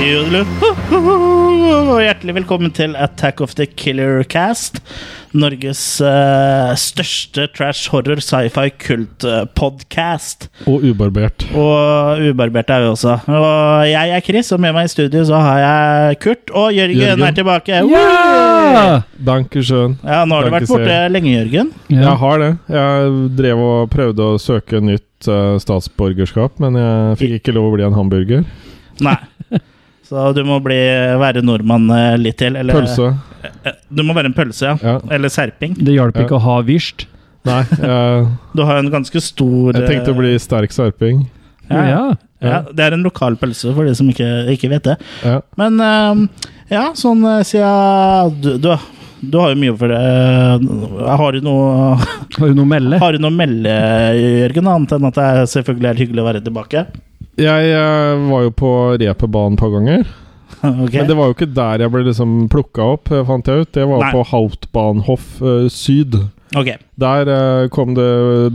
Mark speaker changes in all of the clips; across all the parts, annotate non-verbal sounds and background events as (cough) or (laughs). Speaker 1: jodler. Og hjertelig velkommen til Attack of the Killer Cast. Norges eh, største trash horror sci-fi kult-podkast.
Speaker 2: Og ubarbert.
Speaker 1: Og ubarbert er vi også. Og jeg er Chris, og med meg i studio så har jeg Kurt. Og Jørgen,
Speaker 2: Jørgen.
Speaker 1: er tilbake.
Speaker 2: Ja! Dankeschön.
Speaker 1: Ja, nå har du
Speaker 2: Takk,
Speaker 1: vært borte
Speaker 2: Siri.
Speaker 1: lenge, Jørgen.
Speaker 2: Jeg har det. Jeg drev og prøvde å søke nytt eh, statsborgerskap, men jeg fikk ikke lov å bli en hamburger.
Speaker 1: Nei. Så du må bli, være nordmann eh, litt til. Eller,
Speaker 2: Pølse.
Speaker 1: Eh, Du må være en pølse, ja.
Speaker 2: Ja.
Speaker 1: Eller serping.
Speaker 3: Det hjalp ikke
Speaker 2: Ja.
Speaker 3: å ha virst.
Speaker 2: Nei,
Speaker 1: (laughs)
Speaker 2: jeg,
Speaker 1: Du har en ganske stor
Speaker 2: jeg tenkte å bli sterk serping.
Speaker 1: eh, ja, ja.
Speaker 2: Ja.
Speaker 1: Det er en lokal pølse, for de som ikke, ikke vet det.
Speaker 2: Ja.
Speaker 1: Men eh, ja, sånn eh, siden du, du, du har jo mye for det. Eh, Har du noe (laughs)
Speaker 3: Har du noe å melde?
Speaker 1: Har du noe å melde, Jørgen, annet enn at det selvfølgelig er hyggelig å være tilbake? (laughs)
Speaker 2: Jeg eh, var jo på reperbanen et par ganger,
Speaker 1: Ok.
Speaker 2: men det var jo ikke der jeg ble liksom plukka opp, eh, fant jeg ut. Det var
Speaker 1: Nei.
Speaker 2: på Hauptbahnhof eh, syd.
Speaker 1: Ok.
Speaker 2: Der eh, kom det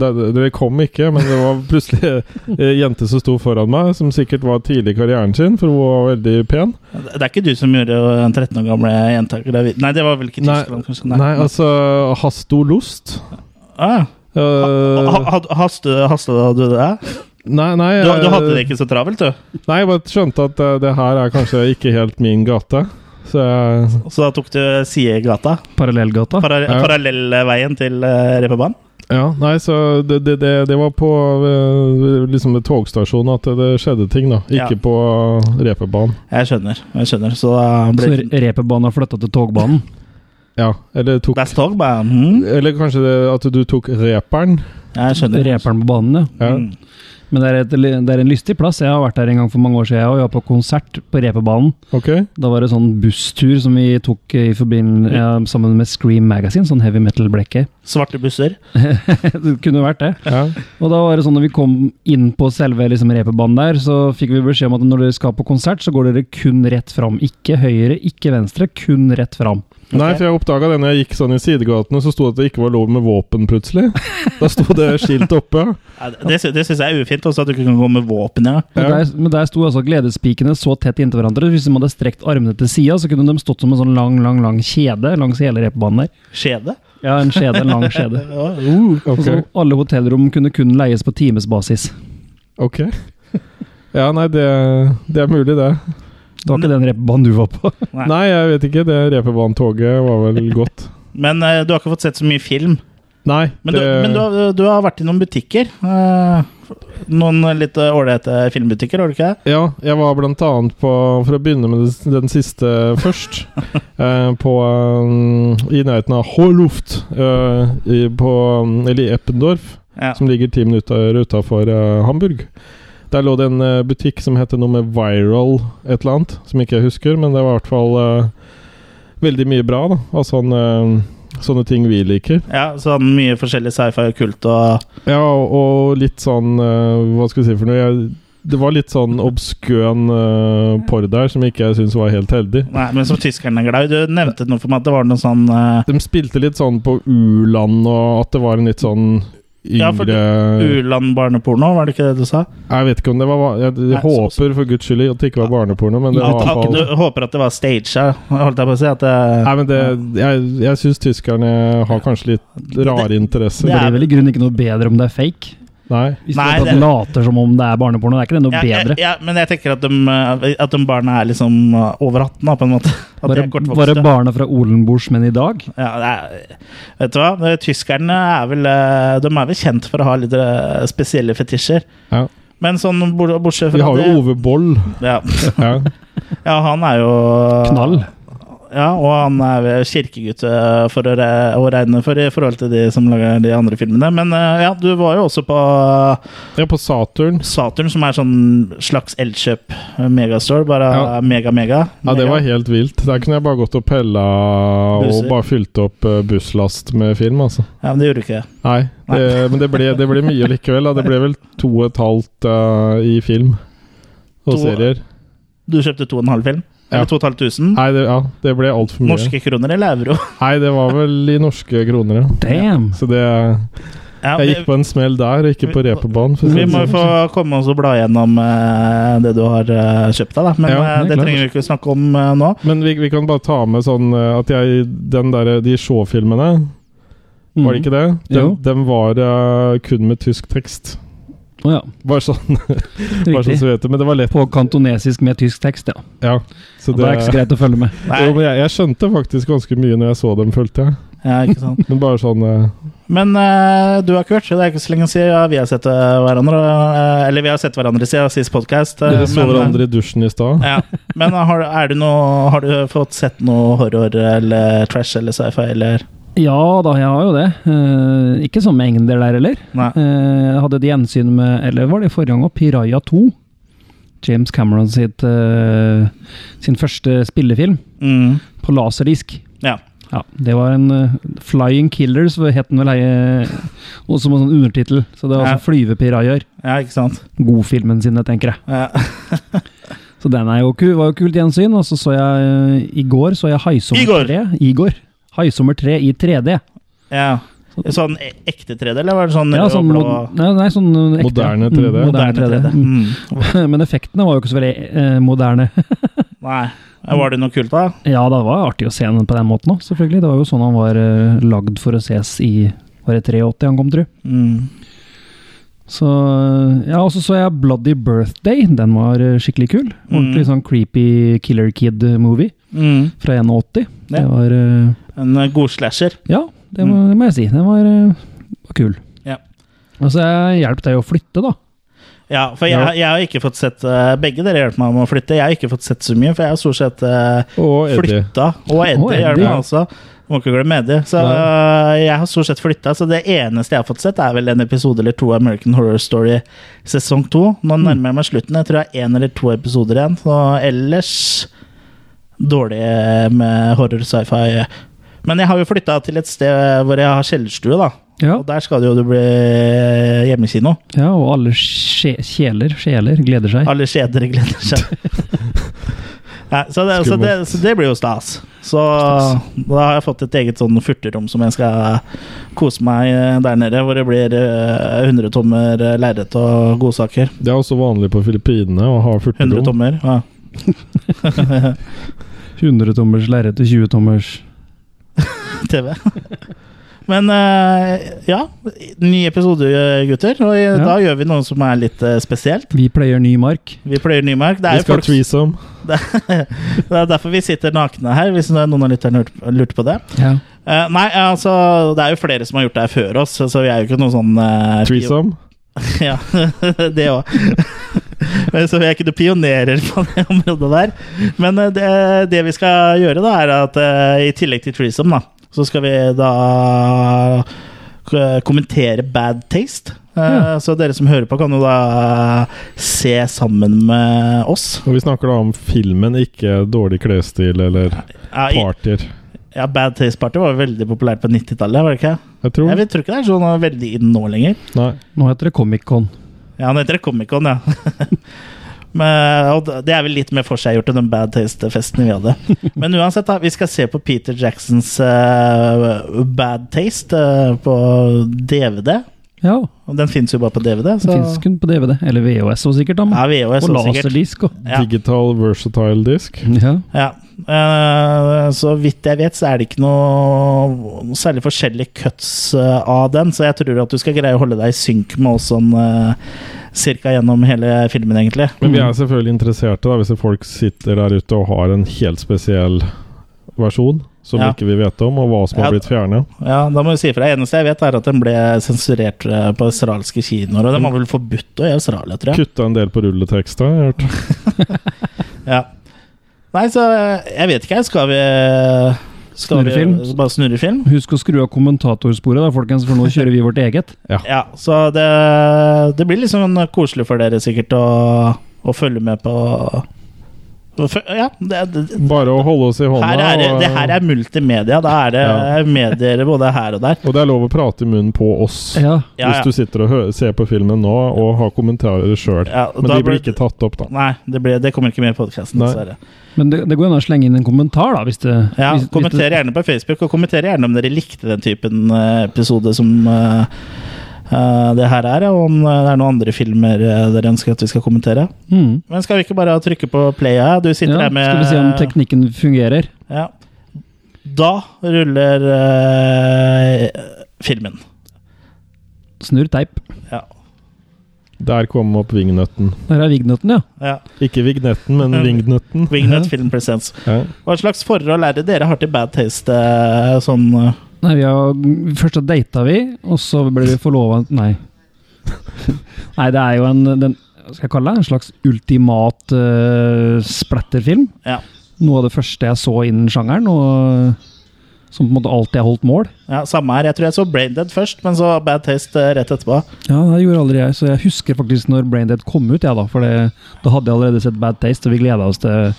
Speaker 2: der- Dere kom ikke, men det var plutselig ei jente som sto foran meg, som sikkert var tidlig i karrieren sin, for hun var veldig pen.
Speaker 1: Det er ikke du som gjorde den 13 år gamle jenta gravid? Nei, det var vel ikke
Speaker 2: Nei,
Speaker 1: Tyskland, kanskje?
Speaker 2: Nei, altså Hasto Lust.
Speaker 1: Ah,
Speaker 2: Eh,
Speaker 1: ha- ha- haste- Hasta du det? der?
Speaker 2: nei, nei
Speaker 1: Du, du hadde det
Speaker 2: eh,
Speaker 1: ikke så travelt, du?
Speaker 2: Nei, jeg bare skjønte at eh, det her er kanskje ikke helt min gate. Så jeg
Speaker 1: Så da tok du sidegata?
Speaker 3: Parallellgata?
Speaker 1: Para
Speaker 2: Ah, Ja.
Speaker 1: Parallellveien til uh, Reperbanen?
Speaker 2: Ja, nei, så det, det, det, det var på eh, liksom ved togstasjonen at det skjedde ting, da.
Speaker 1: Ja.
Speaker 2: Ikke på reperbanen.
Speaker 1: Jeg skjønner. jeg skjønner Så da
Speaker 3: Så
Speaker 1: ble det
Speaker 3: reperbanen har flytta til togbanen?
Speaker 2: Ja, eller tok
Speaker 1: That's talk, bare. Mm,
Speaker 2: Eller kanskje det, at du tok reperen.
Speaker 1: jeg skjønner.
Speaker 3: Reperen på banen, ja.
Speaker 2: Ja.
Speaker 1: Mm.
Speaker 3: Men det er, et, det er en lystig plass. Jeg har vært der en gang for mange år siden, og jeg var på konsert på reperbanen.
Speaker 2: Ok,
Speaker 3: Da var det sånn busstur som vi tok i forbindelse ja, sammen med Scream Magazine, sånn heavy metal-blekket.
Speaker 1: Svarte busser.
Speaker 3: (laughs) Det kunne vært det.
Speaker 2: ja.
Speaker 3: Og da var det sånn når vi kom inn på selve liksom, reperbanen der, så fikk vi beskjed om at når dere skal på konsert, så går dere kun rett fram. Ikke høyre, ikke venstre, kun rett fram.
Speaker 2: Nei,
Speaker 1: Ok.
Speaker 2: for jeg oppdaga det når jeg gikk sånn i sidegatene, så sto det at det ikke var lov med våpen, plutselig. Da sto det skilt oppe.
Speaker 1: Ja, det det, sy- det syns jeg er ufint, også at du ikke kan gå med våpen. Ja.
Speaker 3: Men
Speaker 2: Ja.
Speaker 3: der, men der sto altså gledespikene så tett inntil hverandre. Hvis de hadde strekt armene til sida, så kunne de stått som en sånn lang lang, lang kjede langs hele reperbanen der.
Speaker 1: Skjede?
Speaker 3: Ja, en skjede, en lang skjede.
Speaker 1: (laughs) Ja. uh,
Speaker 3: Og
Speaker 2: Ok.
Speaker 3: så alle hotellrom kunne kun leies på timesbasis.
Speaker 2: ok. Ja, nei, det, det er mulig, det.
Speaker 3: Det var ikke den reperbanen du var på.
Speaker 1: Nei.
Speaker 2: Nei, jeg vet ikke. Det reperbanen-toget var vel godt.
Speaker 1: Men eh, du har ikke fått sett så mye film.
Speaker 2: Nei,
Speaker 1: Men du,
Speaker 2: det,
Speaker 1: men du, har- du har vært i noen butikker. eh, noen litt eh, ålreite filmbutikker, har du ikke? det?
Speaker 2: Ja, jeg var blant annet på For å begynne med den- den siste
Speaker 1: (laughs)
Speaker 2: først. eh, på eh, I nærheten av Håluft, eh, i, på, eh, eller i Eppendorf.
Speaker 1: Ja.
Speaker 2: som ligger ti minutter utafor eh, Hamburg. Der lå det en eh, butikk som het noe med Viral et eller annet, som ikke jeg husker, men det var i hvert fall eh, veldig mye bra da, av sånne, eh, sånne ting vi liker.
Speaker 1: ja, sånn mye forskjellig sci-fi og kult og
Speaker 2: Ja, og, og litt sånn eh, Hva skal vi si for noe? Jeg, det var litt sånn obskøn eh, porr der som ikke jeg syns var helt heldig.
Speaker 1: Nei, men som tyskerne er glad i. Du nevnte noe for meg at det var noe sånn eh,
Speaker 2: De spilte litt sånn på u-land, og at det var en litt sånn
Speaker 1: Ja, for
Speaker 2: yngre
Speaker 1: U-land-barneporno, var det ikke det du sa?
Speaker 2: Jeg vet ikke om det var Jeg, jeg
Speaker 1: Nei, så-
Speaker 2: håper for guds skyld at det ikke var barneporno, men det
Speaker 1: At-
Speaker 2: var i hvert
Speaker 1: at
Speaker 2: fall
Speaker 1: du håper at det var staged, holdt jeg på å si. At det,
Speaker 2: Nei, men det, jeg, jeg syns tyskerne har kanskje litt rare interesser.
Speaker 3: Det
Speaker 1: Det er-
Speaker 3: blir vel i grunnen ikke noe bedre om det er fake.
Speaker 2: Nei.
Speaker 3: Hvis
Speaker 1: Nei,
Speaker 3: du
Speaker 1: det-
Speaker 3: later som om det er barneporno, det er ikke det noe
Speaker 1: ja,
Speaker 3: bedre.
Speaker 1: Ja, men jeg tenker at de, eh, at de barna er liksom eh, over 18, da, på en måte. (laughs) At de
Speaker 3: Bare,
Speaker 1: er
Speaker 3: bare
Speaker 1: kortvokste.
Speaker 3: barna fra Olenborgs, men i dag?
Speaker 1: Ja, det er, vet du hva? Eh, Tyskerne er vel, eh, de er vel kjent for å ha litt eh, spesielle fetisjer.
Speaker 2: Ja.
Speaker 1: Men sånn bort- bortsett
Speaker 2: Vi
Speaker 1: fra
Speaker 2: har jo
Speaker 1: det
Speaker 2: Ove Boll.
Speaker 1: ja.
Speaker 2: Ja.
Speaker 1: ja, han er jo
Speaker 3: Knall.
Speaker 1: Ah. Ja, og han er vel kirkegutt eh, for å, re å regne for i forhold til de som lager de andre filmene. Men eh, ja, du var jo også på eh,
Speaker 2: ja, på Saturn.
Speaker 1: Saturn, som er sånn slags Elkjøp eh, megastore, bare
Speaker 2: Ja.
Speaker 1: mega, mega.
Speaker 2: Ja, det
Speaker 1: mega.
Speaker 2: var helt vilt. Der kunne jeg bare gått og pella og
Speaker 1: Busser.
Speaker 2: bare fylt opp eh, busslast med film, altså.
Speaker 1: Ja, men det gjorde ikke det.
Speaker 2: Nei, det, men det ble, det ble mye likevel. Da. Det ble vel to og et halvt eh, i film og
Speaker 1: To-
Speaker 2: serier.
Speaker 1: Du kjøpte to og en halv film?
Speaker 2: Ja.
Speaker 1: Eller 2500?
Speaker 2: Nei, det, ja, det ble altfor mye.
Speaker 1: Norske kroner eller euro? (laughs)
Speaker 2: Nei, det var vel i norske kroner, ja.
Speaker 3: Damn!
Speaker 2: Så det
Speaker 1: Ja,
Speaker 2: Jeg gikk
Speaker 1: vi,
Speaker 2: på en smell der, ikke på reperbanen. for å si
Speaker 1: vi
Speaker 2: det
Speaker 1: må
Speaker 2: sånn.
Speaker 1: jo få komme oss og bla gjennom eh, det du har eh, kjøpt deg, da. Men
Speaker 2: Ja,
Speaker 1: eh, det
Speaker 3: klart.
Speaker 1: trenger vi ikke snakke om eh, nå.
Speaker 2: Men vi, vi kan bare ta med sånn eh, at jeg Den derre De Shaw-filmene,
Speaker 1: Mhm.
Speaker 2: var det ikke det?
Speaker 3: Jo.
Speaker 2: Dem, dem var eh, kun med tysk tekst.
Speaker 3: Mm. Å ja,
Speaker 2: Bare sånn,
Speaker 3: det er
Speaker 2: bare sånn
Speaker 3: viktig.
Speaker 2: så vi vet det. Men det var lett.
Speaker 3: På kantonesisk med tysk tekst, ja.
Speaker 2: Ja. Så
Speaker 3: Det er ikke så
Speaker 2: det,
Speaker 3: greit å følge med.
Speaker 1: Nei,
Speaker 2: jo, men jeg, jeg skjønte faktisk ganske mye når jeg så dem, følte jeg.
Speaker 1: ja, ikke sant.
Speaker 2: Men bare sånn eh,
Speaker 1: Men eh, du har ikke vært, så det er ikke så lenge siden ja, vi har sett eh, hverandre. eh, eller vi har sett hverandre siden sist podkast.
Speaker 2: Dere så hverandre i dusjen i stad.
Speaker 1: eh, Ja. Men eh, har, du- er det noe, har du fått sett noe horror eller trash eller sci-fi eller
Speaker 3: Ja da, jeg har jo det. Eh, ikke sånn mengder der heller.
Speaker 1: Nei.
Speaker 3: Eh, jeg hadde et gjensyn med, eller var det forrige gang, også, Piraya 2. James Cameron sitt, eh, sin første spillefilm
Speaker 1: Mm.
Speaker 3: på laserdisk.
Speaker 1: Ja.
Speaker 3: Ja, det var en eh, 'Flying Killers', hvor het den vel, eh, også med sånn undertittel. Så det var
Speaker 1: Ja.
Speaker 3: altså flyvepirajaer.
Speaker 1: ja, ikke sant?
Speaker 3: Godfilmen sine, tenker jeg.
Speaker 1: Ja.
Speaker 3: Så den er jo ku- var jo kult gjensyn. Og så så jeg eh, i går så jeg
Speaker 1: Igor!
Speaker 3: Haisommer 3. Igor. Haisommer 3 i 3D.
Speaker 1: ja. Sånn e- ekte 3D, eller var det sånn
Speaker 3: Ja,
Speaker 1: rød
Speaker 3: sånn,
Speaker 1: og blå
Speaker 3: mod nei, nei, sånn ekte.
Speaker 2: Moderne
Speaker 3: Mm,
Speaker 2: 3D.
Speaker 3: moderne 3D. Mm. (laughs)
Speaker 1: Mm.
Speaker 3: Men effektene var jo ikke så veldig eh, moderne. (laughs)
Speaker 1: Nei. Var det noe kult, da?
Speaker 3: Ja, det var artig å se den på den måten òg, selvfølgelig. Det var jo sånn han var eh, lagd for å ses i var det 83 han kom, tru.
Speaker 1: Mm.
Speaker 3: Så eh, Ja, og så så jeg Bloody Birthday. Den var eh, skikkelig kul. Ordentlig sånn creepy Killer Kid-movie
Speaker 1: Mm.
Speaker 3: fra 81. Det
Speaker 1: Ja.
Speaker 3: var eh,
Speaker 1: En eh, god slasher.
Speaker 3: Ja, det må, det må jeg si. Den var, eh, var kul.
Speaker 1: Ja.
Speaker 3: Og så eh, hjalp deg å flytte, da.
Speaker 1: Ja, for jeg,
Speaker 2: Ja.
Speaker 1: jeg har ikke fått sett eh, Begge dere hjelper meg med å flytte. Jeg har ikke fått sett så mye, for jeg har stort sett eh,
Speaker 2: Og Eddie.
Speaker 1: flytta. Og Eddie,
Speaker 3: Eddie,
Speaker 1: hjelper
Speaker 3: ja.
Speaker 1: meg også. Må ikke glemme Eddie. Så eh, jeg har stort sett flytta, så det eneste jeg har fått sett, er vel en episode eller to av American Horror Story sesong to. Nå nærmer jeg meg slutten. Jeg tror jeg har én eller to episoder igjen. Så ellers dårlig med horror sci-fi. Men jeg har jo flytta til et sted hvor jeg har kjellerstue, da.
Speaker 3: Ja,
Speaker 1: Og der skal det jo det bli hjemmekino.
Speaker 3: ja og alle skje- kjeler, sjeler gleder
Speaker 1: (laughs)
Speaker 3: seg.
Speaker 1: Alle skjeder gleder
Speaker 2: (laughs)
Speaker 1: seg. Nei, så, det, så, det, så det blir jo stas. Så da har jeg fått et eget sånn furterom som jeg skal kose meg i der nede, hvor det blir eh, 100 tommer eh, lerret og godsaker.
Speaker 2: Det er også vanlig på Filippinene å ha
Speaker 1: 100
Speaker 2: furterom.
Speaker 1: tommer. Ja.
Speaker 3: 100-tommers lerret til 20-tommers.
Speaker 1: TV. (laughs) Men eh, ja, ny episode, eh, gutter. Og i-
Speaker 3: Ja.
Speaker 1: da gjør vi noe som er litt eh, spesielt.
Speaker 3: Vi pleier ny mark.
Speaker 1: Vi pløyer Nymark. Det er,
Speaker 2: Vi
Speaker 1: jo
Speaker 2: skal ha
Speaker 1: folk, det
Speaker 2: threesome.
Speaker 1: er derfor vi sitter nakne her, hvis noen av lytterne lurte- lurte på det.
Speaker 3: Ja.
Speaker 1: Eh, nei, altså, det er jo flere som har gjort det her før oss, så vi er jo ikke noen sånn eh,
Speaker 2: Threesome.
Speaker 1: (laughs) Ja, det òg. (laughs) Men Så vi er ikke noen pionerer på det (laughs) området der. Men eh, det, det vi skal gjøre, da, er at eh, i tillegg til threesome, da, så skal vi da eh, kommentere bad taste. Eh,
Speaker 3: Ja.
Speaker 1: Så dere som hører på, kan jo da eh, se sammen med oss.
Speaker 2: Og vi snakker da om filmen, ikke dårlig klesstil eller
Speaker 1: Ja, i,
Speaker 2: partyer.
Speaker 1: ja Bad Taste Party var jo veldig populært på 90-tallet, var det ikke?
Speaker 2: Jeg tror
Speaker 1: Jeg vet- tror ikke det er sånn veldig inn nå lenger.
Speaker 2: Nei.
Speaker 3: Nå heter det Comic-Con.
Speaker 1: Ja, han heter Comic-Con, ja. (laughs) Men, og det er vel litt mer forseggjort enn den Bad Taste-festen vi
Speaker 3: (laughs)
Speaker 1: hadde. Men uansett, da, vi skal se på Peter Jacksons eh, Bad Taste eh, på DVD.
Speaker 3: Ja,
Speaker 1: Og den fins jo bare på DVD.
Speaker 3: det
Speaker 1: Så.
Speaker 3: finnes kun på DVD. Eller VHS også, sikkert. Da.
Speaker 1: Ja, VHS
Speaker 3: og
Speaker 1: også, sikkert.
Speaker 3: laserdisk. Og.
Speaker 1: Ja.
Speaker 2: Digital versatile disk.
Speaker 3: Ja.
Speaker 1: Ja. Eh, så vidt jeg vet, så er det ikke noe noe særlig forskjellige cuts eh, av den, så jeg tror at du skal greie å holde deg i synk med oss sånn eh, cirka gjennom hele filmen, egentlig.
Speaker 2: Men vi er selvfølgelig interesserte da, hvis folk sitter der ute og har en helt spesiell versjon som
Speaker 1: Ja.
Speaker 2: ikke vi vet om, og hva som har
Speaker 1: Ja.
Speaker 2: blitt fjerna.
Speaker 1: Ja, da må vi si ifra. Eneste jeg vet, er at den ble sensurert eh, på australske kinoer. Og den var vel forbudt i Australia, tror jeg.
Speaker 2: Kutta en del på rulleteksta. jeg har hørt.
Speaker 1: (laughs) Ja. Nei, så eh, jeg vet ikke, jeg. Skal vi eh, skal
Speaker 3: Snurre film?
Speaker 1: Vi bare snurre film?
Speaker 3: Husk å skru av kommentatorsporet, da, folkens, for nå kjører vi vårt eget.
Speaker 1: Ja, så det, det blir liksom koselig for dere sikkert å, å følge med på å fø- Ja, det, det,
Speaker 2: Bare å holde oss i hånda.
Speaker 1: her er, det-
Speaker 2: og-
Speaker 1: det her er multimedia. Da er det
Speaker 2: Ja.
Speaker 1: medier både her og der.
Speaker 2: Og det er lov å prate i munnen på oss.
Speaker 3: Ja.
Speaker 1: Ja, ja.
Speaker 2: Hvis du sitter og hø ser på filmen nå og har kommentarer sjøl.
Speaker 1: Ja, og
Speaker 2: Men
Speaker 1: da
Speaker 2: de blir
Speaker 1: blir-
Speaker 2: ikke tatt opp, da.
Speaker 1: Nei, det, blir, det kommer ikke med i podkasten,
Speaker 2: Nei.
Speaker 1: dessverre.
Speaker 3: Men det, det går an å slenge inn en kommentar, da, hvis det
Speaker 1: Ja,
Speaker 3: hvis, hvis
Speaker 1: kommenter
Speaker 3: det-
Speaker 1: gjerne på Facebook, og kommenter gjerne om dere likte den typen eh, episode som eh, eh, det her er, og om det er noen andre filmer eh, dere ønsker at vi skal kommentere.
Speaker 3: Mm.
Speaker 1: Men skal vi ikke bare trykke på play? Ja? Du sitter
Speaker 3: Ja,
Speaker 1: der med
Speaker 3: skal vi se om teknikken fungerer?
Speaker 1: ja. Da ruller eh, filmen.
Speaker 3: Snurr teip.
Speaker 1: Ja.
Speaker 2: Der kom opp vingnøtten.
Speaker 3: Der er vignøtten, ja.
Speaker 1: ja.
Speaker 2: Ikke vignetten, men
Speaker 1: Ja.
Speaker 2: vingnøtten.
Speaker 1: Wingnut Film Presents.
Speaker 2: Ja.
Speaker 1: Hva slags forhold er det dere har til bad taste? eh, Sånn eh,
Speaker 3: Nei, vi har, først så data vi, og så ble vi forlova Nei. (laughs) Nei, det er jo en den, Hva skal jeg kalle det? En slags ultimat eh, splatterfilm.
Speaker 1: Ja.
Speaker 3: Noe av det første jeg så innen sjangeren, og eh, som på en måte alltid har holdt mål.
Speaker 1: ja, Samme her. Jeg tror jeg så Braindead først, men så bad taste eh, rett etterpå.
Speaker 3: Ja, det gjorde aldri jeg, så jeg husker faktisk når Braindead kom ut, jeg da, for det, da hadde jeg allerede sett Bad Taste, og vi gleda oss til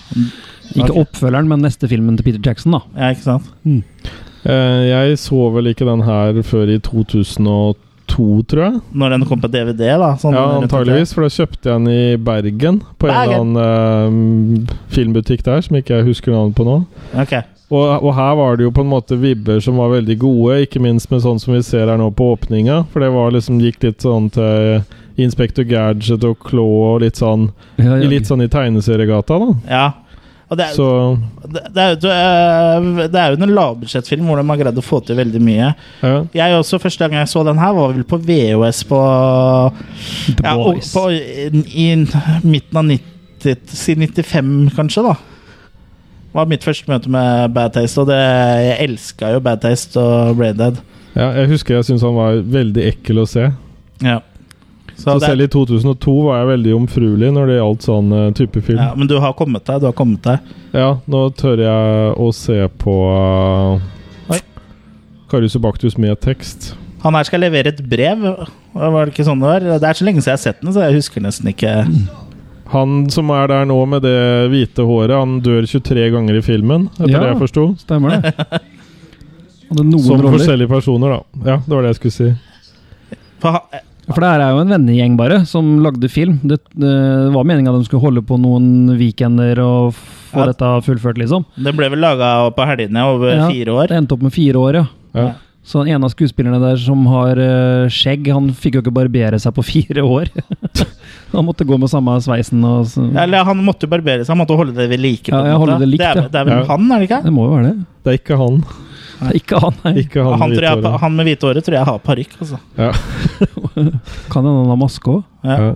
Speaker 3: ikke
Speaker 1: Ok.
Speaker 3: oppfølgeren, men neste filmen til Peter Jackson, da.
Speaker 1: Ja, ikke sant?
Speaker 2: Eh, jeg så vel ikke den her før i 2002, tror jeg.
Speaker 1: Når den kom på DVD, da. sånn
Speaker 2: Ja,
Speaker 1: rundt
Speaker 2: antageligvis, for da kjøpte jeg den i Bergen. På en eller
Speaker 1: Bergen.
Speaker 2: annen eh, filmbutikk der, som ikke jeg husker navnet på nå.
Speaker 1: omkring. Ok.
Speaker 2: Og, og her var det jo på en måte vibber som var veldig gode, ikke minst med sånn som vi ser her nå på åpninga. For det var liksom, gikk litt sånn til Inspector Gadget og Claw og litt sånn
Speaker 3: Ja,
Speaker 2: i Litt sånn i tegneseriegata, da.
Speaker 1: Ja. Og det, er-
Speaker 2: Så
Speaker 1: det, det, er, jo- eh, det er jo en lavbudsjettfilm hvor de har greid å få til veldig mye.
Speaker 2: ja.
Speaker 1: Jeg også, Første gang jeg så den her, var vel på VHS på,
Speaker 3: The
Speaker 1: ja, og-
Speaker 3: Boys.
Speaker 1: på i, i midten av 90, si 95, kanskje. da var mitt første møte med Bad Taste, og det, jeg elska jo Bad Taste og Brain Dead.
Speaker 2: ja, jeg husker jeg syntes han var veldig ekkel å se.
Speaker 1: Ja.
Speaker 2: Så
Speaker 1: Så det,
Speaker 2: selv i 2002 var jeg veldig jomfruelig når det gjaldt sånn eh, type film.
Speaker 1: ja, men du har kommet deg, du har kommet deg.
Speaker 2: Ja, nå tør jeg å se på uh,
Speaker 1: Oi.
Speaker 2: Karius og Baktus med tekst.
Speaker 1: Han her skal levere et brev, var det ikke sånn det var? Det er så lenge siden jeg har sett den, så jeg husker nesten ikke
Speaker 2: Han som er der nå med det hvite håret, han dør 23 ganger i filmen, etter
Speaker 3: Ja.
Speaker 2: det jeg forsto.
Speaker 1: (laughs)
Speaker 3: Stemmer det. Hadde
Speaker 2: Som
Speaker 3: noen roller.
Speaker 2: forskjellige personer, da. Ja, det var det jeg skulle si.
Speaker 1: For han,
Speaker 3: For det her er jo en vennegjeng bare, som lagde film. Det, det var meninga de skulle holde på noen weekender og få
Speaker 1: Ja.
Speaker 3: dette fullført, liksom.
Speaker 1: Den ble vel laga på helgene over
Speaker 3: Ja.
Speaker 1: fire år.
Speaker 3: Det endte opp med fire år, ja.
Speaker 2: Ja.
Speaker 3: Så den ene av skuespillerne der som har eh, skjegg, han fikk jo ikke barbere seg på (laughs) fire år. han måtte gå med samme sveisen og så.
Speaker 1: Eller han måtte jo barbere seg, han måtte holde det ved like. på
Speaker 3: Ja,
Speaker 1: en
Speaker 3: jeg
Speaker 1: måte.
Speaker 3: holder det likt,
Speaker 1: er,
Speaker 3: ja.
Speaker 1: det er vel
Speaker 2: Ja.
Speaker 1: han, er det ikke?
Speaker 3: Det må jo være det.
Speaker 2: Det er ikke han.
Speaker 3: Det er Ikke han, nei.
Speaker 2: Ikke
Speaker 1: Han,
Speaker 2: han med
Speaker 1: tror jeg,
Speaker 2: hvitt hår.
Speaker 1: han med hvite håret tror jeg har parykk, altså.
Speaker 3: Kan hende han har maske òg.
Speaker 1: Ja.
Speaker 2: Ja.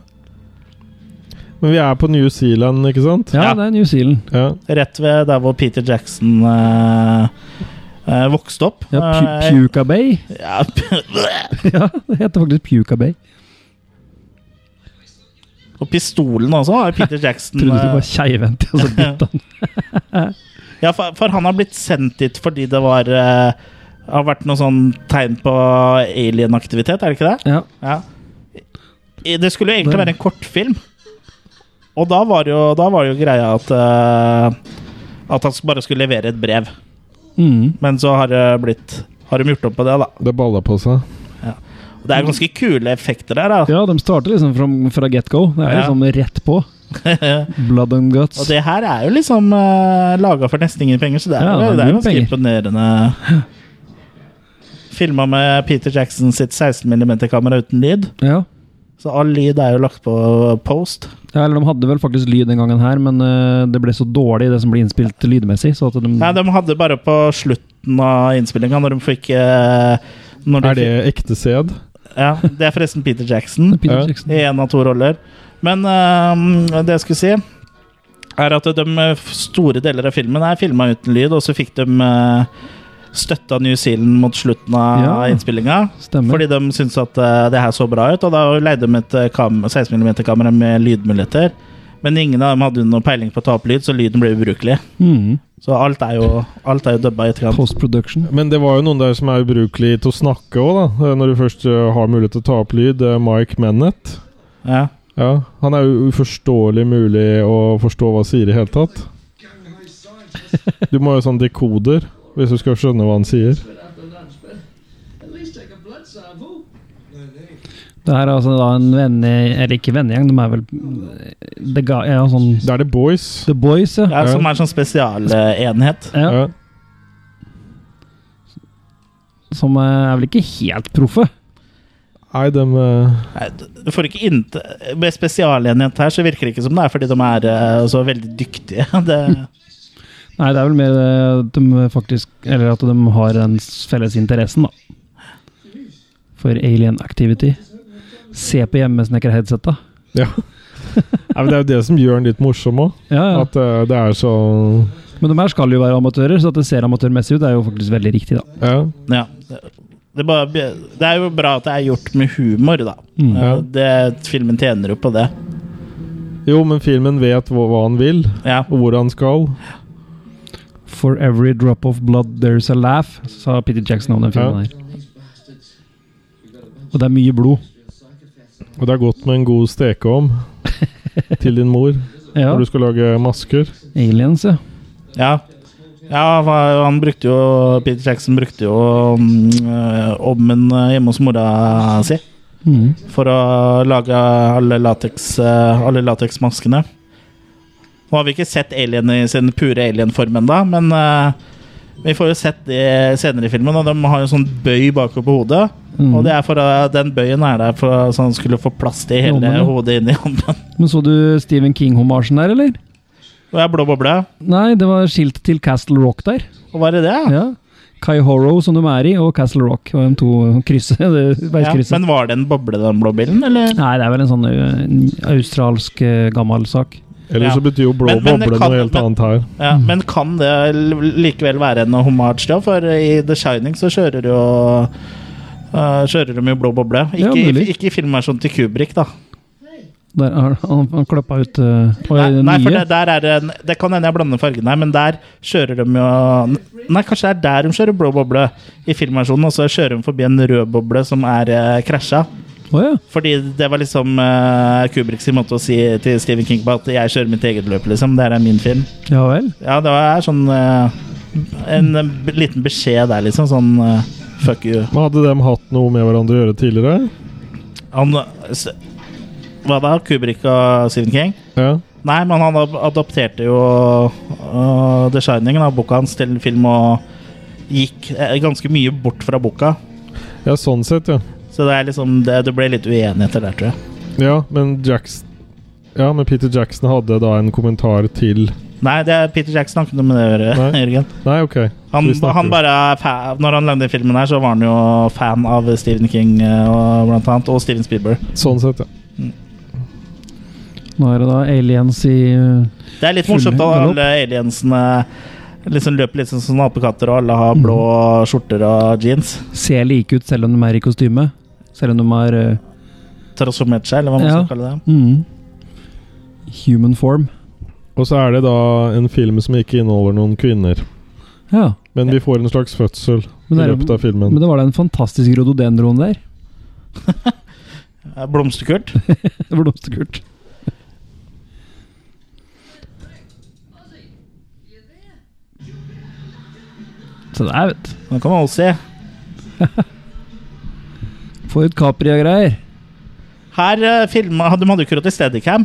Speaker 2: Men vi er på New Zealand, ikke sant?
Speaker 3: Ja,
Speaker 1: Ja.
Speaker 3: det er New Zealand.
Speaker 2: Ja.
Speaker 1: Rett ved der hvor Peter Jackson eh, eh, vokste opp.
Speaker 3: Ja, Pu
Speaker 1: Eh,
Speaker 3: Puka Bay. (laughs)
Speaker 1: ja, (laughs)
Speaker 3: ja, det heter faktisk Puka Bay.
Speaker 1: og pistolen også har Peter Jackson
Speaker 3: (laughs) Trodde det
Speaker 1: eh,
Speaker 3: var keivhendt, og så bytta
Speaker 1: (laughs)
Speaker 3: han.
Speaker 1: Ja, for, for han har blitt sendt dit fordi det var eh, har vært noe sånn tegn på alienaktivitet, er det ikke det?
Speaker 3: Ja.
Speaker 1: Ja. I- Det skulle jo egentlig
Speaker 3: Det-
Speaker 1: være en kortfilm. Og da var jo, da var jo greia at eh, At han bare skulle levere et brev.
Speaker 3: Mm.
Speaker 1: Men så har det blitt Har de gjort om på det, da.
Speaker 2: Det balla på seg.
Speaker 1: Og Det er ganske kule effekter der, da.
Speaker 3: Ja, de starter liksom fra, fra get go. Det er
Speaker 1: Ja.
Speaker 3: liksom rett på. Blood and
Speaker 1: (laughs)
Speaker 3: guts.
Speaker 1: Og det her er jo liksom uh, laga for nesten ingen penger, så det er,
Speaker 3: Ja, det
Speaker 1: jo-
Speaker 3: er
Speaker 1: det er
Speaker 3: null
Speaker 1: ganske
Speaker 3: penger. (laughs)
Speaker 1: imponerende. Filma med Peter Jackson sitt 16 mm-kamera uten lyd.
Speaker 3: Ja.
Speaker 1: Så all lyd er jo lagt på post.
Speaker 3: ja, eller de hadde vel faktisk lyd den gangen her, men eh, det ble så dårlig det som ble innspilt lydmessig, så at de
Speaker 2: Mm.
Speaker 1: Nei, de hadde bare på slutten av innspillinga, når de fikk eh, når de
Speaker 2: Er det ekte sæd?
Speaker 1: Fikk, ja, det er forresten Peter Jackson
Speaker 3: Peter
Speaker 2: Ja.
Speaker 3: Jackson.
Speaker 1: i én av to roller. Men eh, det jeg skulle si, er at de store deler av filmen er filma uten lyd, og så fikk de eh, støtte av New Zealand mot slutten av
Speaker 3: Ja.
Speaker 1: innspillinga.
Speaker 3: Stemmer.
Speaker 1: Fordi de syntes at eh, det her så bra ut, og da leide de et eh, kam 16 mm-kamera med lydmuligheter. Men ingen av dem hadde noe peiling på å ta opp lyd, så lyden ble ubrukelig.
Speaker 3: Mm.
Speaker 1: Så alt er jo, alt er jo dubba i etterkant.
Speaker 3: Post-production.
Speaker 2: Men det var jo noen der som er ubrukelig til å snakke òg, da. Når du først eh, har mulighet til å ta opp lyd. Det er Mike Mennett.
Speaker 1: Ja.
Speaker 2: Ja, Han er jo uforståelig mulig å forstå hva han sier i hele tatt. Du må jo sånn dekoder hvis du skal skjønne hva han sier.
Speaker 4: At least take a blood sample.
Speaker 3: Det her er altså da en venne... Eller ikke vennegjeng, de er vel The, ga, ja, sånn,
Speaker 2: Da er det Boys.
Speaker 3: the Boys, ja.
Speaker 1: Ja, som er en sånn spesialenhet.
Speaker 3: ja.
Speaker 2: Ja.
Speaker 3: Som eh, er vel ikke helt proffe.
Speaker 2: Nei, dem eh,
Speaker 1: Nei, Du får ikke innte, Med spesialenhet her så virker det ikke som det er fordi de er eh, så veldig dyktige. (laughs) Det,
Speaker 3: Nei, det er vel mer eh, at de faktisk Eller at de har den felles interessen, da. For alien activity. Se på hjemmesnekker-headsetta.
Speaker 2: Ja. (laughs) Nei, men det er jo det som gjør den litt morsom òg.
Speaker 3: Ja, ja.
Speaker 2: At eh, det er så
Speaker 3: Men de her skal jo være amatører, så at det ser amatørmessig ut, er jo faktisk veldig riktig, da.
Speaker 2: Ja.
Speaker 1: ja. det, det, er bare, det er jo bra at det er gjort med humor, da.
Speaker 3: Mm.
Speaker 1: Eh, Det, filmen tjener jo på det.
Speaker 2: Jo, men filmen vet hva, hva han vil,
Speaker 1: Ja.
Speaker 2: og hvor han skal.
Speaker 3: For every drop of blood there's a laugh, sa Peter Jackson om den filmen her. Og det er mye blod.
Speaker 2: Og det er godt med en god stekeovn
Speaker 1: (laughs)
Speaker 2: til din mor
Speaker 3: Ja.
Speaker 2: når du skal lage masker.
Speaker 3: Aliens, ja.
Speaker 1: Ja. Ja, hva- han brukte jo Peter Jackson brukte jo mm, ovnen hjemme hos mora si
Speaker 3: Mm.
Speaker 1: for å lage alle lateks, eh, alle lateksmaskene. Nå har vi ikke sett Alien i sin pure alien-form ennå, men eh, vi får jo sett det senere i filmen, og de har jo sånn bøy bakover på hodet.
Speaker 3: Mm.
Speaker 1: Og det er for å- den bøyen er der for å- så han skulle få plass til hele
Speaker 3: Hånden, ja.
Speaker 1: hodet inni hånden.
Speaker 3: Mm. Men så du Stephen King-homasjen der, eller?
Speaker 1: Og jeg er blå boble.
Speaker 3: Nei, det var skiltet til Castle Rock der.
Speaker 1: Og hva er det?
Speaker 3: Ja. Kai Horrow, som de er i, og Castle Rock. Og de to krysset, (laughs) det
Speaker 1: Ja,
Speaker 3: veiskrysset.
Speaker 1: men var det en boble, den blå bilen, eller?
Speaker 3: Nei, det er vel en sånn ø, en australsk ø, gammel sak.
Speaker 2: Eller så
Speaker 1: Ja.
Speaker 2: betyr jo blå
Speaker 1: Men- men det
Speaker 2: boble
Speaker 1: kan-
Speaker 2: noe helt
Speaker 1: men-
Speaker 2: annet her.
Speaker 1: Ja,
Speaker 3: Mm.
Speaker 1: Men kan det l- likevel være en hommage, da? For i The Shining så kjører jo øh, kjører de jo blå boble.
Speaker 3: Ja,
Speaker 1: Ikke, i,
Speaker 3: mulig.
Speaker 1: ikke i filmversjonen til Kubrik, da.
Speaker 3: Der har (laughs) han, han klappa ut ø, og
Speaker 1: Nei,
Speaker 3: er det
Speaker 1: nei, for
Speaker 3: nye.
Speaker 1: det, der er en, det kan hende jeg blander fargene her, men der kjører de jo Nei, kanskje det er der de kjører blå boble i filmversjonen, og så kjører de forbi en rød boble som er eh, krasja.
Speaker 3: Å ja.
Speaker 1: Fordi det var liksom eh, Kubrick sin måte å si til Stephen King på at jeg kjører mitt eget løp, liksom. Det her er min film.
Speaker 3: Ja vel.
Speaker 1: Ja, det er sånn eh, En b- liten beskjed der, liksom. Sånn eh, fuck you.
Speaker 2: Men hadde de hatt noe med hverandre å gjøre tidligere?
Speaker 1: Han s- Hva da? Kubrik og Stephen King?
Speaker 2: Ja.
Speaker 1: Nei, men han ad- adopterte jo eh, The Shining, da, boka hans, til en film og gikk eh, ganske mye bort fra boka.
Speaker 2: ja, sånn sett, ja.
Speaker 1: Så det, er liksom, det, det ble litt uenigheter der, tror jeg.
Speaker 2: Ja, men Jackson Ja, men Peter Jackson hadde da en kommentar til
Speaker 1: Nei, det er Peter Jackson har ikke noe med det å gjøre. (laughs)
Speaker 2: Nei.
Speaker 1: Jørgen.
Speaker 2: Nei, OK.
Speaker 1: Han,
Speaker 2: Vi snakker
Speaker 1: han
Speaker 2: jo.
Speaker 1: bare er fa Når han lagde den filmen her, så var han jo fan av Stephen King eh, og, blant annet, og Steven Spielberg.
Speaker 2: Sånn sett, ja.
Speaker 3: Nå er det da aliens i ø,
Speaker 1: Det er litt
Speaker 3: Full
Speaker 1: morsomt at
Speaker 3: galopp.
Speaker 1: alle aliensene liksom løper litt sånn som apekatter, og alle
Speaker 3: Mm.
Speaker 1: har blå skjorter og jeans.
Speaker 3: Ser like ut selv om de er i kostyme. Selv om de er ø,
Speaker 1: Transformert seg, eller hva man
Speaker 3: Ja.
Speaker 1: skal kalle det.
Speaker 3: mm, human form.
Speaker 2: Og så er det da en film som ikke inneholder noen kvinner.
Speaker 3: Ja.
Speaker 2: Men vi får en slags fødsel i
Speaker 3: Men det er-
Speaker 2: løpet av filmen.
Speaker 3: Men det var den fantastiske rododendroen der.
Speaker 1: Eh, Blomsterkurt.
Speaker 3: Det Blomsterkult. Se der, vet du.
Speaker 1: Den kan man også se.
Speaker 3: Få ut Capri og greier.
Speaker 1: Her eh, filma De hadde jo ikke råd til Steadicam,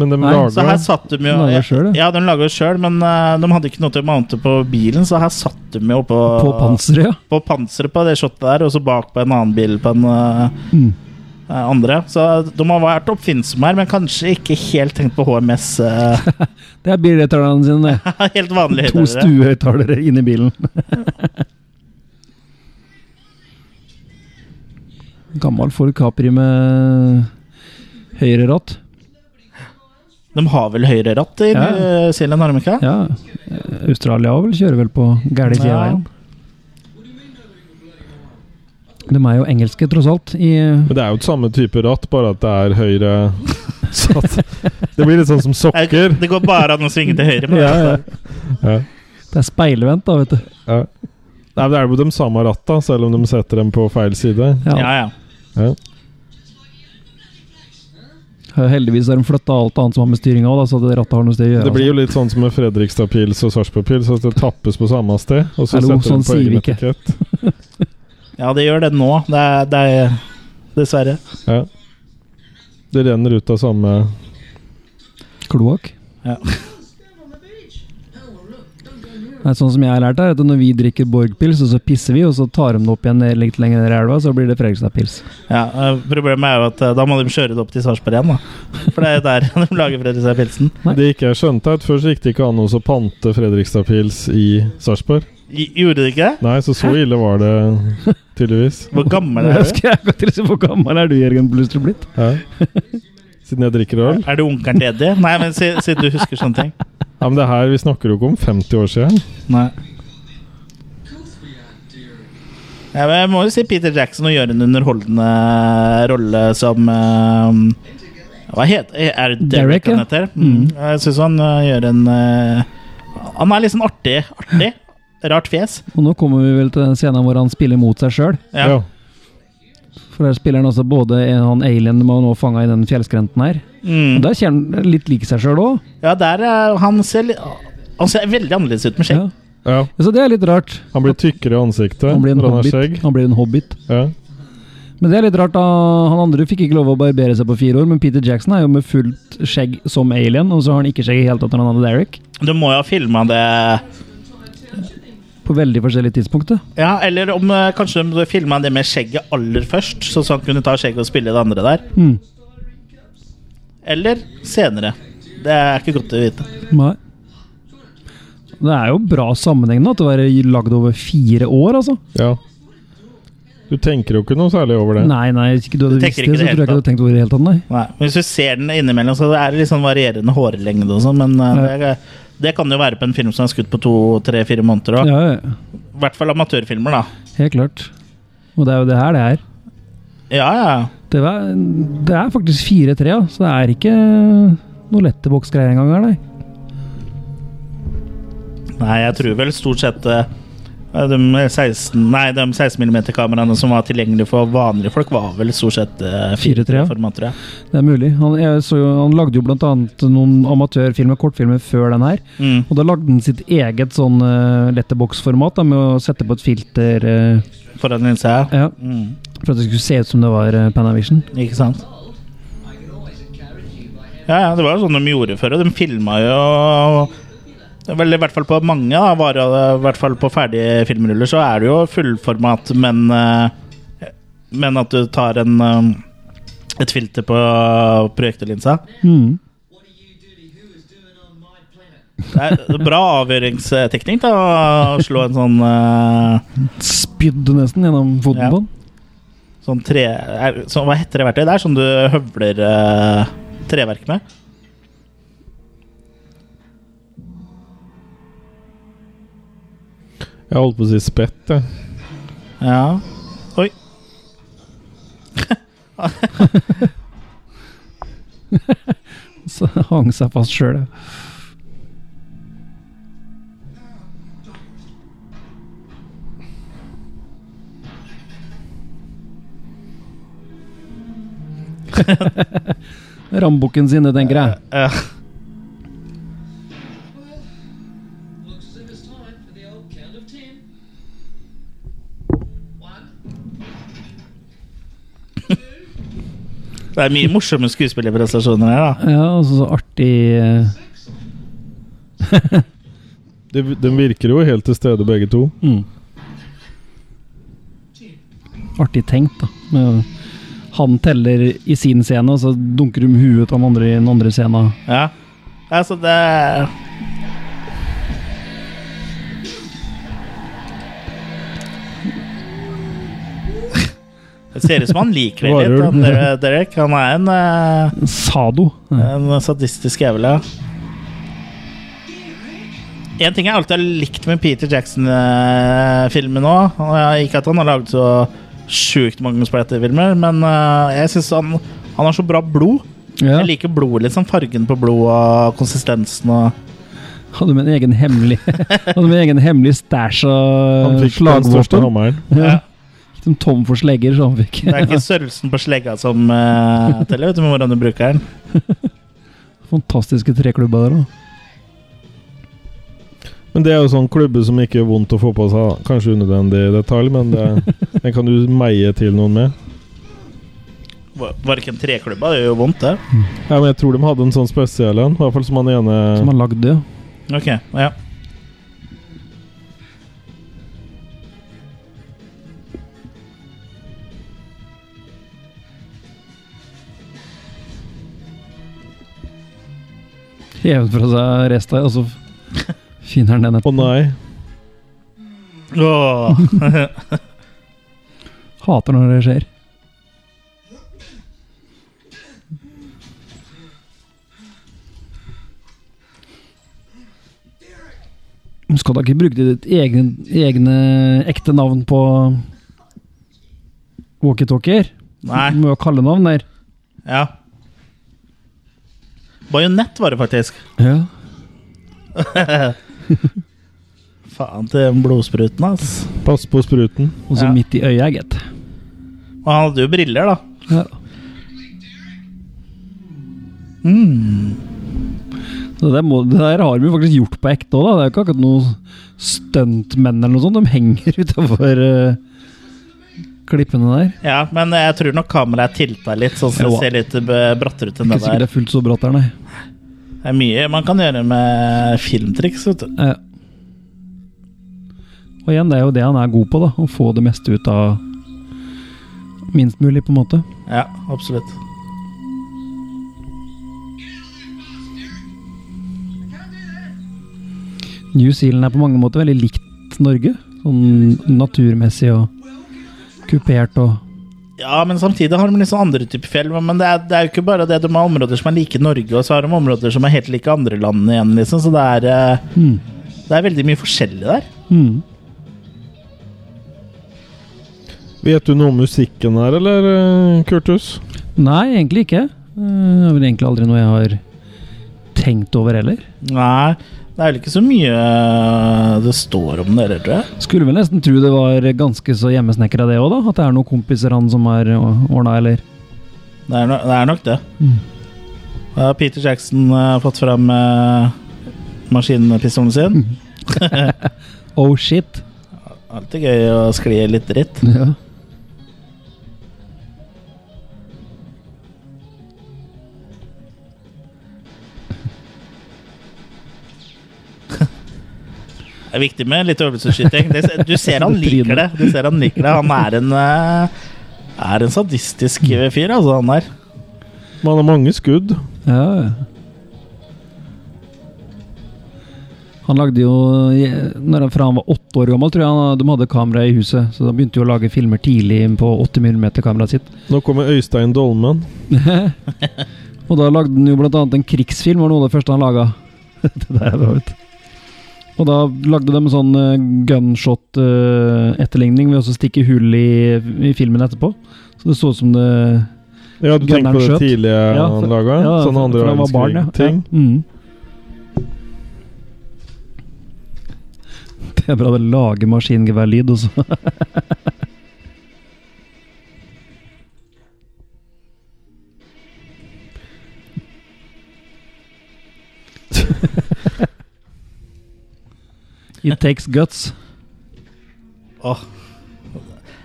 Speaker 2: Men de
Speaker 3: Nei,
Speaker 1: så her
Speaker 2: laga
Speaker 1: satt de jo
Speaker 3: Den lager selv, ja.
Speaker 1: Ja, de lager jo sjøl, men eh, de hadde ikke noe til å mounte på bilen, så her satt de jo på,
Speaker 3: På panseret, ja.
Speaker 1: på panseret på det shotet der, og så bak på en annen bil på en eh,
Speaker 3: Mm.
Speaker 1: eh, andre. Så de har vært oppfinnsomme her, men kanskje ikke helt tenkt på HMS. eh, (laughs)
Speaker 3: Det er bilhøyttalerne sine. (laughs) det.
Speaker 1: helt vanlig
Speaker 3: To
Speaker 1: høyttalere.
Speaker 3: stuehøyttalere inni bilen. (laughs) Gammel Ford Capri med høyre ratt.
Speaker 1: De har vel høyre eh, ratt i
Speaker 3: Ja.
Speaker 1: New Zealand, har de ikke?
Speaker 3: Ja, eh, Australia også vel kjører vel på gærne sida av
Speaker 1: Ja.
Speaker 3: veien. De er jo engelske, tross alt. I,
Speaker 2: Men det er jo et samme type ratt, bare at det er høyre
Speaker 3: (laughs)
Speaker 2: satt. Det blir litt sånn som
Speaker 1: Nei, (laughs)
Speaker 2: sokker.
Speaker 1: Det går bare an å svinge til høyre. Men
Speaker 2: Ja, ja. Ja.
Speaker 3: det er speilvendt, da, vet du.
Speaker 2: Ja. Nei, men det er jo de samme ratta, selv om de setter dem på feil side.
Speaker 3: Ja.
Speaker 1: ja, ja.
Speaker 2: Ja.
Speaker 3: Heldigvis har de flytta alt annet som har med styringa òg, så det rattet har noe sted å gjøre.
Speaker 2: Det blir jo litt sånn som med Fredrikstad-pils og Sarpsborg-pils, at det tappes på samme sted. Og så
Speaker 3: Hallo,
Speaker 2: setter
Speaker 3: sånn
Speaker 2: de på
Speaker 3: sier vi
Speaker 2: egen
Speaker 3: ikke.
Speaker 2: etikett.
Speaker 1: ja, det gjør det nå. Det er, det er Dessverre.
Speaker 2: Ja. Det renner ut av samme
Speaker 3: altså. Kloakk.
Speaker 1: Ja.
Speaker 4: Stand on the beach. Oh, well, look, don't go near
Speaker 3: (laughs) Nei, sånn som jeg har lært, er at når vi drikker Borg-pils, og så pisser vi, og så tar de det opp igjen litt lenger ned i elva, så blir det Fredrikstad-pils.
Speaker 1: Ja, eh, Problemet er jo at eh, da må de kjøre det opp til Sarpsborg igjen, da. For det er jo der (laughs) de lager Fredrikstad-pilsen.
Speaker 3: Nei.
Speaker 2: Det ikke jeg skjønte, er at først gikk det ikke an å pante Fredrikstad-pils i Sarpsborg.
Speaker 1: Gj- Gjorde de ikke det?
Speaker 2: Nei, så så ille var det tydeligvis.
Speaker 1: Hvor gammel
Speaker 3: Jeg
Speaker 1: er du?
Speaker 3: husker jeg akkurat til å si Hvor gammel er du, Jørgen Bluster, blitt?
Speaker 2: Ja. Siden jeg drikker øl.
Speaker 1: Er du onkelen til Eddie? Nei, men si- siden du husker sånne ting.
Speaker 2: Ja, men det her, Vi snakker jo ikke om 50 år siden.
Speaker 1: Nei.
Speaker 4: Course we are, dear.
Speaker 1: Ja, men jeg må jo si Peter Jackson og gjøre en underholdende rolle som eh, Hva heter Er det Derek
Speaker 3: Derek,
Speaker 1: han
Speaker 3: ja.
Speaker 1: heter? Mm. Jeg syns han eh, gjør en eh, Han er litt sånn artig. Artig. Rart fjes.
Speaker 3: Og nå kommer vi vel til den scenen hvor han spiller mot seg sjøl.
Speaker 1: Ja.
Speaker 2: Ja.
Speaker 3: For der spiller han altså både en han alien man nå fanga i den fjellskrenten her. Og
Speaker 1: Mm.
Speaker 3: Der kjenner han litt lik seg sjøl òg.
Speaker 1: ja, der er Han ser litt Han ser veldig annerledes ut med skjegg.
Speaker 3: Ja.
Speaker 2: ja.
Speaker 3: Så det er litt rart.
Speaker 2: Han blir tykkere i ansiktet
Speaker 3: Han blir en
Speaker 2: når han har
Speaker 3: hobbit.
Speaker 2: skjegg.
Speaker 3: Han blir en hobbit.
Speaker 2: Ja.
Speaker 3: Men det er litt rart da, Han andre fikk ikke lov å barbere seg på fire år, men Peter Jackson er jo med fullt skjegg som alien, og så har han ikke skjegg i det hele tatt når han hadde Derek.
Speaker 1: Du må jo ha filma det
Speaker 3: På veldig forskjellige tidspunkt. da.
Speaker 1: Ja, eller om eh, kanskje de filma det med skjegget aller først, så så han kunne ta skjegget og spille det andre der.
Speaker 3: Mm.
Speaker 1: Eller senere. Det er ikke godt å vite.
Speaker 3: Nei. Det er jo bra sammenheng da, til å være lagd over fire år, altså.
Speaker 2: ja. Du tenker jo ikke noe særlig over det.
Speaker 3: Nei, nei, hvis ikke du hadde
Speaker 1: Du
Speaker 3: visst
Speaker 1: tenker
Speaker 3: det,
Speaker 1: ikke
Speaker 3: så
Speaker 1: det helt
Speaker 3: tror jeg ikke du hadde tenkt over det i det hele tatt, nei.
Speaker 1: Nei. Men hvis du ser den innimellom, så er det litt sånn varierende hårlengde og sånn, men eh, det, det kan jo være på en film som er skutt på to-tre-fire måneder òg.
Speaker 3: Ja, ja,
Speaker 1: I hvert fall amatørfilmer, da.
Speaker 3: helt klart. Og det er jo det her det er.
Speaker 1: Ja, ja.
Speaker 3: Det er, det er faktisk 4-3, ja. så det er ikke noe letterboksgreier engang her, nei.
Speaker 1: Nei, jeg tror vel stort sett eh, de 16, nei, de 16 mm-kameraene som var tilgjengelige for vanlige folk, var vel stort sett eh,
Speaker 3: 4-3, ja.
Speaker 1: 4-3-format, tror jeg.
Speaker 3: Det er mulig. Han, jeg så jo, han lagde jo blant annet noen amatørfilmer, kortfilmer, før den her.
Speaker 1: Mm.
Speaker 3: Og da lagde han sitt eget sånn uh, letterboksformat da, med å sette på et filter eh,
Speaker 1: Foran linsa, ja.
Speaker 3: ja,
Speaker 1: Mm.
Speaker 3: for at det skulle se ut som det var uh, Panavision.
Speaker 1: Ikke sant?
Speaker 4: I can always encourage you by having
Speaker 1: Ja, ja, det var jo sånn de gjorde før, og de filma jo Vel, i hvert fall på mange, da, var, det- i hvert fall på ferdige filmruller, så er det jo fullformat, men eh, Men at du tar en eh, et filter på projektorlinsa.
Speaker 3: Mm.
Speaker 4: what do you dirty who is doing on my planet?
Speaker 1: Det er bra avgjøringsteknikk da, å slå en sånn eh,
Speaker 3: Spydde nesten gjennom foten
Speaker 1: Ja.
Speaker 3: på den.
Speaker 1: Sånn tre... Er, sånn- hva heter det verktøyet der som du høvler eh, treverk med?
Speaker 2: Jeg holdt på å si spett, jeg.
Speaker 1: Ja. Oi.
Speaker 3: Så (laughs) hang seg fast sjøl. (laughs) Rambukken sin, det tenker jeg.
Speaker 1: Ja.
Speaker 4: Looks as if it's time for the old count of ten. One.
Speaker 1: Det er mye morsomme skuespillerprestasjoner her, da.
Speaker 3: Ja, altså så artig eh,
Speaker 2: De, de virker jo helt til stede, begge to.
Speaker 3: mm. Artig tenkt, da. Med, å- han teller i sin scene, og så dunker de huet av den andre i den andre scenen.
Speaker 1: Ja. Altså, det Det ser ut som han liker det litt,
Speaker 2: Varulv.
Speaker 1: han Der- Derek. Han er en, eh,
Speaker 3: Sado. Ja.
Speaker 1: en sadistisk jævel, ja. En ting jeg alltid har likt med Peter Jackson-filmen òg Ikke at han har lagd så sjukt mange splatterfilmer, men eh, jeg syns han, han har så bra blod.
Speaker 3: Ja.
Speaker 1: Jeg liker blodet, liksom. Fargen på blodet og konsistensen og
Speaker 3: Hadde med en egen hemmelig (laughs) Hadde med en egen hemmelig stæsj
Speaker 2: Han
Speaker 3: av
Speaker 2: fikk den største
Speaker 3: Eh, slagvåpen.
Speaker 2: hammeren.
Speaker 3: Ja. Gikk de tom for slegger, så han fikk
Speaker 1: Det er ikke størrelsen på slegga som eh, teller, vet du, men hvordan du bruker den.
Speaker 3: (laughs) fantastiske treklubba der òg.
Speaker 2: Men det er jo sånn klubbe som ikke er vondt å få på seg. da. Kanskje unødvendig detalj, men det,
Speaker 3: (laughs)
Speaker 2: den kan du meie til noen med.
Speaker 1: Var var ikke en treklubba, det gjør jo vondt, det.
Speaker 2: Ja, men Jeg tror de hadde en sånn spesiell en, i hvert fall som han ene
Speaker 3: Som har lagd det, ja.
Speaker 1: Ok, ja.
Speaker 3: hevet fra seg resta, og så finner han den
Speaker 2: Å
Speaker 3: etterpå.
Speaker 2: nei.
Speaker 1: Åh.
Speaker 3: Hater når det skjer. Skal da ikke bruke ditt egne, egne ekte navn på walkietalkier?
Speaker 1: Nei.
Speaker 3: Du må jo ha kallenavn der.
Speaker 1: Ja. Bajonett var det faktisk.
Speaker 3: Ja.
Speaker 1: Faen til blodspruten, ass.
Speaker 2: Pass på spruten.
Speaker 3: Og så
Speaker 1: Ja.
Speaker 3: midt i øyet, gitt.
Speaker 1: Og han hadde jo briller, da.
Speaker 3: Ja.
Speaker 1: Mm.
Speaker 3: Det, der må, det der har de jo faktisk gjort på ekte òg, da. Det er jo ikke akkurat noen stuntmenn eller noe sånt. De henger (laughs) utafor klippene der.
Speaker 1: Ja, Men jeg tror nok kameraet tilta litt, sånn som det
Speaker 3: Jo da.
Speaker 1: ser litt eh, brattere ut enn
Speaker 3: Ikke
Speaker 1: det
Speaker 3: sikkert
Speaker 1: der.
Speaker 3: det er fullt så brått der, nei.
Speaker 1: Det er mye man kan gjøre med filmtriks, vet du.
Speaker 3: Ja. Og igjen, det er jo det han er god på, da. Å få det meste ut av minst mulig, på en måte.
Speaker 1: Ja, absolutt.
Speaker 3: New Zealand er på mange måter veldig likt Norge. Sånn naturmessig og kupert og
Speaker 1: Ja, men samtidig har de liksom andre typer fjell. Men det er, det er jo ikke bare det. De har områder som er like Norge, og så har de områder som er helt like andre landene igjen, liksom. Så det er, eh,
Speaker 3: Mm.
Speaker 1: det er veldig mye forskjellig der.
Speaker 3: Mm.
Speaker 2: Vet du noe om musikken her, eller, eh, Kurtus?
Speaker 3: Nei, egentlig ikke. Eh, Det er vel egentlig aldri noe jeg har tenkt over heller.
Speaker 1: Nei, det er vel ikke så mye eh, det står om det heller, tror jeg.
Speaker 3: Skulle vel nesten tro det var ganske så hjemmesnekra det òg, da. At det er noen kompiser han som har ordna, eller
Speaker 1: Det er, no det er nok det.
Speaker 3: Mm.
Speaker 1: Da har Peter Jackson eh, fått fram eh, maskinpistolen sin.
Speaker 3: Oh shit.
Speaker 1: Alltid gøy å skli litt dritt.
Speaker 3: Ja.
Speaker 1: Det er viktig med litt øvelsesskyting. Det, se- du ser han liker det. Du ser Han liker det Han er en, eh, er en sadistisk fyr, altså, han der.
Speaker 2: Man har mange skudd.
Speaker 3: ja. ja. Han lagde jo eh, når han, Fra han var åtte år gammel, tror jeg han, de hadde kamera i huset. Så da begynte jo å lage filmer tidlig på 80 mm-kameraet sitt.
Speaker 2: Nå kommer Øystein Dolmen.
Speaker 3: (laughs) Og da lagde han jo blant annet en krigsfilm, var noe av det første han laga. (laughs) det der, da, vet du. Og da lagde de en sånn gunshot-etterligning ved å så stikke hull i, i filmen etterpå. Så det så ut som det
Speaker 2: Ja, du tenker på
Speaker 3: Gunneren
Speaker 2: det
Speaker 3: skjøt.
Speaker 2: tidlige han laga? sånn andre
Speaker 3: for han var barn, ja.
Speaker 2: verdenskrig-ting?
Speaker 3: Ja. Mm. Det er bra det lager maskingeværlyd, og så (laughs) It takes guts.
Speaker 1: Åh.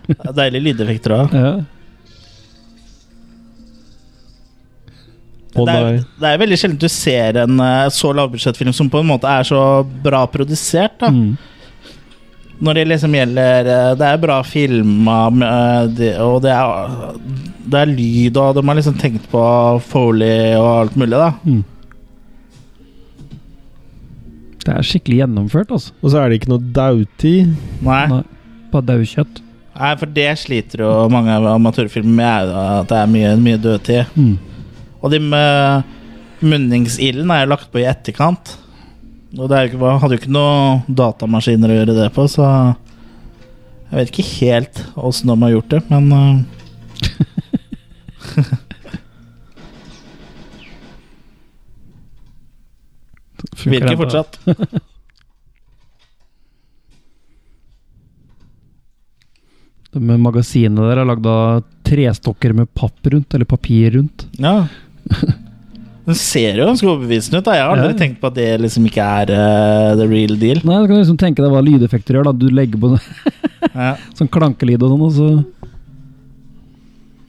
Speaker 1: Det er Deilige lydeffekter òg.
Speaker 3: Ja.
Speaker 2: Å
Speaker 1: det, er-
Speaker 2: nei.
Speaker 1: det er veldig sjelden du ser en eh, så lavbudsjettfilm som på en måte er så bra produsert. da
Speaker 3: Mm.
Speaker 1: Når det liksom gjelder eh, Det er bra filma, eh, det- og det er, det er lyd, og de har liksom tenkt på Foley og alt mulig, da.
Speaker 3: Mm. Det er skikkelig gjennomført, altså.
Speaker 2: Og så er det ikke noe dautid.
Speaker 1: Nei,
Speaker 3: Nei. Bare daukjøtt.
Speaker 1: Nei for det sliter jo mange av amatørfilmer med, er jo at det er mye, mye dødtid.
Speaker 3: Mm.
Speaker 1: Og de med munningsilden er jo lagt på i etterkant. Og det er jo ikke, hadde jo ikke noe datamaskiner å gjøre det på, så jeg vet ikke helt åssen de har gjort det, men eh, virker fortsatt.
Speaker 3: De magasinene der er lagd av trestokker med papp rundt, eller papir rundt.
Speaker 1: Ja. (laughs) Den ser jo ganske overbevisende ut. da Jeg har aldri
Speaker 3: Ja.
Speaker 1: tenkt på at det liksom ikke er eh, the real deal.
Speaker 3: Nei, Du kan liksom tenke deg hva lydeffekter gjør. da Du legger på (laughs) sånn-
Speaker 1: (laughs) Ja.
Speaker 3: sånn klankelyd og sånn, og så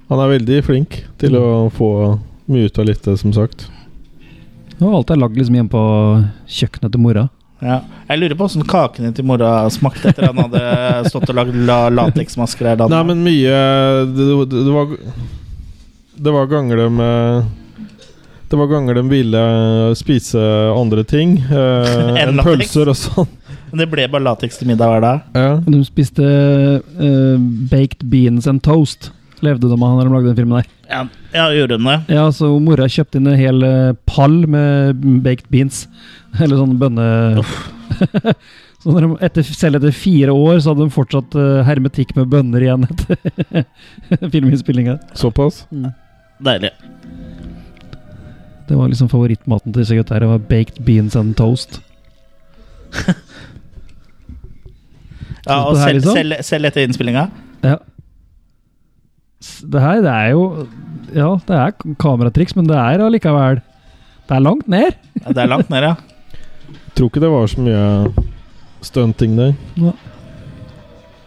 Speaker 2: Han er veldig flink til å få mye ut av litt, det, som sagt.
Speaker 3: Og alt er lagd liksom hjemme på kjøkkenet til mora.
Speaker 1: Ja. Jeg lurer på åssen kakene til mora smakte etter han hadde stått og lagd la lateksmasker her. da.
Speaker 2: Nei, men mye det, det, det var Det var ganger de eh, Det var ganger de ville spise andre ting (laughs) eh,
Speaker 1: Enn
Speaker 2: enn
Speaker 1: lateks.
Speaker 2: pølser og sånn.
Speaker 1: Men det ble bare lateks til middag hver dag.
Speaker 2: (laughs) Ja.
Speaker 3: De spiste eh, baked beans and toast. Levde de av når de lagde den filmen der.
Speaker 1: Ja, ja gjorde hun det?
Speaker 3: Ja, så mora kjøpte inn en hel eh, pall med baked beans. (laughs) Eller sånne bønne... (laughs) så når de, etter, selv etter fire år så hadde de fortsatt eh, hermetikk med bønner igjen etter (laughs) filminnspillinga.
Speaker 2: Såpass.
Speaker 1: Deilig.
Speaker 3: Det var liksom favorittmaten til disse gutta her. Det var baked beans and toast.
Speaker 1: Ja, og
Speaker 3: Synes du det her,
Speaker 1: selv,
Speaker 3: liksom?
Speaker 1: selv, selv etter innspillinga?
Speaker 3: Ja. S- Det her, det er jo Ja, det er k- kameratriks, men det er allikevel Det er langt ned.
Speaker 1: Ja, Det er langt ned, ja.
Speaker 2: Tror ikke det var så mye stunting der.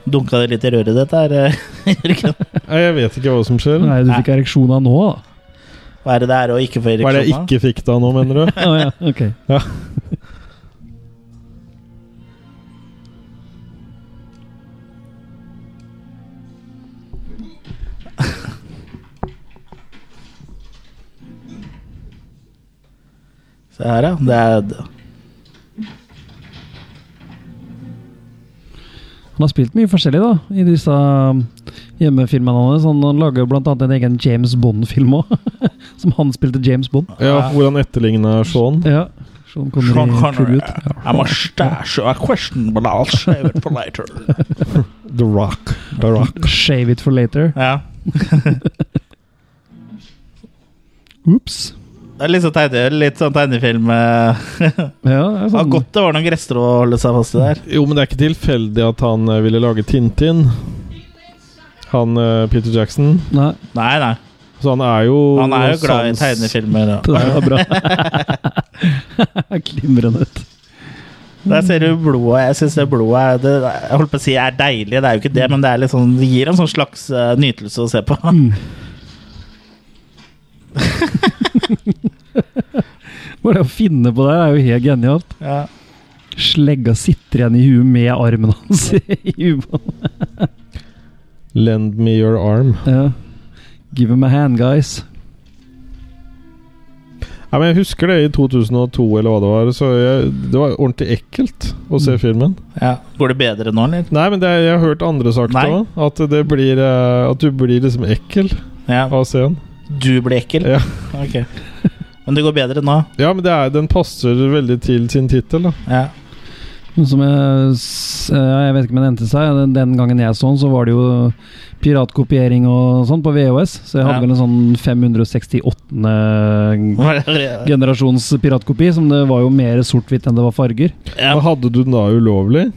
Speaker 1: Dunka det litt i røret ditt der, (laughs) Jørgen?
Speaker 2: Nei, Jeg vet ikke hva som skjer.
Speaker 3: Nei, du fikk ereksjoner nå, da.
Speaker 1: Hva er det det er å ikke få
Speaker 2: Hva er det jeg
Speaker 1: ereksjon av?
Speaker 2: ikke fikk da nå, mener du?
Speaker 3: Å ja, ok.
Speaker 2: Ja.
Speaker 1: Se her, ja. Det er,
Speaker 3: Han har spilt mye forskjellig da, i disse um, hjemmefilmene hans. Han han lager bl.a. en egen James Bond-film òg, (laughs) som han spilte James Bond.
Speaker 2: (laughs) Ja, hvor han etterligna Sean.
Speaker 3: Ja. Sean Connery
Speaker 1: Sean Connery.
Speaker 3: tribute.
Speaker 1: I'm a stash a question, but I'll save it for later.
Speaker 2: The Rock. The Rock.
Speaker 3: Shave it for later.
Speaker 1: Ja.
Speaker 3: Ops.
Speaker 1: Det er litt sånn, tegne, litt sånn tegnefilm. eh.
Speaker 3: Ja, det er
Speaker 1: Det var
Speaker 3: sånn.
Speaker 1: godt det var noen gresstrå å holde seg fast i der.
Speaker 2: Jo, men det er ikke tilfeldig at han eh, ville lage Tintin. Han eh, Peter Jackson.
Speaker 3: Nei,
Speaker 1: Nei, nei.
Speaker 2: Så han er jo
Speaker 1: Han er jo glad i
Speaker 2: sans-
Speaker 1: tegnefilmer. Ja.
Speaker 3: det der var bra. (laughs) Glimrende.
Speaker 1: Der ser du blodet. Jeg syns det blodet er det, Jeg holdt på å si er deilig, det er jo ikke det, men det, er litt sånn, det gir en sånn slags eh, nytelse å se på.
Speaker 3: Mm. (laughs) Bare det å finne på det her er jo helt genialt.
Speaker 1: (laughs) Ja.
Speaker 3: Slegga sitter igjen i huet med armen hans (laughs) i ubåten.
Speaker 2: Lend me your arm.
Speaker 3: Ja. Give him a hand, guys.
Speaker 2: Nei, men Jeg husker det i 2002, eller hva det var. Så jeg, det var ordentlig ekkelt å
Speaker 1: Mm.
Speaker 2: se filmen.
Speaker 1: Ja. Går det bedre nå, eller?
Speaker 2: Nei, men det, jeg har hørt andre sagt det
Speaker 1: Nei.
Speaker 2: òg. At, det blir, eh, at du blir liksom ekkel
Speaker 1: Ja.
Speaker 2: av å se den.
Speaker 1: Du blir ekkel?
Speaker 2: Ja.
Speaker 1: Ok. Men det går bedre nå?
Speaker 2: Ja, men det er, den passer veldig til sin tittel, da.
Speaker 1: Ja.
Speaker 3: Noe Som jeg, s- eh, ja, jeg vet ikke om det endte seg. Den, den gangen jeg så den, så var det jo piratkopiering og sånn på VHS. Så jeg hadde
Speaker 1: Ja.
Speaker 3: vel en sånn 568.
Speaker 1: Ja,
Speaker 3: generasjons piratkopi, som det var jo mer sort-hvitt enn det var farger.
Speaker 2: Men hadde du den da ulovlig?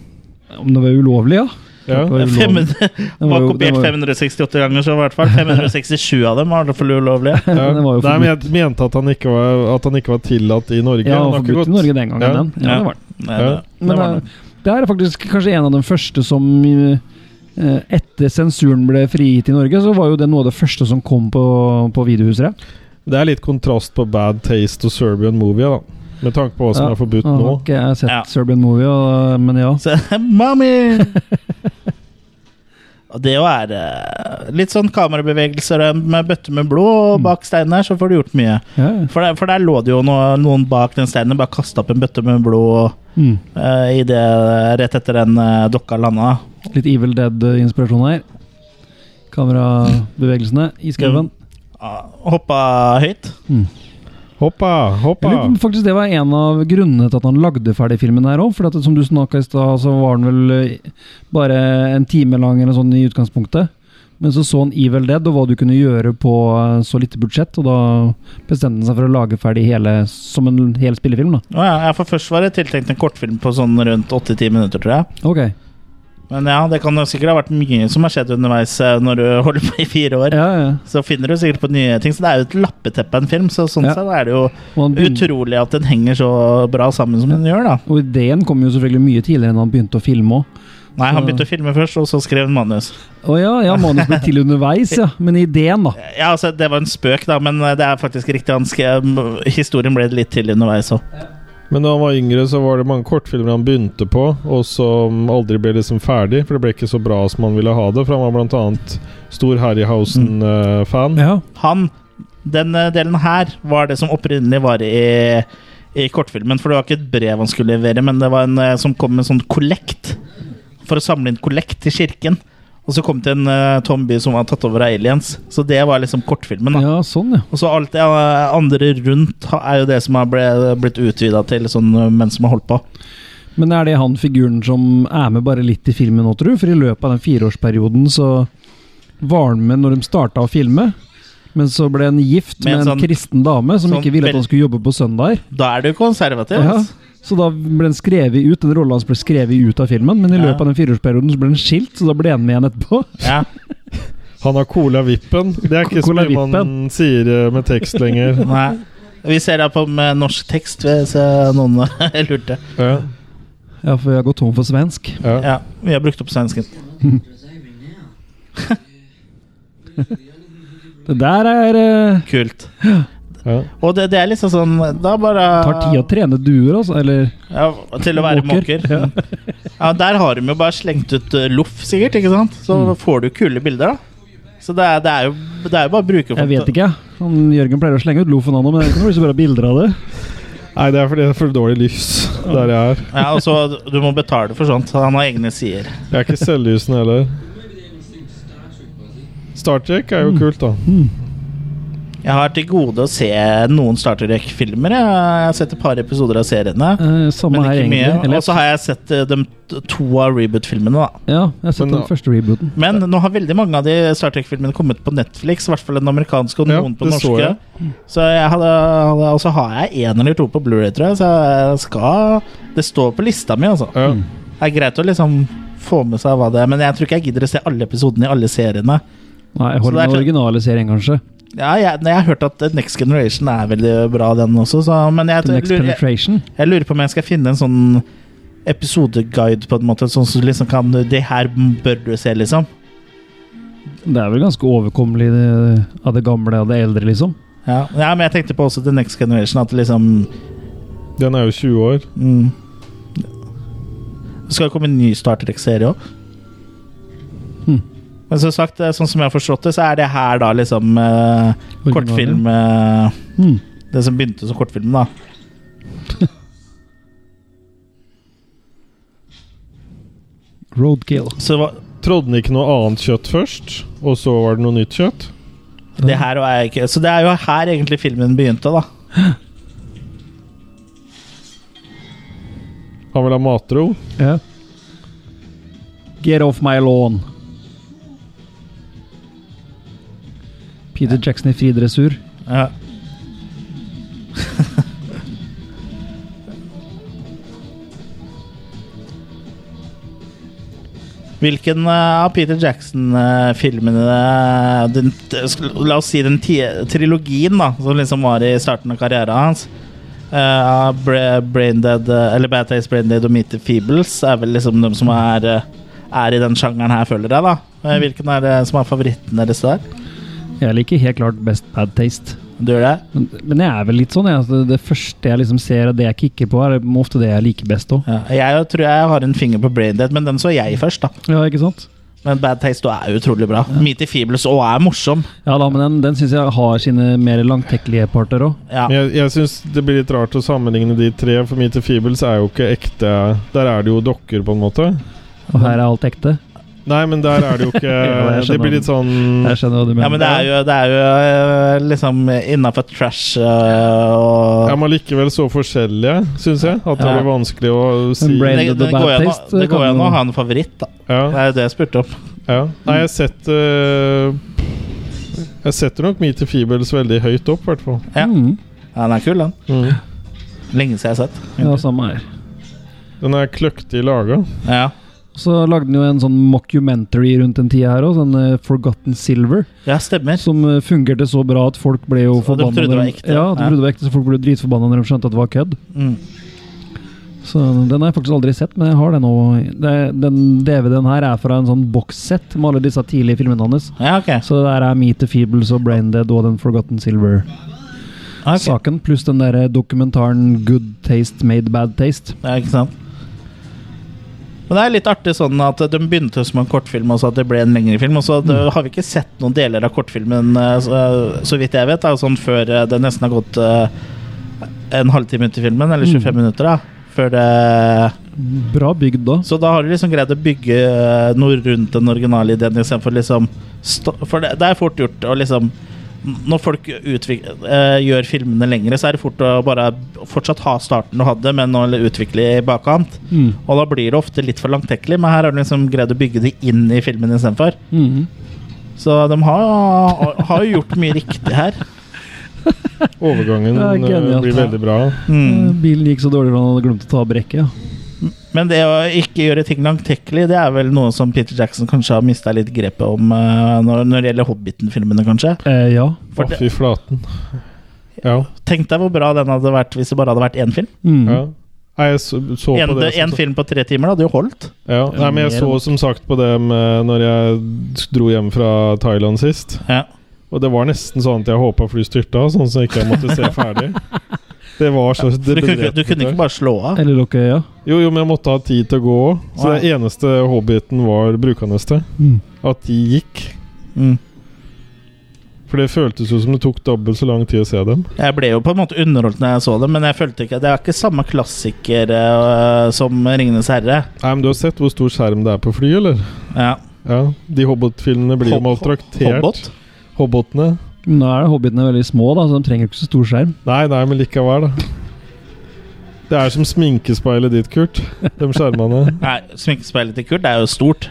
Speaker 3: Om det var ulovlig, ja.
Speaker 2: Ja.
Speaker 3: Det var ulovlig.
Speaker 1: 500,
Speaker 3: Den
Speaker 1: var
Speaker 3: jo- den
Speaker 1: kopiert
Speaker 3: var-
Speaker 1: 568 ganger, så i hvert fall 567 av dem var i hvert fall ulovlige.
Speaker 2: Ja.
Speaker 3: (laughs) Den var jo
Speaker 2: Nei, men jeg mente at han ikke var, at han ikke var tillatt i Norge. Han
Speaker 3: Ja, den
Speaker 2: har
Speaker 3: var
Speaker 2: ikke
Speaker 3: forbudt i
Speaker 2: gått-
Speaker 3: Norge den gangen.
Speaker 2: Ja.
Speaker 3: Den. Ja,
Speaker 1: Ja.
Speaker 3: det var den.
Speaker 1: Nei, det,
Speaker 3: Men eh,
Speaker 1: det var
Speaker 3: det,
Speaker 1: det.
Speaker 3: det her er faktisk kanskje en av de første som eh, eh, Etter sensuren ble frigitt i Norge, så var jo det noe av det første som kom på, på videohuset.
Speaker 2: Det er litt kontrast på Bad Taste og Serbian Movie, da. Med tanke på hva som
Speaker 3: Ja.
Speaker 2: er forbudt
Speaker 3: Nå
Speaker 2: nå.
Speaker 3: har ikke jeg sett
Speaker 1: Ja.
Speaker 3: Serbian Movie, og, men ja.
Speaker 1: Så, (laughs) Mommy! Og det å være eh, litt sånn kamerabevegelser eh, med bøtte med blod og bak steinen her, så får du gjort mye.
Speaker 3: ja.
Speaker 1: For der, for der lå det jo noe, noen bak den steinen og bare kasta opp en bøtte med blod
Speaker 3: Mm.
Speaker 1: eh, i det, rett etter den eh, dokka landa.
Speaker 3: Litt Evil Dead-inspirasjon her. Kamerabevegelsene i skauen.
Speaker 1: Ah, Hoppa høyt.
Speaker 2: Hoppa,
Speaker 3: Jeg
Speaker 2: hoppa!
Speaker 3: lurer på om faktisk det var en av grunnene til at han lagde ferdig filmen her òg. For at, som du snakka i stad, så var den vel eh, bare en time lang eller sånn i utgangspunktet. Men så så han Evil Dead og hva du kunne gjøre på eh, så lite budsjett, og da bestemte han seg for å lage ferdig hele som en hel spillefilm, da.
Speaker 1: Å ja, ja, for først var det tiltenkt en kortfilm på sånn rundt 8-10 minutter, tror jeg.
Speaker 3: Ok.
Speaker 1: Men ja, det kan jo sikkert ha vært mye som har skjedd underveis eh, når du holder på i fire år.
Speaker 3: Ja, ja.
Speaker 1: Så finner du sikkert på nye ting. Så det er jo et lappeteppe av en film, så sånn
Speaker 3: Ja.
Speaker 1: sett er det jo
Speaker 3: Og, han begynte,
Speaker 1: Utrolig at den henger så bra sammen som den gjør, da.
Speaker 3: og ideen kom jo selvfølgelig mye tidligere enn han begynte å filme òg.
Speaker 1: Nei, han
Speaker 3: Så-
Speaker 1: begynte å filme først, og så skrev han manus.
Speaker 3: Å ja, ja, manus ble til underveis, ja. Men ideen, da.
Speaker 1: Ja, altså, Det var en spøk, da, men eh, det er faktisk riktig. Han skrev, historien ble litt til underveis òg.
Speaker 2: Men da han var yngre, så var det mange kortfilmer han begynte på, og som aldri ble liksom ferdig, for det ble ikke så bra eh, som han ville ha det. For han var blant annet stor Harryhausen-fan.
Speaker 3: Mm. Ja.
Speaker 1: Han Den eh, delen her var det som opprinnelig var i, i kortfilmen. For det var ikke et brev han skulle levere, men det var en eh, som kom med en sånn kollekt. For å samle inn kollekt til kirken. Og så kom det en eh, tom by som var tatt over av aliens. Så det var liksom kortfilmen. da
Speaker 3: Ja, sånn, ja.
Speaker 1: Og så alt det eh, andre rundt ha- er jo det som har ble, blitt utvida til sånn eh, mens man har holdt på.
Speaker 3: Men er det han figuren som er med bare litt i filmen nå, tror du? For i løpet av den fireårsperioden så var han med når de starta å filme. Men så ble han
Speaker 1: Med
Speaker 3: gift med
Speaker 1: en
Speaker 3: en,
Speaker 1: sånn-
Speaker 3: kristen dame som
Speaker 1: sånn
Speaker 3: ikke ville at
Speaker 1: vel-
Speaker 3: han skulle jobbe på søndager.
Speaker 1: Da er du konservativ.
Speaker 3: Ja.
Speaker 1: altså.
Speaker 3: Så da ble han skrevet ut, den rollen hans ble skrevet ut av filmen. Men i
Speaker 1: Ja.
Speaker 3: løpet av den fireårsperioden så ble han skilt, så da ble han med igjen etterpå. (laughs)
Speaker 1: Ja.
Speaker 2: Han har Cola-vippen. Det er ikke så
Speaker 3: Cola
Speaker 2: mye man sier eh, med tekst lenger.
Speaker 3: (laughs)
Speaker 1: Nei. Vi ser det på med norsk tekst, hvis eh, noen (laughs) lurte.
Speaker 2: Ja,
Speaker 3: Ja, for jeg har gått tom for svensk.
Speaker 2: ja.
Speaker 1: Ja, vi har brukt opp svensken.
Speaker 3: Det der er eh,
Speaker 1: Kult.
Speaker 2: ja.
Speaker 1: Og det, det er liksom sånn Da bare
Speaker 3: Tar tid å trene duer, altså. Eller
Speaker 1: Ja, til å være måker. Mm.
Speaker 3: Måker.
Speaker 1: Ja. der har de jo bare slengt ut eh, loff, sikkert. ikke sant? Så
Speaker 3: Mm.
Speaker 1: får du kule bilder, da. Så det er, det er, jo, det er jo bare brukerfot.
Speaker 3: jeg vet ikke, jeg. Han Jørgen pleier å slenge ut loffen, han òg, men det er ikke noe så bra bilder av det.
Speaker 2: Nei, det er fordi det er for dårlig lys der jeg er.
Speaker 1: Ja, og så Du må betale for sånt. så Han har egne sider.
Speaker 2: Jeg er ikke selvlysende heller. Star Trek er jo
Speaker 3: Mm.
Speaker 2: kult, da.
Speaker 1: Jeg har til gode å se noen Star Trek-filmer. Jeg Jeg har sett et par episoder av seriene.
Speaker 3: Eh, samme
Speaker 1: Men
Speaker 3: her,
Speaker 1: ikke mye.
Speaker 3: egentlig. Eller,
Speaker 1: Og så har jeg sett eh, de t- to av reboot-filmene, da.
Speaker 3: ja, jeg har sett
Speaker 2: Men
Speaker 3: den
Speaker 2: da-
Speaker 3: første rebooten.
Speaker 1: Men nå har veldig mange av de Star Trek-filmene kommet på Netflix. I hvert fall den amerikanske og
Speaker 2: Ja,
Speaker 1: noen på
Speaker 2: det
Speaker 1: den
Speaker 2: så Mm.
Speaker 1: norske. Så jeg hadde, hadde, og så har jeg én eller to på Blu-ray tror jeg. Så jeg skal Det står på lista mi, altså.
Speaker 2: Ja.
Speaker 3: Mm.
Speaker 1: Det er greit å liksom få med seg hva det er, men jeg tror ikke jeg gidder å se alle episodene i alle seriene.
Speaker 3: Nei, jeg
Speaker 1: Så det
Speaker 3: holder
Speaker 1: er
Speaker 3: den
Speaker 1: klart-
Speaker 3: originale serien, kanskje.
Speaker 1: Ja, jeg, jeg har hørt at Next Generation er veldig bra, den også, så Men jeg,
Speaker 3: The Next
Speaker 1: lurer, jeg,
Speaker 3: Penetration.
Speaker 1: jeg lurer på om jeg skal finne en sånn episodeguide, på en måte, sånn som liksom kan Det her bør du se, liksom.
Speaker 3: Det er vel ganske overkommelig det, av det gamle og det eldre, liksom.
Speaker 1: Ja, ja men jeg tenkte på også The Next Generation, at det liksom
Speaker 2: Den er jo 20 år.
Speaker 1: Mm. Det skal jo komme en ny Star Trek-serie òg.
Speaker 3: Hm.
Speaker 1: Men som sagt, eh, sånn som jeg har forstått det, så er det her da liksom eh,
Speaker 3: Originalen.
Speaker 1: kortfilm eh,
Speaker 3: Hmm.
Speaker 1: Det som begynte som kortfilm, da.
Speaker 3: Roadkill.
Speaker 1: Så hva-
Speaker 2: Trodde den ikke noe annet kjøtt først, og så var det noe nytt kjøtt?
Speaker 1: det her er ikke Så det er jo her egentlig filmen begynte, da.
Speaker 2: Han vil ha matro.
Speaker 3: Ja. Get off my lawn. Peter Jackson i fri dressur.
Speaker 1: Ja. (laughs) Hvilken eh, av Peter Jackson-filmene eh, den, sk- La oss si den ti trilogien da som liksom var i starten av karrieren hans. Uh, Braindead eh, Eller Bad Taste, Braindead og Meet the Feebles er vel liksom de som er, eh, er i den sjangeren her, føler jeg. da Eh, Hvilken er det som er favoritten deres der?
Speaker 3: Jeg liker helt klart best bad taste.
Speaker 1: Du gjør det?
Speaker 3: Men, men jeg er vel litt sånn, jeg. at Det, det første jeg liksom ser, og det jeg kicker på, er ofte det jeg liker best òg.
Speaker 1: Ja, jeg tror jeg har en finger på Braindead, men den så jeg først. da
Speaker 3: Ja, ikke sant?
Speaker 1: Men Bad Taste også er utrolig bra. Meet the Feebles òg er morsom.
Speaker 3: Ja da, men den, den syns jeg har sine mer langtekkelige parter òg.
Speaker 1: Ja.
Speaker 2: Men jeg, jeg syns det blir litt rart å sammenligne de tre, for Meet the Feebles er jo ikke ekte Der er det jo dokker, på en måte.
Speaker 3: Og her er alt ekte.
Speaker 2: Nei, men der er det
Speaker 3: (laughs)
Speaker 2: jo ikke
Speaker 3: jeg skjønner
Speaker 2: Det blir litt sånn
Speaker 3: Jeg skjønner hva du mener.
Speaker 1: Ja, men det er jo, det er jo eh, liksom innafor trash eh, og
Speaker 2: Ja, men likevel så forskjellige, syns jeg. At det
Speaker 1: Ja.
Speaker 2: blir vanskelig å si
Speaker 3: Men Brain-
Speaker 1: det, det,
Speaker 3: The Bad
Speaker 1: går jo an å-
Speaker 3: Taste,
Speaker 1: det går jo
Speaker 3: kan
Speaker 1: an å
Speaker 3: jo-
Speaker 1: ha en favoritt, da. Det
Speaker 2: ja,
Speaker 1: er jo det jeg spurte om.
Speaker 2: ja. Nei, jeg setter Jeg setter nok Meet the Feebles veldig høyt opp, i hvert fall. Mm.
Speaker 1: Ja.
Speaker 3: Mm.
Speaker 1: Ja, den er kul, den. Lenge siden jeg har sett.
Speaker 3: ja, altså. samme her.
Speaker 2: Den er kløktig laga.
Speaker 1: Ja.
Speaker 3: Så lagde den jo en sånn mockumentary rundt den tida her òg, sånn eh, Forgotten Silver,
Speaker 1: ja, stemmer.
Speaker 3: som eh, fungerte så bra at folk ble jo
Speaker 1: Så de
Speaker 3: forbanna.
Speaker 1: trodde det var
Speaker 3: når de-
Speaker 1: ekte.
Speaker 3: Ja, de
Speaker 1: Ja.
Speaker 3: trodde det var ekte, så folk ble dritforbanna når de skjønte at det var kødd.
Speaker 1: Mm.
Speaker 3: Så den har jeg faktisk aldri sett, men jeg har den nå. Det, den DVD-en her er fra en sånn bokssett med alle disse tidlige filmene hans.
Speaker 1: Ja, ok.
Speaker 3: Så der er Meet the Feebles og Braindead og den Forgotten Silver-saken,
Speaker 1: Ok.
Speaker 3: pluss den eh, derre dokumentaren Good Taste Made Bad Taste.
Speaker 1: Ja, ikke sant? Men det er litt artig sånn at de begynte som en kortfilm, og så at det ble en lengre film. Og så det- har vi ikke sett noen deler av kortfilmen, eh, så, så vidt jeg vet, da, sånn før eh, det nesten har gått eh, en halvtime ut i filmen, eller 25 minutter, da. Før det
Speaker 3: Bra bygd da.
Speaker 1: Så da har de liksom greid å bygge eh, noe rundt den originale ideen, istedenfor liksom sto- For det, det er fort gjort å liksom når folk utvik eh, gjør filmene lengre, så er det fort å bare fortsatt ha starten du hadde, men å utvikle i bakkant.
Speaker 3: Mm.
Speaker 1: Og da blir det ofte litt for langtekkelig, men her har de liksom greid å bygge det inn i filmen istedenfor.
Speaker 3: Mm.
Speaker 1: Så de har, har jo gjort mye riktig her.
Speaker 2: Overgangen
Speaker 3: Det er
Speaker 2: eh,
Speaker 3: genialt,
Speaker 2: blir
Speaker 3: ja.
Speaker 2: veldig bra.
Speaker 1: Mm.
Speaker 3: Eh, Bilen gikk så dårlig at han hadde glemt å ta av brekket. Ja.
Speaker 1: Men det å ikke gjøre ting langtekkelig, det er vel noe som Peter Jackson kanskje har mista litt grepet om eh, når, når det gjelder Hobbiten-filmene, kanskje.
Speaker 3: Eh, ja.
Speaker 1: For
Speaker 2: Å,
Speaker 1: det-
Speaker 2: fy flaten. Ja.
Speaker 1: Tenk deg hvor bra den hadde vært hvis det bare hadde vært én film.
Speaker 3: Mm.
Speaker 2: ja. Nei, jeg så, så
Speaker 1: En,
Speaker 2: på det. altså. som
Speaker 1: en film på tre timer det hadde jo holdt.
Speaker 2: Ja, nei, men jeg
Speaker 1: Mer
Speaker 2: så som sagt på det med når jeg dro hjem fra Thailand sist.
Speaker 1: Ja.
Speaker 2: Og det var nesten sånn at jeg håpa fly styrta, sånn som ikke jeg måtte se
Speaker 1: (laughs)
Speaker 2: ferdig. Det var så
Speaker 1: Du, kunne,
Speaker 2: det
Speaker 1: ikke-
Speaker 2: bedrepet
Speaker 1: du kunne
Speaker 2: meg.
Speaker 1: ikke bare slå av.
Speaker 3: Eller Lockøya.
Speaker 2: Jo, jo, men jeg måtte ha tid til å gå òg. Så det eneste hobbiten var brukende til.
Speaker 3: Mm.
Speaker 2: At de gikk.
Speaker 1: Mm.
Speaker 2: For det føltes jo som det tok dobbelt så lang tid å se dem.
Speaker 1: Jeg ble jo på en måte underholdt når jeg så det, men jeg følte ikke det er ikke samme klassiker eh, som 'Ringenes herre'.
Speaker 2: Nei, men Du har sett hvor stor skjerm det er på fly, eller?
Speaker 1: Ja.
Speaker 2: Ja, De Hobbit-filmene blir jo
Speaker 1: Hob-
Speaker 2: maltraktert.
Speaker 1: Hobbit?
Speaker 2: Hobbitene.
Speaker 3: Nå er det hobbitene veldig små, da, så de trenger jo ikke så stor skjerm.
Speaker 2: Nei, nei, men likevel, da. Det er som sminkespeilet ditt, Kurt. De skjermene.
Speaker 1: Nei, sminkespeilet til Kurt er jo stort.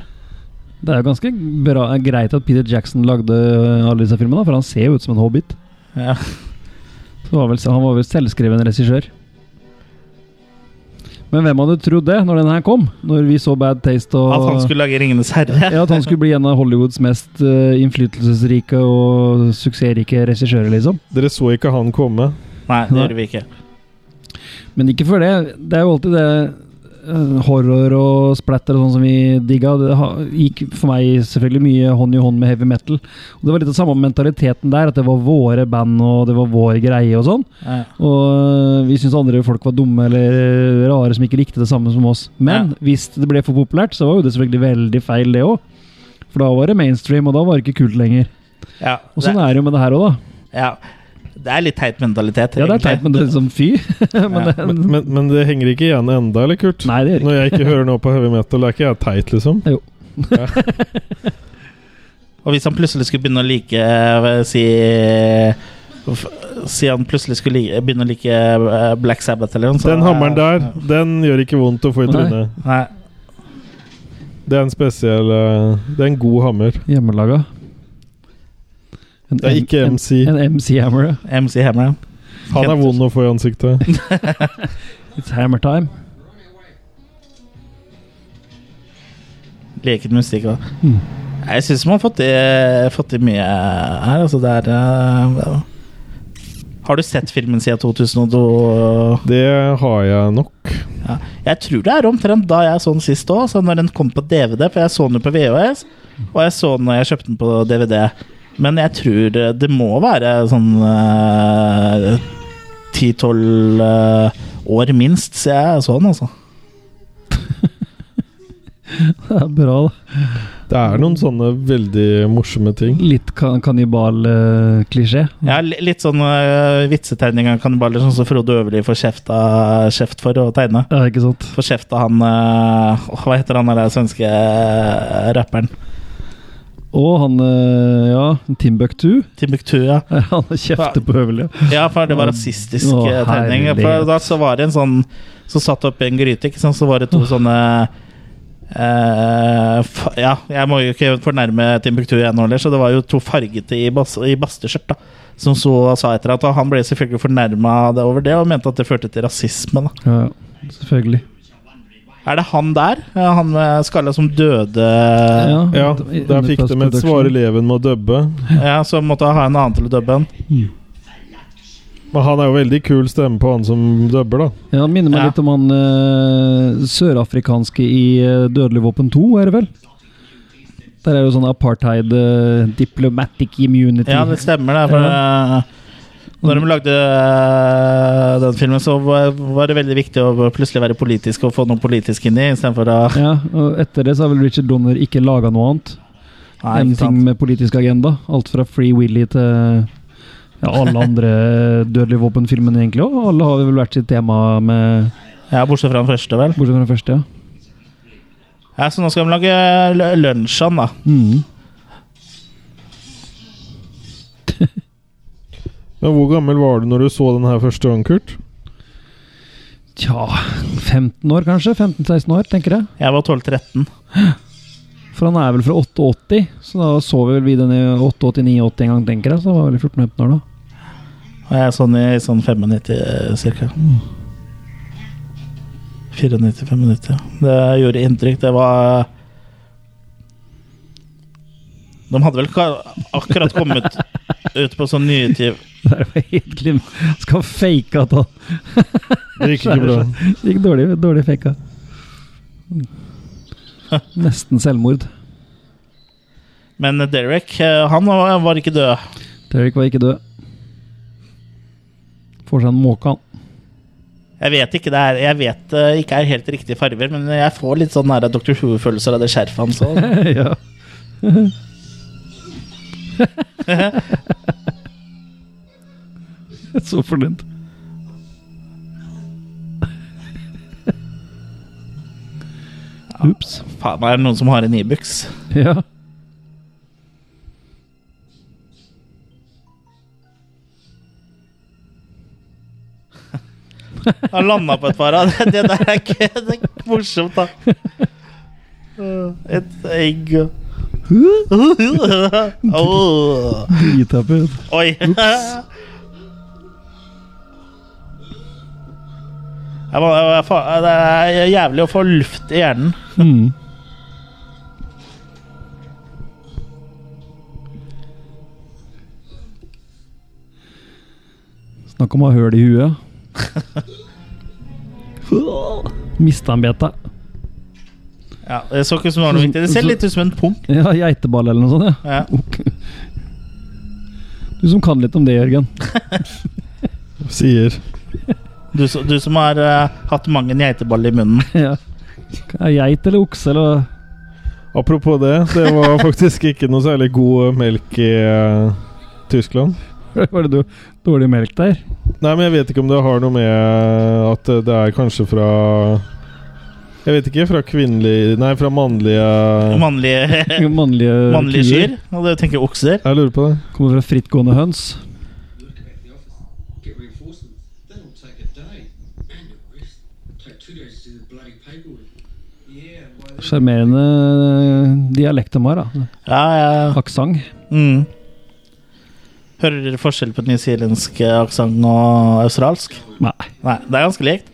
Speaker 3: Det er jo ganske bra, greit at Peter Jackson lagde øh, alle disse filmene, da, for han ser jo ut som en hobbit.
Speaker 1: Ja.
Speaker 3: Så var vel, han var vel selvskreven regissør. Men hvem hadde trodd det når den her kom? Når vi så Bad Taste og
Speaker 1: At han skulle lage 'Ringenes herre'.
Speaker 3: ja, at han skulle bli en av Hollywoods mest øh, innflytelsesrike og suksessrike regissører, liksom.
Speaker 2: Dere så ikke han komme.
Speaker 1: Nei, det gjorde vi ikke.
Speaker 3: Men ikke før det. Det er jo alltid det øh, Horror og splatter og sånn som vi digga, det ha- gikk for meg selvfølgelig mye hånd i hånd med heavy metal. Og Det var litt av samme mentaliteten der, at det var våre band og det var vår greie og sånn.
Speaker 1: Ja.
Speaker 3: Og øh, vi syntes andre folk var dumme eller rare som ikke likte det samme som oss. Men
Speaker 1: Ja.
Speaker 3: hvis det ble for populært, så var jo det selvfølgelig veldig feil, det òg. For da var det mainstream, og da var det ikke kult lenger.
Speaker 1: Ja,
Speaker 3: Og sånn er det jo med det her òg, da.
Speaker 1: det, ja. det er litt teit mentalitet.
Speaker 3: Ja, det
Speaker 1: egentlig.
Speaker 3: er teit, men det er liksom fy. (laughs) men
Speaker 1: Ja,
Speaker 3: det,
Speaker 2: Men, men, men det henger ikke igjen enda, eller, Kurt?
Speaker 3: nei, det gjør ikke
Speaker 2: Når jeg ikke hører noe på heavy metal, er ikke jeg teit, liksom?
Speaker 1: Og hvis han plutselig skulle begynne å like eh, Si f- Si han plutselig skulle like, begynne å like eh, Black Sabbath eller noe. så-
Speaker 2: Den hammeren der, den gjør ikke vondt å få i
Speaker 3: Nei.
Speaker 2: trynet.
Speaker 1: Nei.
Speaker 2: Det er en spesiell eh, Det er en god hammer.
Speaker 3: Hjemmelaga. En,
Speaker 2: Det er ikke
Speaker 3: en,
Speaker 2: MC.
Speaker 3: en MC Hammer, ja.
Speaker 1: MC Hammer, ja.
Speaker 2: Han er vond å få i ansiktet.
Speaker 3: It's hammer time. (laughs)
Speaker 1: Leket musikk, da.
Speaker 3: Mm.
Speaker 1: Jeg syns man har fått i, fått i mye her. Altså, det er eh, ja. Har du sett filmen siden 2002?
Speaker 2: Det har jeg nok.
Speaker 1: Ja. Jeg tror det er omtrent da jeg så den sist òg, når den kom på DVD. For jeg så den jo på VHS, og jeg så den når jeg kjøpte den på DVD. Men jeg tror det, det må være sånn eh, ti-tolv eh, år minst, så jeg så den, altså.
Speaker 3: Det er bra, da.
Speaker 2: Det er noen sånne veldig morsomme ting.
Speaker 3: Litt kan eh, kannibalklisjé.
Speaker 1: Ja, li- litt sånn eh, vitsetegning av kannibaler, sånn som Frode Øverli får kjeft, av, kjeft for å tegne.
Speaker 3: Ja, ikke sant?
Speaker 1: Får kjeft av han eh, åh, Hva heter han der svenske eh, rapperen?
Speaker 3: Og han eh, Ja, Timbuktu. (laughs)
Speaker 1: Timbuktu, ja.
Speaker 3: Han kjefter på høvelet.
Speaker 1: Ja, for det var rasistisk
Speaker 3: Å,
Speaker 1: eh, tegning. For
Speaker 3: herlighet.
Speaker 1: da så var det en sånn som satt oppi en gryte, ikke sant? så var det to sånne eh, fa Ja, jeg må jo ikke fornærme Timbuktu igjen, heller, så det var jo to fargete i, bas i basteskjørt da, som så og sa etter at og han ble selvfølgelig fornærma over det, og mente at det førte til rasisme. da.
Speaker 3: Ja, ja, selvfølgelig.
Speaker 1: Er det han der? Ja, han med skalla som døde
Speaker 2: Eh, Ja, der fikk de et svare leven med å dubbe.
Speaker 1: Ja, som måtte ha en annen til å dubbe han.
Speaker 2: Men han er jo veldig kul stemme på han som dubber, da.
Speaker 3: Ja, han minner meg
Speaker 1: Ja.
Speaker 3: litt om han eh, sørafrikanske i eh, Dødelig våpen 2, er det vel? Der er jo sånn apartheid eh, diplomatic immunity.
Speaker 1: Ja, det stemmer, det. For, eh, Når de lagde øh, den filmen, så var var det veldig viktig å plutselig være politisk og få noe politisk inn i, istedenfor å
Speaker 3: Ja, og etter det så har vel Richard Donner ikke laga noe annet
Speaker 1: Nei,
Speaker 3: enn
Speaker 1: ikke
Speaker 3: ting
Speaker 1: sant.
Speaker 3: med politisk agenda. Alt fra Free Willy til ja, alle andre dødelige våpen-filmene, egentlig. Og alle har vel hvert sitt tema, med,
Speaker 1: Ja, bortsett fra den første, vel.
Speaker 3: bortsett fra den første. ja.
Speaker 1: Ja, Så nå skal de lage l- lunsjan, da.
Speaker 3: Mm.
Speaker 2: Men hvor gammel var du når du så den her første gang, Kurt?
Speaker 3: Tja 15 år, kanskje? 15-16 år, tenker jeg.
Speaker 1: Jeg var 12-13.
Speaker 3: For han er vel fra 88, så da så vi vel vi den i 88-89 en gang, tenker jeg. Så han var vel 14-15 år da. (laughs)
Speaker 1: Og jeg er sånn i sånn 95 ca. 94-95. Det gjorde inntrykk. Det var De hadde vel ka- akkurat kommet ut på sånn nyutgiv...
Speaker 3: Det der var helt glim. Skal fake at han
Speaker 2: Det gikk ikke bra.
Speaker 3: Det gikk dårlig, dårlig faka. Nesten selvmord.
Speaker 1: Men Derek, eh, han var var ikke død.
Speaker 3: Derek var ikke død. Får seg en måke, han.
Speaker 1: Jeg vet ikke det er Jeg vet det ikke er helt riktige farger, men jeg får litt sånn nære Dr. Who-følelser av det skjerfet han (laughs) så.
Speaker 3: (laughs) ja. Så fornøyd. Ops.
Speaker 1: Faen, er det noen som har en Ibux?
Speaker 3: Ja.
Speaker 1: Han landa på et par av (laughs) det. Det der er ikke det er ikke morsomt, da. Et egg og (laughs) Åh.
Speaker 3: Dritappet.
Speaker 1: Oi. Jeg må, jeg, fa- det er jævlig å få luft i hjernen.
Speaker 3: Mm. Snakk om å ha høl i huet. Mista han beta?
Speaker 1: Ja, det så ikke ut som det var noe viktig. Det ser litt ut som en pung.
Speaker 3: Ja, geiteball eller noe sånt. ja.
Speaker 1: Ja.
Speaker 3: Ok. Du som kan litt om det, Jørgen. (laughs)
Speaker 2: Sier.
Speaker 1: Du, som- du som har eh, hatt mange geiteballer i munnen.
Speaker 3: Ja. Er Geit eller okse (laughs) eller
Speaker 2: Apropos det, det var faktisk ikke noe særlig god eh, melk i eh, Tyskland.
Speaker 3: Var det du, dårlig melk der?
Speaker 2: Nei, men jeg vet ikke om det har noe med eh, at eh, det er kanskje fra Jeg vet ikke. Fra kvinnelige Nei, fra mannlige
Speaker 1: Mannlige,
Speaker 3: (laughs) Mannlige,
Speaker 1: Eh, mannlige
Speaker 3: kuer.
Speaker 1: kyr. Og du tenker okser.
Speaker 2: Jeg lurer på det.
Speaker 3: Kommer fra frittgående høns.
Speaker 4: Look at the office. Get reinforcements. That'll take a day. And a rest. Take two days to do the bloody paperwork. Yeah, why then?
Speaker 3: Sjarmerende eh, dialekt de har, da.
Speaker 1: Ja, ja.
Speaker 3: Aksent.
Speaker 1: Mm. Hører dere forskjell på nyzealandsk aksent og australsk?
Speaker 3: Nei.
Speaker 1: Nei, det er ganske likt.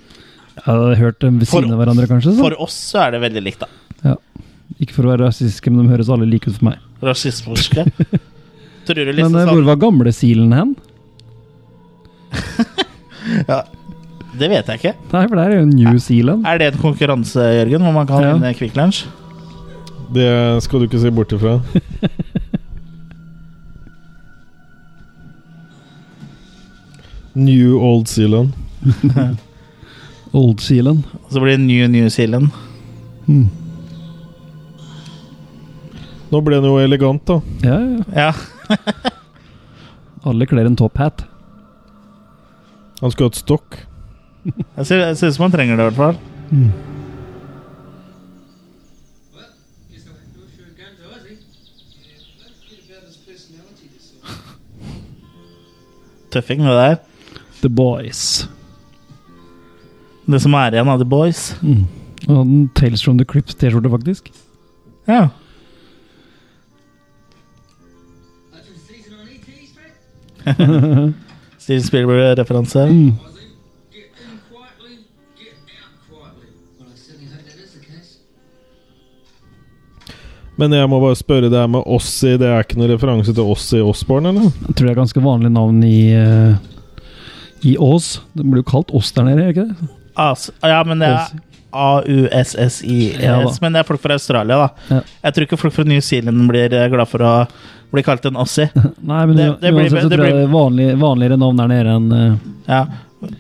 Speaker 3: Jeg hadde hørt dem ved
Speaker 1: For-
Speaker 3: siden av hverandre, kanskje. Så.
Speaker 1: For oss så er det veldig likt, da.
Speaker 3: Ikke for å være rasistiske, men de høres alle like ut for meg. (laughs)
Speaker 1: Rasismiske. Tror du
Speaker 3: Men
Speaker 1: liksom
Speaker 3: eh, hvor
Speaker 1: sånn
Speaker 3: var gamlesilen hen?
Speaker 1: Det vet jeg ikke.
Speaker 3: Nei, for der er jo New Zealand.
Speaker 1: Er det en konkurranse, Jørgen, hvor man kan eh,
Speaker 3: Ja.
Speaker 1: vinne Quick Lunch?
Speaker 2: Det skal du ikke se bort ifra. New Old Zealand.
Speaker 3: Old Zealand.
Speaker 1: Og så blir det New New Zealand.
Speaker 3: Mm.
Speaker 2: Nå ble den jo elegant, da.
Speaker 3: Ja, ja.
Speaker 1: Ja.
Speaker 3: Alle kler en top hat.
Speaker 2: Han skulle hatt stokk.
Speaker 1: Jeg ser jeg ser ut som man trenger det, i hvert fall.
Speaker 3: Mm.
Speaker 4: Well, guess I'll have to issue a gun to Ozzy. Yeah, don't forget about his personality disorder.
Speaker 1: (laughs) Tøffing, det der.
Speaker 3: The Boys.
Speaker 1: Det som er igjen av The Boys.
Speaker 3: Mm. Og en Tales from the Crips-T-skjorte, faktisk.
Speaker 1: Ja.
Speaker 4: That's your season on ET, Spec.
Speaker 1: Steven Spielberg-referanse.
Speaker 3: Mm.
Speaker 4: Ozzy, get in quietly, get out quietly. Well, I certainly hope that is the case.
Speaker 2: Men jeg må bare spørre, det her med Ossi, det er ikke noen referanse til Ossi Osborn, eller?
Speaker 3: Jeg tror det er ganske vanlig navn i eh, i Ås. Den blir jo kalt Ås der nede, er det ikke det?
Speaker 1: As ja, men det er,
Speaker 3: Ås.
Speaker 1: A-U-S-S-I-E-S.
Speaker 3: Ja da.
Speaker 1: E men det er folk fra Australia, da.
Speaker 3: Ja.
Speaker 1: Jeg tror ikke folk fra New Zealand blir eh, glad for å bli kalt en
Speaker 3: (laughs)
Speaker 1: Aussie.
Speaker 3: Nei, men
Speaker 1: Det- det blir-
Speaker 3: uansett så
Speaker 1: det
Speaker 3: tror jeg det er vanlig, vanligere navn der nede enn eh,
Speaker 1: Ja.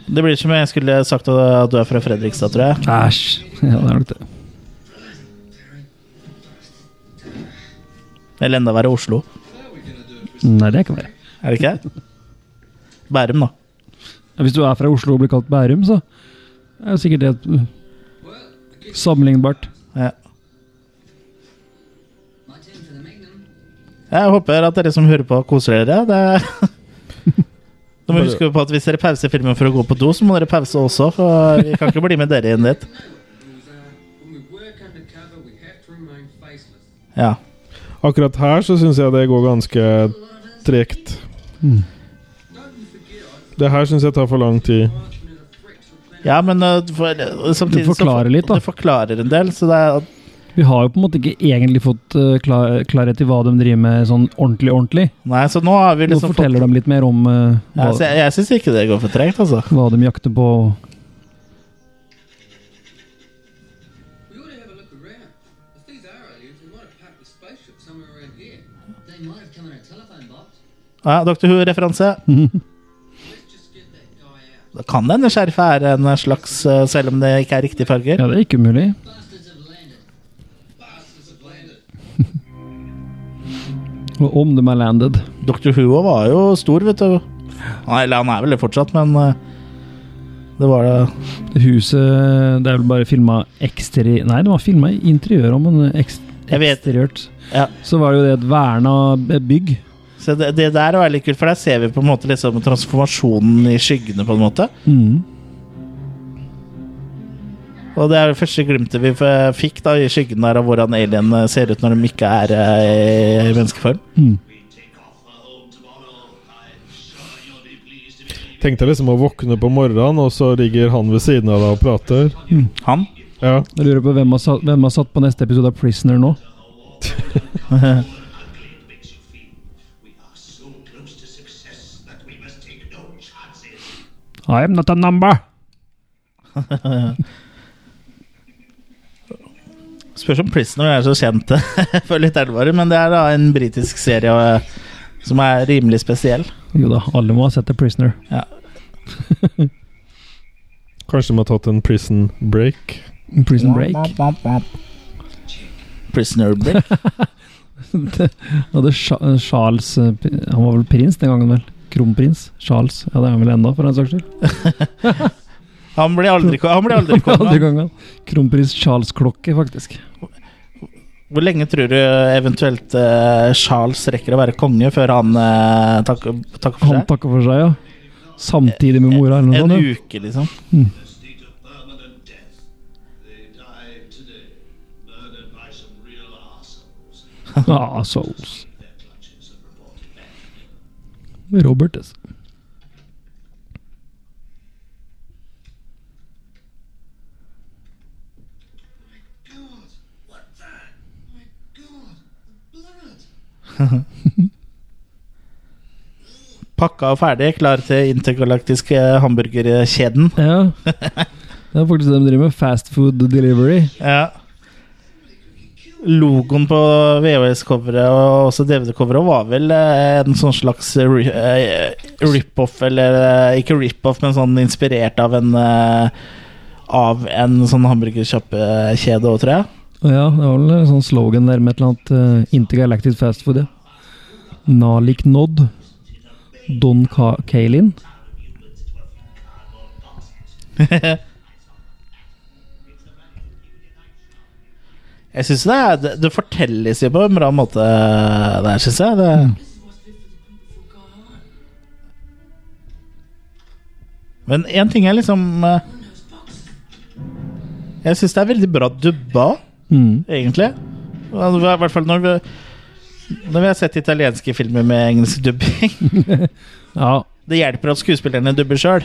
Speaker 1: Det blir som om jeg skulle sagt at du er fra Fredrikstad, tror jeg.
Speaker 3: Æsj. (laughs) Ja, det er nok det.
Speaker 1: Eller enda verre Oslo.
Speaker 4: Now we're gonna do it.
Speaker 3: Nei, det er ikke verre.
Speaker 1: Er det ikke det? Bærum, da.
Speaker 3: Hvis du er fra Oslo og blir kalt Bærum, så er jo sikkert det eh,
Speaker 4: Well, I guess
Speaker 3: sammenlignbart.
Speaker 1: Ja.
Speaker 4: my time for the Magnum.
Speaker 1: Jeg håper at dere som hører på, koser dere. Det Da må vi huske på at Hvis dere pauser filmen for å gå på do, så må dere pause også. For vi kan ikke bli med dere inn dit.
Speaker 4: Those are, uh, when we work undercover, we have to remain faceless.
Speaker 1: Ja.
Speaker 2: Akkurat her så syns jeg det går ganske tregt.
Speaker 4: Don't you forget I
Speaker 2: Det her syns jeg tar for lang tid.
Speaker 4: marching at a threat to planet.
Speaker 1: Ja, men uh, for, uh, samtidig
Speaker 3: Du forklarer
Speaker 1: så,
Speaker 3: litt, da.
Speaker 1: Du forklarer en del, så det er
Speaker 3: Vi har jo på en måte ikke egentlig fått eh, klar, klarhet i hva de driver med sånn ordentlig, ordentlig.
Speaker 1: Nei, så nå har vi
Speaker 3: Nå
Speaker 1: liksom fått-
Speaker 3: forteller de litt mer om eh,
Speaker 1: ja, så
Speaker 3: hva,
Speaker 1: Jeg, jeg syns ikke det går for tregt, altså.
Speaker 3: hva de jakter på.
Speaker 4: We ought to have a look around. If these are aliens, they might have parked the spaceship somewhere around here. They might have come in a telephone box.
Speaker 1: Ja, Dr.
Speaker 3: (laughs)
Speaker 1: Who-referanse.
Speaker 4: Let's just get that guy out.
Speaker 1: Det kan hende skjerfet er en slags, uh, selv om det ikke er riktige farger.
Speaker 3: Ja, det er ikke umulig. (laughs)
Speaker 4: Bastards have landed. Bastards have landed.
Speaker 3: Og om de er landed.
Speaker 1: Dr. Who også var jo stor, vet du. Nei, Eller han er vel det fortsatt, men uh, det var det
Speaker 3: Det Huset Det er vel bare filma eksteri... Nei, det var filma i interiøret, men ekst,
Speaker 1: Jeg vet.
Speaker 3: eksteriørt.
Speaker 1: Ja.
Speaker 3: Så var det jo det et verna bygg.
Speaker 1: Så det, det der var litt kult, for der ser vi på en måte liksom transformasjonen i skyggene, på en måte. Mm. Og det er det første glimtet vi f- fikk da i skyggen der av hvordan alien eh, ser ut når de ikke er eh, i menneskeform.
Speaker 2: Tenkte jeg liksom å våkne på morgenen, og så ligger han ved siden av deg og prater.
Speaker 1: Han?
Speaker 2: Ja.
Speaker 3: Jeg lurer på hvem har, satt, hvem har satt på neste episode av Prisoner nå?
Speaker 5: ugly it makes you feel. We are so close to success that we must take no chances.
Speaker 3: (laughs) I am not a number!
Speaker 1: Spørs om Prisoner er så kjent (laughs) for lytterne våre, men det er da en britisk serie eh, som er rimelig spesiell.
Speaker 3: Jo da, alle må ha sett The Prisoner.
Speaker 2: Kanskje de har tatt en prison break.
Speaker 3: Prison Break.
Speaker 1: Prisoner Break.
Speaker 3: (laughs) Ja, det er Sja- Charles eh, p- Han var vel prins den gangen, vel? Kronprins? Charles. Ja, det er han vel enda, for den saks skyld.
Speaker 1: (laughs) Han blir aldri, han blir aldri
Speaker 3: Andre
Speaker 1: konge.
Speaker 3: gangen. Kronprins Charles Klokke, faktisk.
Speaker 1: Hvor lenge tror du eventuelt eh, Charles rekker å være konge før han eh, takker takker for
Speaker 3: Han
Speaker 1: seg?
Speaker 3: takker for seg, ja. Samtidig med mora, eller noe
Speaker 1: En
Speaker 3: sånt. ja.
Speaker 1: uke, liksom.
Speaker 5: The state of permanent death. They died today, murdered by some real arseholes.
Speaker 3: Ah, souls.
Speaker 5: Their clutches have reported back.
Speaker 3: Robert, altså.
Speaker 5: God, what's that? My God, blood!
Speaker 1: Pakka og ferdig, klar til intergalaktiske hamburgerkjeden.
Speaker 3: Ja. Det er faktisk det de driver med. Fast food delivery.
Speaker 1: Ja. Logoen på VHS-coveret og også DVD-coveret var vel eh, en sånn slags ri- eh, rip-off, eller eh, ikke rip-off, men sånn inspirert av en eh, Av en sånn hamburgerkjappekjede òg, tror jeg.
Speaker 3: Og ja, det var vel en sånn slogan der med et eller annet uh, intergalactic fast food, ja. Nalik Nod. Don Ka Kalin.
Speaker 1: (laughs) Jeg synes det, er, det, det fortelles jo på en bra måte der, syns jeg. Det, Men én ting er liksom eh, Jeg syns det er veldig bra dubba,
Speaker 3: Mm. egentlig.
Speaker 1: egentlig. Ja, det var I hvert fall når vi, når vi har sett italienske filmer med engelsk dubbing. (laughs)
Speaker 3: Ja,
Speaker 1: Det hjelper at skuespillerne dubber sjøl.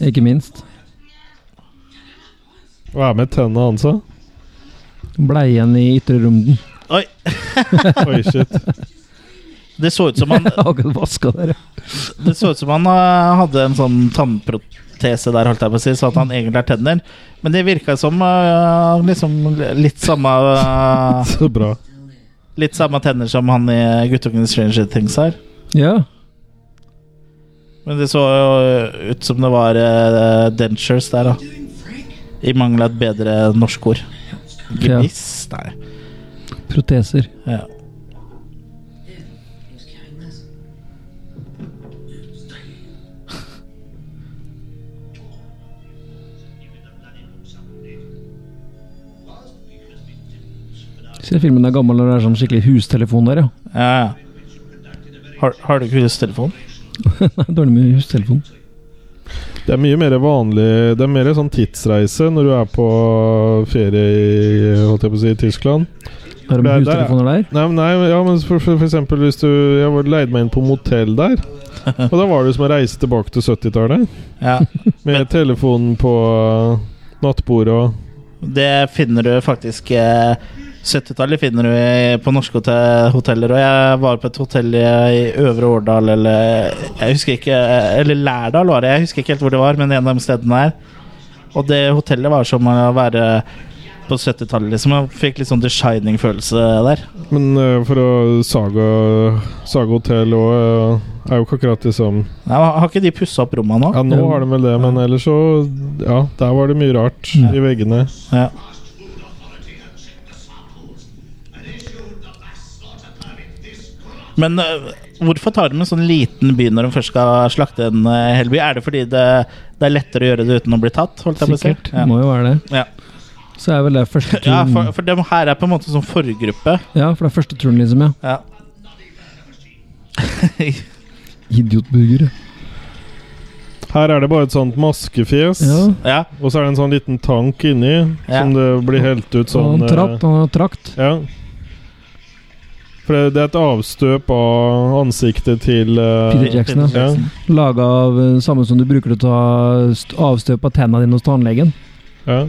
Speaker 3: ikke minst.
Speaker 2: Og er med tennene altså. hans, da.
Speaker 3: Blei igjen i ytre runden. (laughs)
Speaker 1: Oi!
Speaker 2: Oi, shit.
Speaker 1: Det så ut som han
Speaker 3: Akkurat vaska der, ja.
Speaker 1: Det så ut som han eh, hadde en sånn tannprot protese der, holdt jeg på å si, så at han egentlig har tenner. Men det virka som øh, liksom litt samme øh,
Speaker 2: Så bra.
Speaker 1: Litt samme tenner som han i Guttungen i Stranger Things har.
Speaker 3: Ja.
Speaker 1: Men det så jo ut som det var eh, dentures der, da.
Speaker 4: Doing Frank?
Speaker 1: I mangel av et bedre norsk ord.
Speaker 3: Ja.
Speaker 1: Gebiss? Nei.
Speaker 3: Proteser.
Speaker 1: Ja.
Speaker 4: Yeah, he was carrying this.
Speaker 3: Ser filmen er gammel og det er sånn skikkelig hustelefon der, ja. (laughs)
Speaker 1: ja, ja. Har, har du ikke hustelefon?
Speaker 3: Nei, Dårlig med hustelefon.
Speaker 2: Det er mye mer vanlig Det er mer sånn tidsreise når du er på ferie i holdt jeg på å si, Tyskland.
Speaker 3: Har
Speaker 2: Der-
Speaker 3: de
Speaker 2: der,
Speaker 3: hustelefoner der?
Speaker 2: Nei, men- nei men- ja, men for, for, for eksempel hvis du Jeg var- leide meg inn på motell der. Og da var det som å reise tilbake til 70-tallet.
Speaker 1: Ja.
Speaker 2: Med telefonen på uh, nattbordet og
Speaker 1: Det finner du faktisk eh, 70-tallet finner du i- på norske hote- hoteller. Og jeg var på et hotell i i Øvre Årdal, eller jeg husker ikke Eller Lærdal, var det. Jeg husker ikke helt hvor det var, men en av de stedene her. Og det hotellet var som å være på 70-tallet, liksom. Jeg fikk litt sånn The Shining-følelse der.
Speaker 2: Men eh, for å Saga, saga hotell òg er jo ikke akkurat liksom
Speaker 1: Nei, har ikke de pussa opp rommene nå?
Speaker 2: Ja, nå har de vel det, men ellers så Ja, der var det mye rart i veggene.
Speaker 1: Ja.
Speaker 5: Fast food authority have checked the samples and issued the mass slaughter permit this corrupt.
Speaker 1: Men øh, hvorfor tar de en sånn liten by når de først skal slakte en øh, hel by? Er det fordi det, det er lettere å gjøre det uten å bli tatt? Holdt jeg på å si?
Speaker 3: Sikkert.
Speaker 1: Ja.
Speaker 3: Må jo være det.
Speaker 1: Ja.
Speaker 3: Så er vel det første turen
Speaker 1: Ja, for, for dem her er på en måte sånn forgruppe.
Speaker 3: det er første turen, liksom, ja.
Speaker 1: Ja.
Speaker 3: Idiotburger.
Speaker 2: Her er det bare et sånt maskefjes.
Speaker 3: Ja.
Speaker 1: (laughs) ja.
Speaker 2: Og så er det en sånn liten tank inni
Speaker 1: Ja.
Speaker 2: som det blir helt ut
Speaker 3: Så
Speaker 2: sånn
Speaker 3: han tratt,
Speaker 2: eh,
Speaker 3: han har trakt.
Speaker 2: Ja. For det, det er et avstøp av ansiktet til eh,
Speaker 3: Peter Jackson, ja.
Speaker 2: ja.
Speaker 3: Laga av eh, samme som du bruker til å ta st- avstøp av tennene dine hos tannlegen.
Speaker 2: ja.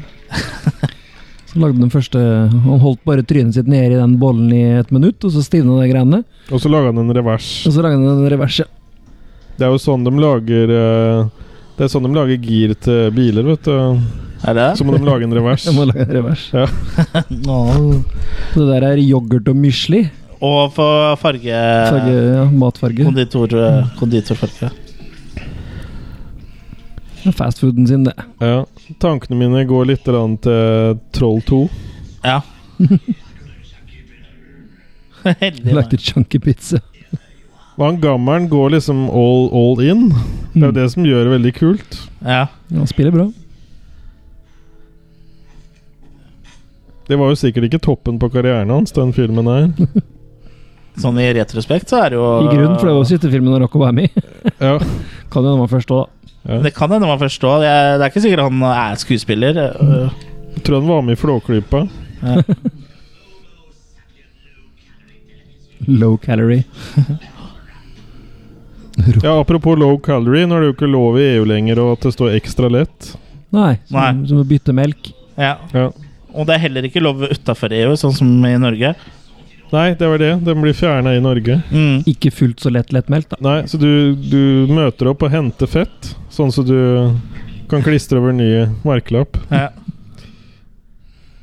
Speaker 3: Så lagde den første Han holdt bare trynet sitt nede i den bollen i et minutt, og så stivna de greiene.
Speaker 2: Og så laga han en revers.
Speaker 3: Og så lagde han en revers. ja.
Speaker 2: Det er jo sånn de lager eh, Det er sånn de lager gir til biler, vet du.
Speaker 1: Er det
Speaker 2: Så må de lage en revers.
Speaker 3: (laughs) Jeg må lage en revers. (laughs)
Speaker 1: Nå.
Speaker 3: Så det der er yoghurt og mysli.
Speaker 1: Og for farge...
Speaker 3: Farge, Mm. ja, matfarge.
Speaker 1: Konditor, øh, konditorfarge.
Speaker 3: Fastfooden sin, det.
Speaker 2: Ja. Tankene mine går litt grann til Troll 2.
Speaker 3: (laughs)
Speaker 1: Ja. Heldig. da.
Speaker 3: Lagde chunky pizza.
Speaker 2: Og han gammelen går liksom all, all in. Det er
Speaker 3: Mm.
Speaker 2: jo det som gjør det veldig kult.
Speaker 1: Ja.
Speaker 3: Han spiller bra.
Speaker 2: Det var jo sikkert ikke toppen på karrieren hans, den filmen her.
Speaker 3: (laughs)
Speaker 1: Sånn i retrospekt så er det jo
Speaker 3: I grunnen, for det var jo siste filmen han rakk å være med i.
Speaker 2: Ja.
Speaker 3: Kan jo hende han var først òg, da.
Speaker 1: Det kan hende man forstår. Det er, det er ikke sikkert han er skuespiller.
Speaker 3: Mm.
Speaker 1: øh.
Speaker 2: Jeg tror han var med i Flåklypa.
Speaker 3: Low calorie.
Speaker 2: Ja, apropos low calorie, nå er det jo ikke lov i EU lenger og at det står ekstra lett.
Speaker 3: Nei, som,
Speaker 1: Nei.
Speaker 3: som å bytte melk.
Speaker 1: Ja.
Speaker 2: Ja.
Speaker 1: Og det er heller ikke lov utafor EU, sånn som i Norge.
Speaker 2: Nei, det var det. Den blir fjerna i Norge.
Speaker 1: Mm.
Speaker 3: Ikke fullt så lett lettmelk, da.
Speaker 2: Nei, så du, du møter opp og henter fett, sånn så du kan klistre over ny merkelapp.
Speaker 1: Ja.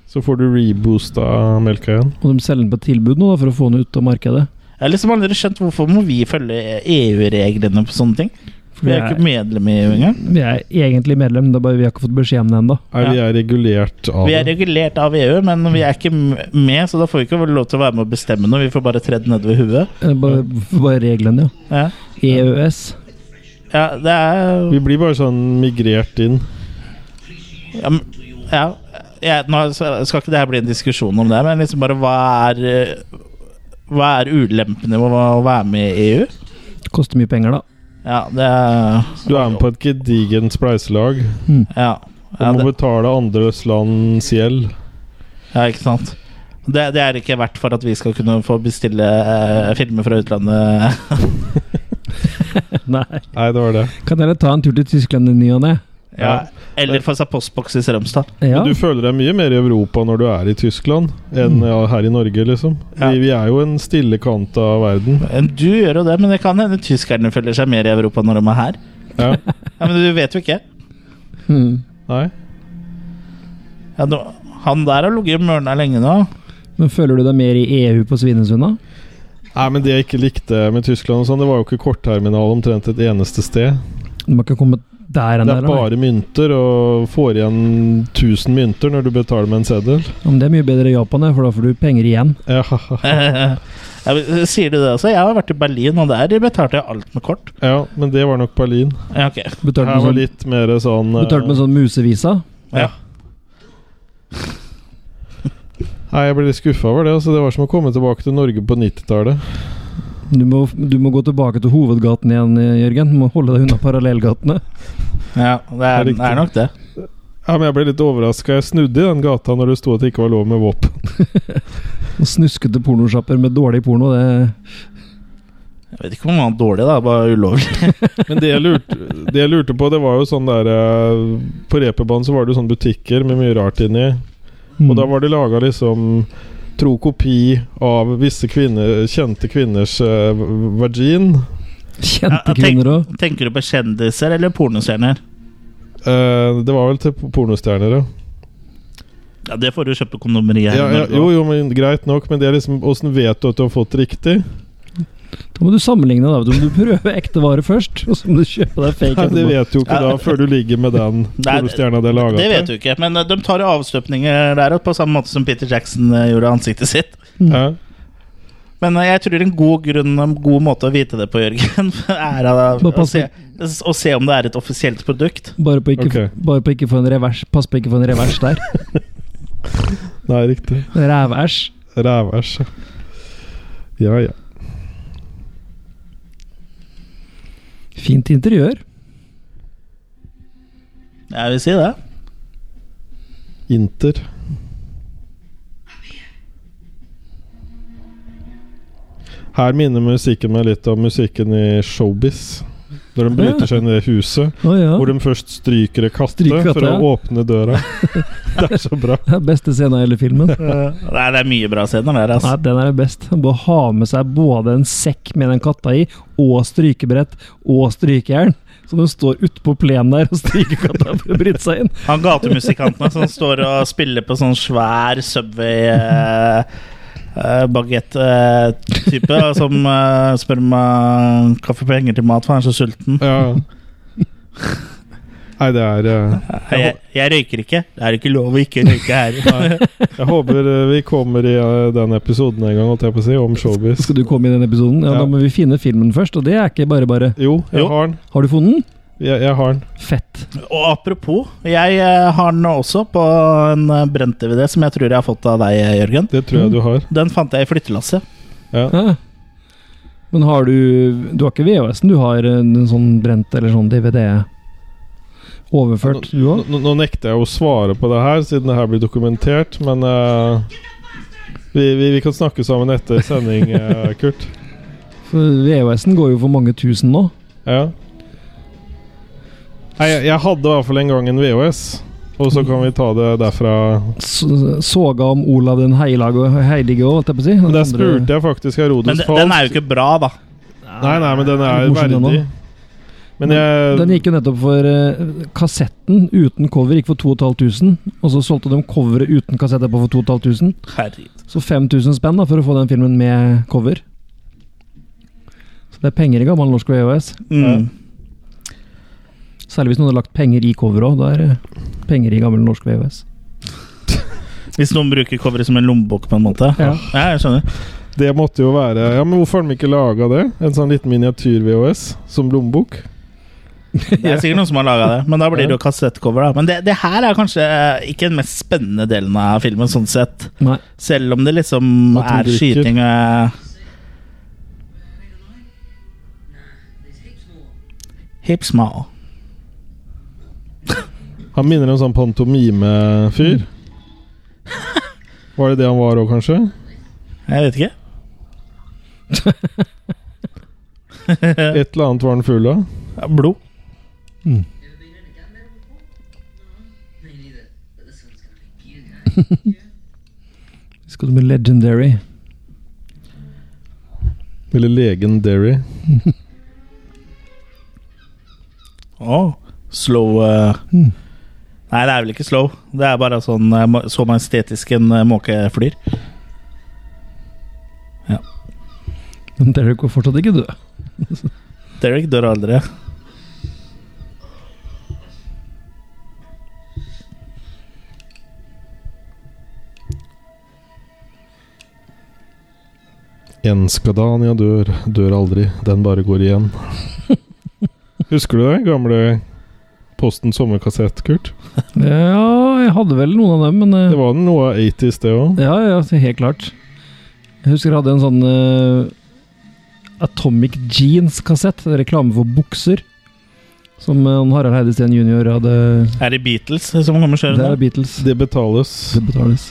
Speaker 2: Så får du reboosta melka igjen.
Speaker 3: Og de selger den på tilbud nå da, for å få den ut av markedet.
Speaker 1: Jeg har liksom aldri skjønt hvorfor må vi følge EU-reglene på sånne ting.
Speaker 3: For
Speaker 1: Vi er jo ikke medlem i EU engang.
Speaker 3: vi er egentlig medlem, det er bare vi har ikke fått beskjed om det ennå.
Speaker 2: Er vi er regulert av
Speaker 1: Vi er
Speaker 2: det?
Speaker 1: regulert av EU, men vi er ikke m- med, så da får vi ikke lov til å være med å bestemme noe. Vi får bare tredd nedover huet.
Speaker 3: Eh, Bare, bare reglene, ja. E
Speaker 1: Ja.
Speaker 3: EØS.
Speaker 1: ja, det er
Speaker 2: Vi blir bare sånn migrert inn.
Speaker 1: Ja. men- ja. Jeg, nå skal ikke det her bli en diskusjon om det, men liksom bare hva er eh, Hva er ulempene med å være med i EU?
Speaker 3: Koster mye penger, da.
Speaker 1: Ja, det er
Speaker 2: Du er med på et gedigent spleiselag
Speaker 1: Ja,
Speaker 2: og
Speaker 1: ja,
Speaker 2: må
Speaker 1: det,
Speaker 2: betale andres lands gjeld.
Speaker 1: ja ikke sant. Det, det er ikke verdt for at vi skal kunne få bestille eh, filmer fra utlandet. (laughs)
Speaker 3: Nei.
Speaker 2: (laughs) Nei, det var det.
Speaker 3: Kan dere ta en tur til Tyskland i ny og ne?
Speaker 1: Ja. Eller få seg postboks i Strømstad.
Speaker 3: Ja.
Speaker 2: Du føler deg mye mer i Europa når du er i Tyskland,
Speaker 3: Mm.
Speaker 2: enn ja, her i Norge, liksom.
Speaker 1: Ja.
Speaker 2: Vi, vi er jo en stille kant av
Speaker 3: (laughs)
Speaker 2: verden.
Speaker 1: Men Du gjør jo det, men det kan hende tyskerne føler seg mer i Europa når de er her.
Speaker 2: Ja.
Speaker 1: Ja, men du vet jo ikke.
Speaker 3: Mm.
Speaker 2: Nei?
Speaker 1: Ja, nå, han der har ligget i mørna lenge nå. (laughs)
Speaker 3: Men føler du deg mer i EU på Svinesund, da?
Speaker 2: Nei, men Det jeg ikke likte med Tyskland, og sånn, det var jo ikke kortterminal omtrent et eneste sted.
Speaker 3: Du må ikke komme der
Speaker 2: Det
Speaker 3: enn
Speaker 2: er
Speaker 3: der. eller?
Speaker 2: bare mynter, og får igjen 1000 mynter når du betaler med en seddel.
Speaker 3: Ja, men det er mye bedre i Japan, det, for da får du penger igjen.
Speaker 2: Ja, (laughs)
Speaker 1: Ja, men Sier du det også? Jeg har vært i Berlin, og der betalte jeg alt med kort.
Speaker 2: ja men det var nok Berlin.
Speaker 1: Ja, ok.
Speaker 3: Betalt
Speaker 2: Her var
Speaker 3: med sånn,
Speaker 2: litt mer sånn eh,
Speaker 3: betalt med sånn musevisa.
Speaker 1: Ja.
Speaker 2: Nei, jeg ble litt skuffa over det. Altså, det var som å komme tilbake til Norge på 90-tallet.
Speaker 3: Du må, du må gå tilbake til hovedgaten igjen, Jørgen. Du må holde deg unna parallellgatene.
Speaker 1: Ja, det er,
Speaker 2: Det er
Speaker 1: det
Speaker 2: riktig.
Speaker 1: er nok det.
Speaker 2: Ja, men jeg ble litt overraska. Jeg snudde i den gata når det sto at det ikke var lov med våpen.
Speaker 3: Snuskete pornosjapper med dårlig porno, det
Speaker 1: Jeg vet ikke om han var dårlig, da. Bare ulovlig.
Speaker 2: Men det jeg lurte, det jeg lurte på, det var jo sånn der eh, På reperbanen så var det jo sånne butikker med mye rart inni. Og
Speaker 3: Mm.
Speaker 2: da var det laga liksom tro kopi av visse kvinner, kjente kvinners eh, vagin.
Speaker 1: Ja,
Speaker 3: Kjente
Speaker 1: tenk-
Speaker 3: kvinner òg.
Speaker 1: Tenker du på kjendiser eller pornostjerner?
Speaker 2: Eh, det var vel til pornostjerner, ja.
Speaker 1: Ja, det får du kjøpe på kondomeriet her
Speaker 2: ja,
Speaker 1: i
Speaker 2: ja
Speaker 1: Norge.
Speaker 2: jo, jo, men greit nok, men det er liksom Åssen vet du at du har fått riktig?
Speaker 3: Da må du sammenligne. da, vet du. Du må prøve (laughs) ekte vare først, og så må du kjøpe deg fake.
Speaker 2: Nei, det
Speaker 3: etterpå.
Speaker 2: vet du jo ikke
Speaker 1: Ja.
Speaker 2: da, før du ligger med den
Speaker 1: Nei,
Speaker 2: pornostjerna det er laga
Speaker 1: Det vet du ikke, men eh, de tar jo avstøpninger der oppe, på samme måte som Peter Jackson eh, gjorde ansiktet sitt.
Speaker 2: Ja.
Speaker 1: Men eh, jeg tror en god grunn en god måte å vite det på, Jørgen, (laughs) er å,
Speaker 3: Bare
Speaker 1: å,
Speaker 3: pass
Speaker 1: se, å se om det er et offisielt produkt.
Speaker 3: Bare på, ikke,
Speaker 2: Ok.
Speaker 3: bare på ikke få en revers. Pass på ikke få en revers der. (laughs)
Speaker 2: Nei, riktig.
Speaker 3: Rævæsj.
Speaker 2: Rævæsj. Ja, ja.
Speaker 3: Fint interiør.
Speaker 1: Jeg vil si det.
Speaker 2: Inter. Her minner musikken meg litt om musikken i Showbiz. Når de bryter seg inn i det huset.
Speaker 3: Å ja.
Speaker 2: Hvor de først stryker ei katte
Speaker 3: Stryker katte,
Speaker 2: for å
Speaker 3: ja.
Speaker 2: åpne døra. (laughs) Det er så bra.
Speaker 3: Det er beste scenen i hele
Speaker 2: (laughs)
Speaker 3: filmen.
Speaker 1: Nei, det er mye bra scener der,
Speaker 3: Nei,
Speaker 1: altså.
Speaker 3: den er best. Han må ha med seg både en sekk med den katta i, og strykebrett, og strykejern. Så den står utpå plenen der og stryker katta for å bryte seg inn.
Speaker 1: Han gatemusikantene som står og spiller på sånn svær Subway eh, eh, Baguette-type, som eh, spør om eh, kaffe og penger til mat, for han er så sulten.
Speaker 2: Ja. Nei, det er eh,
Speaker 1: Jeg, jeg røyker ikke. Det er ikke lov å ikke røyke her.
Speaker 2: Jeg håper eh, vi kommer i eh, den episoden en gang, holdt jeg på å si, om Showbiz.
Speaker 3: Skal du komme i den episoden? Ja,
Speaker 2: Ja.
Speaker 3: Da må vi finne filmen først, og det er ikke bare bare.
Speaker 2: Jo, jeg
Speaker 1: Jo.
Speaker 2: har den.
Speaker 3: Har du funnet den?
Speaker 2: Jeg, jeg har den.
Speaker 3: Fett.
Speaker 1: Og apropos, jeg eh, har den også på en eh, brent DVD som jeg tror jeg har fått av deg, eh, Jørgen.
Speaker 2: Det
Speaker 3: Mm.
Speaker 2: tror jeg du har.
Speaker 1: Den fant jeg i flyttelasset.
Speaker 3: Ja. Men har du Du har ikke VHS-en, du har en sånn brent eller sånn DVD? Overført, du òg?
Speaker 2: Nå, nå nekter jeg å svare på det her, siden det her blir dokumentert, men eh, vi, vi, vi kan snakke sammen etter sending,
Speaker 3: (laughs)
Speaker 2: eh, Kurt.
Speaker 3: For VHS-en går jo for mange tusen nå.
Speaker 2: Ja. Nei, jeg, jeg hadde i hvert fall en gang en VHS, og så kan vi ta det derfra.
Speaker 3: S- Soga om Olav den heilage og heilige òg, holdt jeg på å si.
Speaker 2: Men der spurte jeg faktisk
Speaker 1: Men
Speaker 2: Herodes
Speaker 1: de- den er jo
Speaker 2: Falsk.
Speaker 1: ikke bra, da.
Speaker 2: Nei, nei, men den er
Speaker 3: Morsom, den
Speaker 2: verdig.
Speaker 3: også.
Speaker 2: Men jeg
Speaker 3: Den gikk jo nettopp for eh, Kassetten uten cover gikk for 2500, og så solgte de coveret uten kassett etterpå for 2500.
Speaker 1: Herregud.
Speaker 3: Så 5000 spenn da for å få den filmen med cover. Så det er penger i gammel norsk og EOS.
Speaker 1: Mm.
Speaker 3: Særlig hvis noen har lagt penger i coveret òg. Da er det penger i gammel norsk og EOS.
Speaker 1: Hvis noen bruker coveret som en lommebok, på en måte.
Speaker 3: Ja.
Speaker 1: Ja, jeg skjønner.
Speaker 2: Det måtte jo være Ja, men hvorfor har de ikke laga det? En sånn liten miniatyr-VHS som lommebok?
Speaker 1: Det er sikkert noen som har laga det, men da blir det
Speaker 2: Ja.
Speaker 1: jo kassettcover. da Men det, det her er kanskje eh, ikke den mest spennende delen av filmen, sånn sett.
Speaker 3: Nei.
Speaker 1: Selv om det liksom
Speaker 2: At
Speaker 1: er
Speaker 2: de drikker.
Speaker 1: skyting eh, Hips small.
Speaker 2: Han minner en sånn pantomime-fyr. Var det det han var òg, kanskje?
Speaker 1: Jeg vet ikke.
Speaker 2: (laughs) Et eller annet var han full av.
Speaker 1: Ja, Blod.
Speaker 4: Ever been in a gun battle before? No, me neither. But this one's gonna be beautiful.
Speaker 3: Skal du med Legendary?
Speaker 2: Eller legendary.
Speaker 1: Å, slow eh, Nei, det er vel ikke slow. Det er bare sånn eh, ma- så majestetisk en eh, måke flyr.
Speaker 3: Men Derek var fortsatt ikke død.
Speaker 1: Derek dør aldri.
Speaker 2: En Skadania dør, dør aldri, den bare går igjen. Husker du det? Gamle Posten sommerkassett, Kurt.
Speaker 3: Ja, jeg hadde vel noen av dem, men eh,
Speaker 2: Det var noe av 80s, det òg.
Speaker 3: Ja, ja, så helt klart. Jeg husker jeg hadde en sånn eh, Atomic Jeans-kassett. en Reklame for bukser. Som eh, han Harald Heide Steen jr. hadde
Speaker 1: Er det Beatles som kommer
Speaker 3: Det
Speaker 1: kjørende?
Speaker 3: er Beatles.
Speaker 2: Det betales.
Speaker 3: Det betales.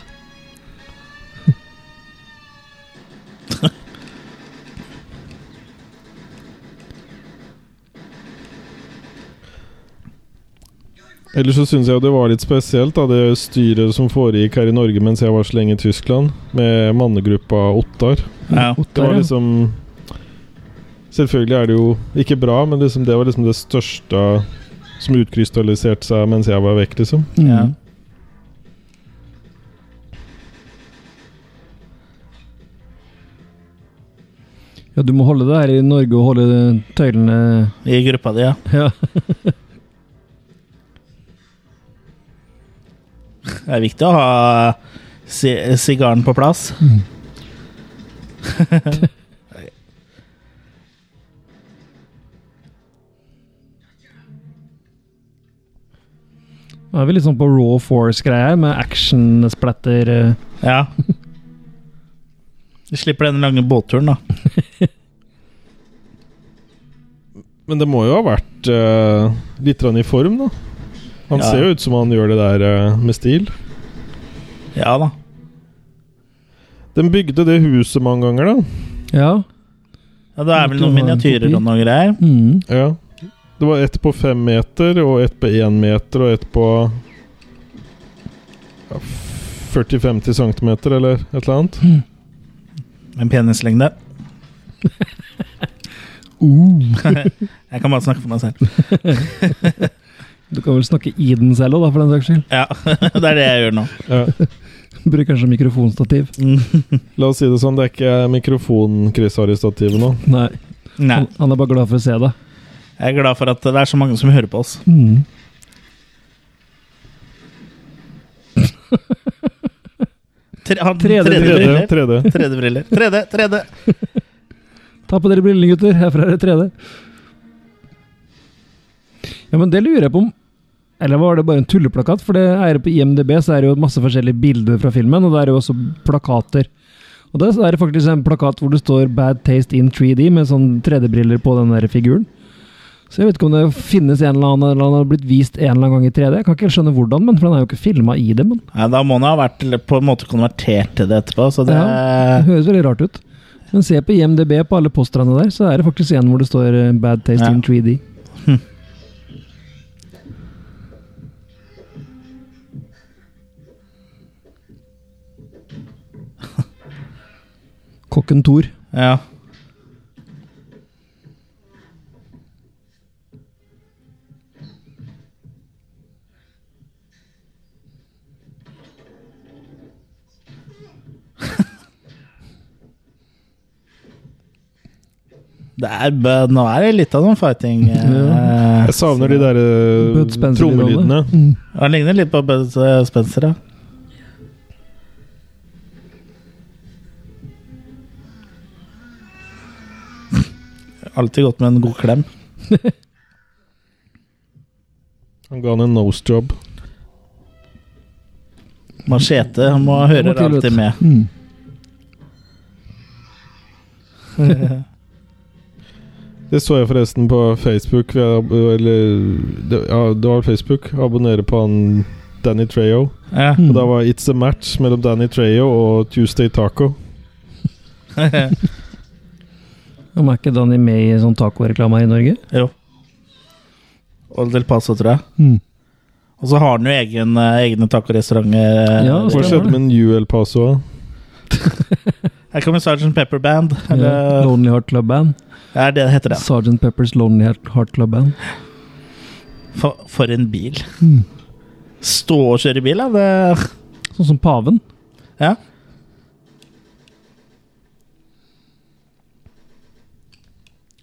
Speaker 2: Ellers så syns jeg jo det var litt spesielt, da, det styret som foregikk her i Norge mens jeg var så lenge i Tyskland, med mannegruppa Ottar.
Speaker 1: Ja.
Speaker 2: Det var
Speaker 3: ja.
Speaker 2: liksom Selvfølgelig er det jo ikke bra, men liksom det var liksom det største som utkrystalliserte seg mens jeg var vekk, liksom.
Speaker 3: Mm.
Speaker 1: Ja.
Speaker 3: Ja, du må holde det her i Norge og holde tøylene (laughs)
Speaker 1: I gruppa di, ja.
Speaker 3: Ja.
Speaker 1: Det er viktig å ha eh, si sigaren på plass.
Speaker 3: Nå er vi litt sånn på raw force-greia her, med action-splatter. eh.
Speaker 1: Ja. Du slipper den lange båtturen, da.
Speaker 2: Men det må jo ha vært eh, litt grann i form, da. Han
Speaker 1: Ja.
Speaker 2: ser jo ut som han gjør det der eh, med stil.
Speaker 1: Ja da.
Speaker 2: Den bygde det huset mange ganger, da.
Speaker 3: Ja.
Speaker 1: Ja, det er vel
Speaker 3: Du
Speaker 1: noen
Speaker 3: har en
Speaker 1: miniatyrer
Speaker 3: kopi.
Speaker 1: og noen greier.
Speaker 3: Mm.
Speaker 2: Ja. Det var ett på fem meter, og ett på én meter, og ett på ja, 40-50 centimeter, eller et eller annet.
Speaker 1: (laughs) En penislengde. (laughs) Jeg kan bare snakke for meg selv.
Speaker 3: Du kan vel snakke i den selv òg, da, for den saks skyld.
Speaker 1: Ja, (laughs) Det er det jeg gjør nå.
Speaker 2: Ja.
Speaker 3: Bruker den som mikrofonstativ.
Speaker 2: La oss si det sånn, det er ikke mikrofon-Chris har i stativet nå.
Speaker 3: Nei.
Speaker 1: Nei,
Speaker 3: Han, han er bare glad for å se deg.
Speaker 1: Jeg er glad for at det er så mange som hører på oss.
Speaker 3: Mm.
Speaker 1: Tre, han,
Speaker 3: 3D,
Speaker 1: 3D-briller.
Speaker 2: 3D.
Speaker 1: 3D-briller. 3D, 3D.
Speaker 3: Ta på dere brillene, gutter. Herfra er det 3D. Ja, men det lurer jeg på om Eller var det bare en tulleplakat? For det er jo på IMDb så er det jo masse forskjellige bilder fra filmen, og det er jo også plakater. Og der så er det faktisk en plakat hvor det står 'Bad Taste in 3D' med sånn 3D-briller på den der figuren. Så jeg vet ikke om det finnes en eller annen eller han har blitt vist en eller annen gang i 3D. Jeg kan ikke helt skjønne hvordan, men for han er jo ikke filma i det. Men
Speaker 1: Ja, da må han ha vært på en måte konvertert til det etterpå, så det
Speaker 3: Ja, det høres veldig rart ut. Men se på IMDb på alle posterne der, så er det faktisk en hvor det står eh, 'Bad Taste
Speaker 1: Ja. Hm.
Speaker 3: in 3D'. (laughs) Kokken Thor.
Speaker 1: Ja. Det er, bø- nå er det litt av noen fighting. Eh,
Speaker 2: Jeg savner de der eh,
Speaker 3: Bud Spencer i
Speaker 2: trommelydene.
Speaker 3: rolle. Mm.
Speaker 1: han ligner litt på Bud eh, Spencer, ja. (laughs) Alltid godt med en god klem.
Speaker 2: Han ga han en nose job.
Speaker 1: Machete han må høre
Speaker 3: Kommer til, vet
Speaker 1: alltid
Speaker 3: du.
Speaker 1: med.
Speaker 3: Mm.
Speaker 2: Det så jeg forresten på Facebook. vi ab- Eller det, ja, det var Facebook. Abonnere på han Danny Trejo.
Speaker 3: Mm.
Speaker 1: Ja. (laughs)
Speaker 2: Og da var It's a match mellom Danny Trejo og Tuesday Taco.
Speaker 3: Om er ikke Danny med i sånn tacoreklame her i Norge?
Speaker 1: Jo. Og Del Paso, tror jeg.
Speaker 3: Mm.
Speaker 1: Og så har han jo egen, eh, egne eh, tacorestauranter.
Speaker 3: Ja,
Speaker 2: Hva skjedde med New El Paso?
Speaker 1: Her kommer Sergeant Pepper Band.
Speaker 3: Ja.
Speaker 1: Eller,
Speaker 3: Lonely Heart Club Band.
Speaker 1: ja, det heter det.
Speaker 3: Sergeant Peppers Lonely Heart Club Band. Mm.
Speaker 1: For, for en bil. Stå og kjøre bil, da. Det,
Speaker 3: Sånn som paven.
Speaker 1: ja.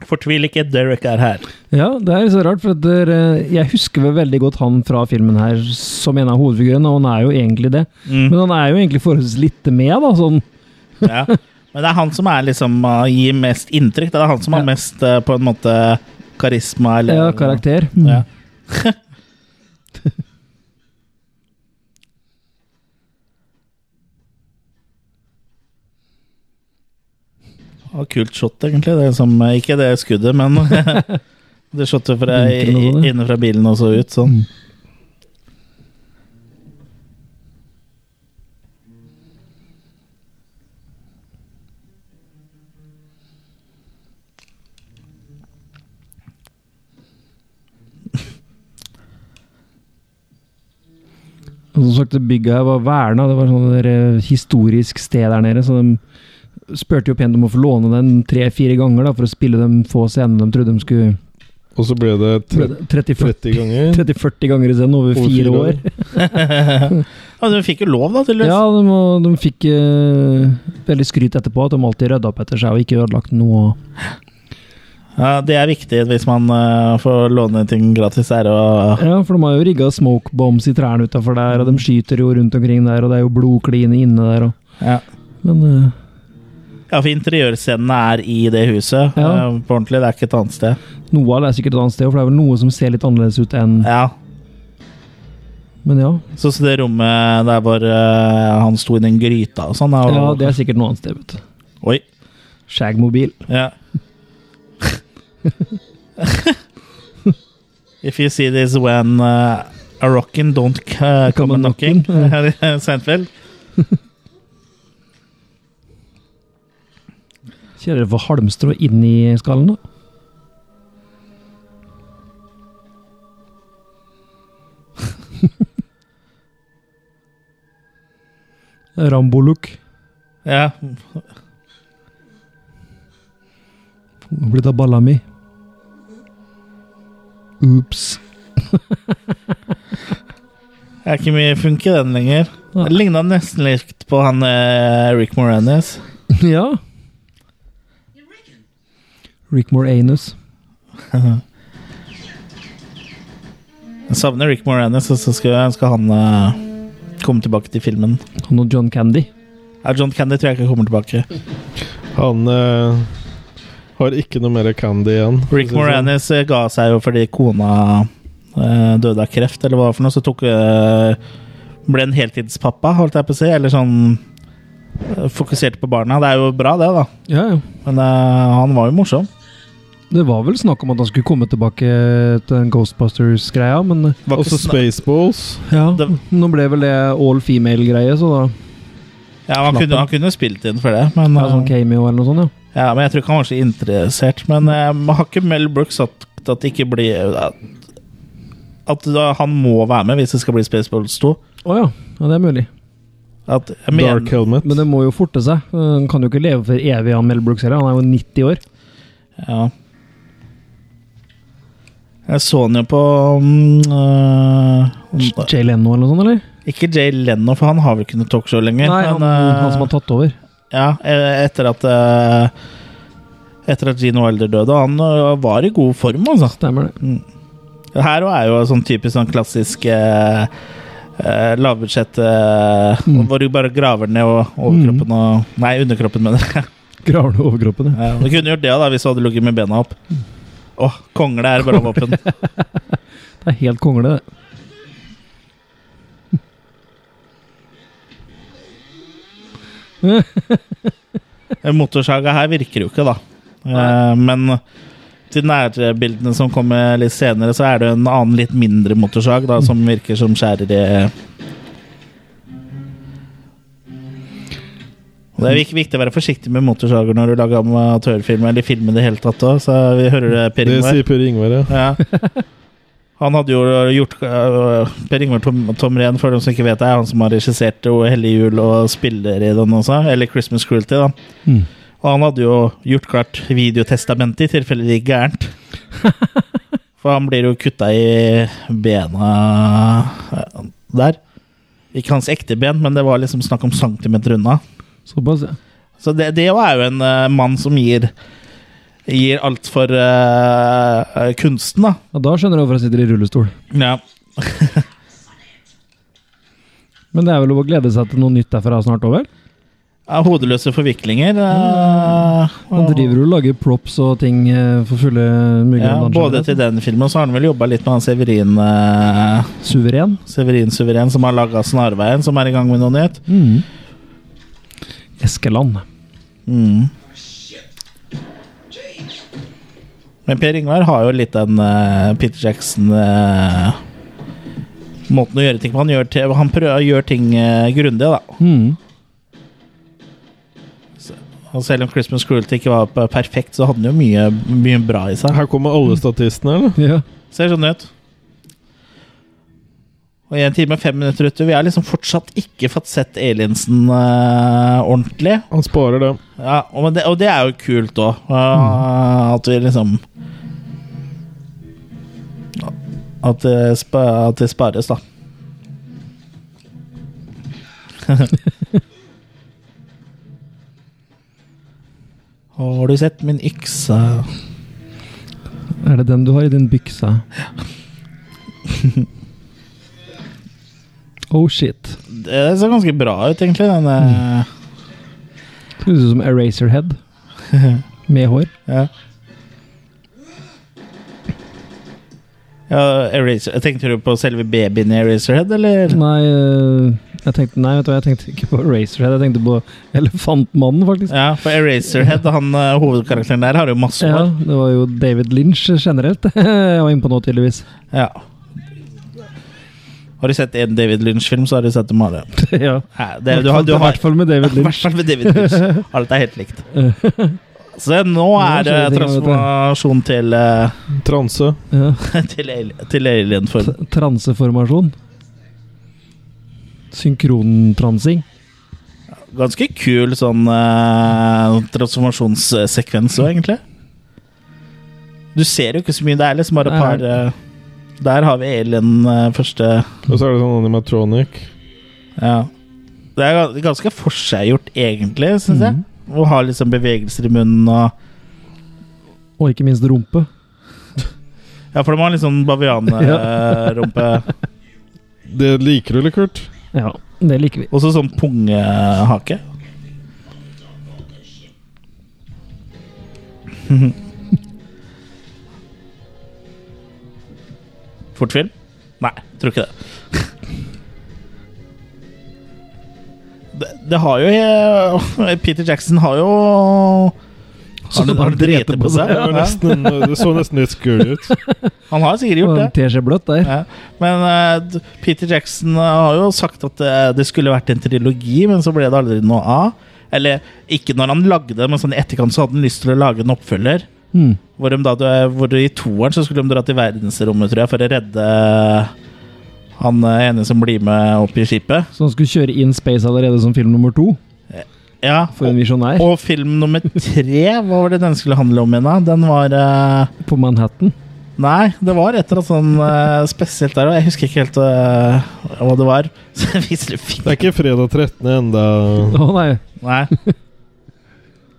Speaker 1: Fortvil ikke, Derek er her.
Speaker 3: Ja, det er så rart, for at dere- jeg husker vel veldig godt han fra filmen her som en av hovedfigurene, og han er jo egentlig det. Men han er jo egentlig forholdsvis lite med, da. Sånn.
Speaker 1: Mm. Ja. Men det er han som er liksom, uh, gir mest inntrykk. Det er han som har
Speaker 3: Ja.
Speaker 1: mest uh, på en måte karisma. Eller,
Speaker 3: Ja, karakter. Mm.
Speaker 1: Ja. (laughs) Ja, kult shot, egentlig. Det er som, eh, ikke det skuddet, men (laughs) det shotet fra,
Speaker 3: Vinkelen og sånn, ja.
Speaker 1: inne fra bilen og så ut. Sånn.
Speaker 3: Og Som sagt, det bygget her var verna. Det var sånn der eh, historisk sted der nede. Så de spurte jo pent om å få låne den tre-fire ganger da, for å spille de få scenene de trodde de skulle
Speaker 2: Og så ble det tre-
Speaker 3: 30-40
Speaker 2: 30 ganger.
Speaker 3: 30-40 ganger isteden, over
Speaker 2: Over
Speaker 3: fire
Speaker 2: fire
Speaker 3: år.
Speaker 1: (laughs) Ja, du fikk jo lov, da, tydeligvis.
Speaker 3: Mm. Ja, de, må- de fikk eh, veldig skryt etterpå at de alltid rydda opp etter seg og ikke ødelagt noe.
Speaker 1: Ja, det er viktig hvis man eh, får låne ting gratis. Er å
Speaker 3: Ja, for de har jo rigga smoke bombs i trærne utafor der, og de skyter jo rundt omkring der, og det er jo blodkline inne der og
Speaker 1: ja.
Speaker 3: Men eh,
Speaker 1: ja, for interiørscenene er i det huset.
Speaker 3: Ja.
Speaker 1: eh, På ordentlig, det er ikke et annet sted.
Speaker 3: noe av det er sikkert et annet sted, for det er vel noe som ser litt annerledes ut enn
Speaker 1: Ja,
Speaker 3: Men ja.
Speaker 1: Så, så det rommet der hvor eh, han sto i den gryta og sånn er jo-
Speaker 3: Ja, det er sikkert noe annet sted, vet du.
Speaker 1: Oi.
Speaker 3: Shagmobil.
Speaker 1: Ja. If you see this when eh, a rockin' don't eh, come a knocking, (laughs) Seinfeld.
Speaker 3: Kjører for halmstrå inn i skallen, da. (laughs) Rambo-look.
Speaker 1: Ja.
Speaker 3: Blitt av balla mi. Ops.
Speaker 1: Det er ikke mye funk i den lenger.
Speaker 3: Nei.
Speaker 1: Det ligna nesten litt på han eh, Rick Moranis.
Speaker 3: (laughs) Ja. Rick Moranus.
Speaker 1: Jeg savner Rick Moranis, og så skulle jeg ønske han eh, kom tilbake til filmen.
Speaker 3: Han og John Candy.
Speaker 1: Ja, John Candy tror jeg ikke kommer tilbake.
Speaker 2: Han eh, har ikke noe mer candy igjen.
Speaker 1: Rick Moranis eh, ga seg jo fordi kona eh, døde av kreft, eller hva det var for noe. Så tok eh, Ble en heltidspappa, holdt jeg på å si. Eller sånn eh, Fokuserte på barna. Det er jo bra, det, da.
Speaker 3: Ja, ja.
Speaker 1: Men eh, han var jo morsom.
Speaker 3: Det var vel snakk om at han skulle komme tilbake til den Ghostbusters-greia, men eh,
Speaker 1: Var
Speaker 2: Og
Speaker 1: ikke
Speaker 2: så
Speaker 1: sna-
Speaker 2: sånn. Spaceballs.
Speaker 3: ja,
Speaker 1: Det-
Speaker 3: nå ble vel det all female-greie, så da
Speaker 1: ja, han, kunne, han kunne spilt inn for det, men,
Speaker 3: ja, Sånn
Speaker 1: eh,
Speaker 3: cameo eller noe sånt, ja.
Speaker 1: ja, men jeg tror ikke han var så interessert. Men eh, man har ikke Mel Brooks sagt at det ikke blir at, at da, han må være med hvis det skal bli Spaceballs 2?
Speaker 3: Å ja. ja, det er mulig.
Speaker 1: At, jeg mener,
Speaker 2: Dark Helmet.
Speaker 3: Men det må jo forte seg. Eh, Han kan jo ikke leve for evig, han Mel Brooks heller. Han er jo 90 år.
Speaker 1: Ja. Jeg så han jo på mm, øh,
Speaker 3: Jay Leno eller noe sånt, eller?
Speaker 1: Ikke Jay Leno, for han har vel ikke noe talkshow lenger.
Speaker 3: Nei, han,
Speaker 1: øh,
Speaker 3: han som har tatt over.
Speaker 1: ja, e- etter at øh, Etter at Gino Elder døde. Og han øh, var i god form, altså.
Speaker 3: Stemmer det.
Speaker 1: Det her også er jo sånn typisk sånn klassisk eh, eh, lavbudsjett eh,
Speaker 3: Mm.
Speaker 1: hvor du bare graver ned og overkroppen og Nei, underkroppen, mener jeg. (laughs)
Speaker 3: Graver du overkroppen, ja.
Speaker 1: Ja, Du kunne gjort det da, hvis du hadde ligget med bena opp.
Speaker 3: Mm.
Speaker 1: Åh, kongle er bra våpen.
Speaker 3: Det er helt kongle, det.
Speaker 1: (laughs) Motorsaga her virker jo ikke, da. Eh, men til nærbildene som kommer litt senere, så er det en annen, litt mindre motorsag da, som virker som skjærer i Og Det er vik- viktig å være forsiktig med motorsager når du lager amatørfilm eller film i det hele tatt òg, så vi hører det, Per
Speaker 2: Det
Speaker 1: Ingvar.
Speaker 2: sier Per Ingvar, ja.
Speaker 1: Ja. Han hadde jo gjort øh, Per Ingvar Tom, Tomren, for dem som ikke vet det, er han som har regissert O hellig jul og spiller i den også, eller Christmas Cruelty, da.
Speaker 3: Mm.
Speaker 1: Og han hadde jo gjort klart videotestamentet, i tilfelle det gikk gærent. For han blir jo kutta i bena øh, der. Ikke hans ekte ben, men det var liksom snakk om centimeter unna.
Speaker 3: Såpass, ja.
Speaker 1: Så det, det jo er jo en eh, mann som gir Gir alt for eh, kunsten, da.
Speaker 3: ja. Da skjønner du hvorfor jeg sitter i rullestol.
Speaker 1: Ja.
Speaker 3: Men det er vel å glede seg til noe nytt derfra snart over?
Speaker 1: Hodeløse forviklinger. eh,
Speaker 3: Han
Speaker 1: og-
Speaker 3: driver og lager props og ting eh, for fulle mugger.
Speaker 1: ja,
Speaker 3: om dagen,
Speaker 1: både
Speaker 3: vet du.
Speaker 1: til den filmen, og så har han vel jobba litt med han Severin eh,
Speaker 3: Suveren.
Speaker 1: Severin Suveren, som har laga Snarveien, som er i gang med noe nytt.
Speaker 3: Mm. Eskeland.
Speaker 1: Mm. Men Per Ingvar har jo litt den eh, Peter Jackson eh, Måten å gjøre ting på. Han gjør, til, han prøver, gjør ting uh, grundig, da.
Speaker 3: Mm.
Speaker 1: Og selv om Christmas Cruelty ikke var p- perfekt, så hadde den jo mye, mye bra i seg.
Speaker 2: Her kommer alle statistene, eller?
Speaker 3: Ja.
Speaker 1: Ser sånn ut. Og i en time og fem minutter ute. Vi har liksom fortsatt ikke fått sett Aliensen eh, ordentlig.
Speaker 2: Han sparer det.
Speaker 1: Ja, og, men det, og det er jo kult òg. At vi liksom At det, spa, at det spares, da. (laughs) Har du sett min ykse?
Speaker 3: Er det den du har i din bykse? oh shit.
Speaker 1: Det ser ganske bra ut, egentlig. Den, eh,
Speaker 3: Det Høres ut som Eraserhead. Med hår.
Speaker 1: ja. Ja, Eraser. Jeg Tenkte du på selve babyen i Eraserhead, eller?
Speaker 3: Nei, eh, jeg tenkte, nei, vet du hva, jeg tenkte ikke på Eraserhead. Jeg tenkte på Elefantmannen, faktisk.
Speaker 1: Ja, for Eraserhead, han eh, hovedkarakteren der, har jo masse
Speaker 3: Ja,
Speaker 1: hår.
Speaker 3: Det var jo David Lynch generelt (laughs) jeg var inne på nå, tydeligvis.
Speaker 1: Ja. Har du sett en David Lynch-film, så har du sett dem alle.
Speaker 3: (laughs) ja.
Speaker 1: Nei, det, du har, du
Speaker 3: I
Speaker 1: har,
Speaker 3: hvert fall med David
Speaker 1: (laughs) I hvert
Speaker 3: Lynch.
Speaker 1: fall med David Lynch. Alt er helt likt. Så nå er det
Speaker 3: skjer det ting, vet du.
Speaker 1: transformasjon til, eh, (laughs)
Speaker 2: Transe.
Speaker 3: Ja.
Speaker 1: til, al- til alien-form.
Speaker 3: T- Transeformasjon. Synkrontransing.
Speaker 1: Ganske kul sånn eh, transformasjonssekvens òg, egentlig. Du ser jo ikke så mye. Det er liksom bare et par eh, Der har vi alien eh, første
Speaker 2: Og så er det sånn animatronic.
Speaker 1: Ja. Det er ga- ganske forseggjort, egentlig, syns jeg. Å ha liksom bevegelser i munnen og
Speaker 3: Og ikke minst rumpe.
Speaker 1: Ja, for de har litt sånn (laughs) bavianrumpe.
Speaker 2: Det liker du, eller, Kurt?
Speaker 3: Ja, det liker vi.
Speaker 1: Og så sånn (laughs) pungehake. Fortfilm? Nei, tror ikke det. Det, det har jo (laughs) Peter Jackson har jo
Speaker 3: Så
Speaker 1: Har
Speaker 3: du
Speaker 1: han
Speaker 3: bare
Speaker 1: drete
Speaker 3: dreper
Speaker 1: på
Speaker 3: på
Speaker 1: seg?
Speaker 2: Det, var
Speaker 1: Ja.
Speaker 2: nesten, det så nesten litt skummelt ut.
Speaker 1: Han har sikkert gjort det.
Speaker 3: Ter seg bløtt der.
Speaker 1: Ja. Men eh, d- Peter Jackson eh, har jo sagt at eh, det skulle vært en trilogi, men så ble det aldri noe av. Eller ikke når han lagde det, men sånn i etterkant så hadde han lyst til å lage en oppfølger.
Speaker 3: Mm.
Speaker 1: Hvor, de da, eh, hvor de i toeren så skulle de dra til verdensrommet, tror jeg, for å redde han eh, ene som blir med opp i skipet.
Speaker 3: Så han skulle kjøre In Space allerede som film nummer to?
Speaker 1: Ja,
Speaker 3: For en
Speaker 1: og,
Speaker 3: visjonær.
Speaker 1: og film nummer tre, hva var det den skulle handle om igjen? da? Den var eh,
Speaker 3: På Manhattan.
Speaker 1: Nei, det var et eller annet sånn eh, spesielt der, og jeg husker ikke helt eh, hva det var. (laughs) Så jeg viser det fint.
Speaker 2: Det er ikke fredag 13. enda
Speaker 3: Å nei,
Speaker 1: Nei.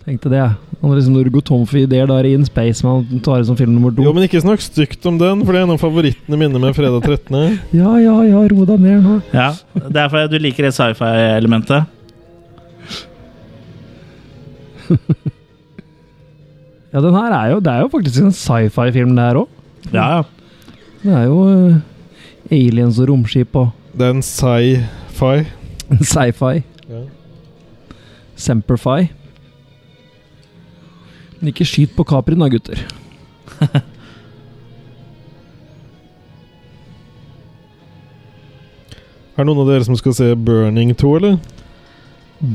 Speaker 3: tenkte det. jeg. Han er liksom når du går tom for ideer, da er det In Space men han tar det som film nummer
Speaker 2: Jo,
Speaker 3: to.
Speaker 2: men ikke snakk stygt om den, for det er en av favorittene mine med fredag 13.
Speaker 3: Ja, ja, ja, ro deg ned nå.
Speaker 1: Ja, det er fordi du liker det sci-fi-elementet.
Speaker 3: Ja, den her er jo, det er jo faktisk en sci-fi-film, det her òg.
Speaker 1: Ja, ja.
Speaker 3: Det er jo eh, aliens og romskip og (laughs)
Speaker 2: Det er en sci-fi.
Speaker 3: sci-fi.
Speaker 2: Ja.
Speaker 3: Semperfi. Men ikke skyt på Caprin da, gutter.
Speaker 2: Er det noen av dere som skal se Burning 2, eller?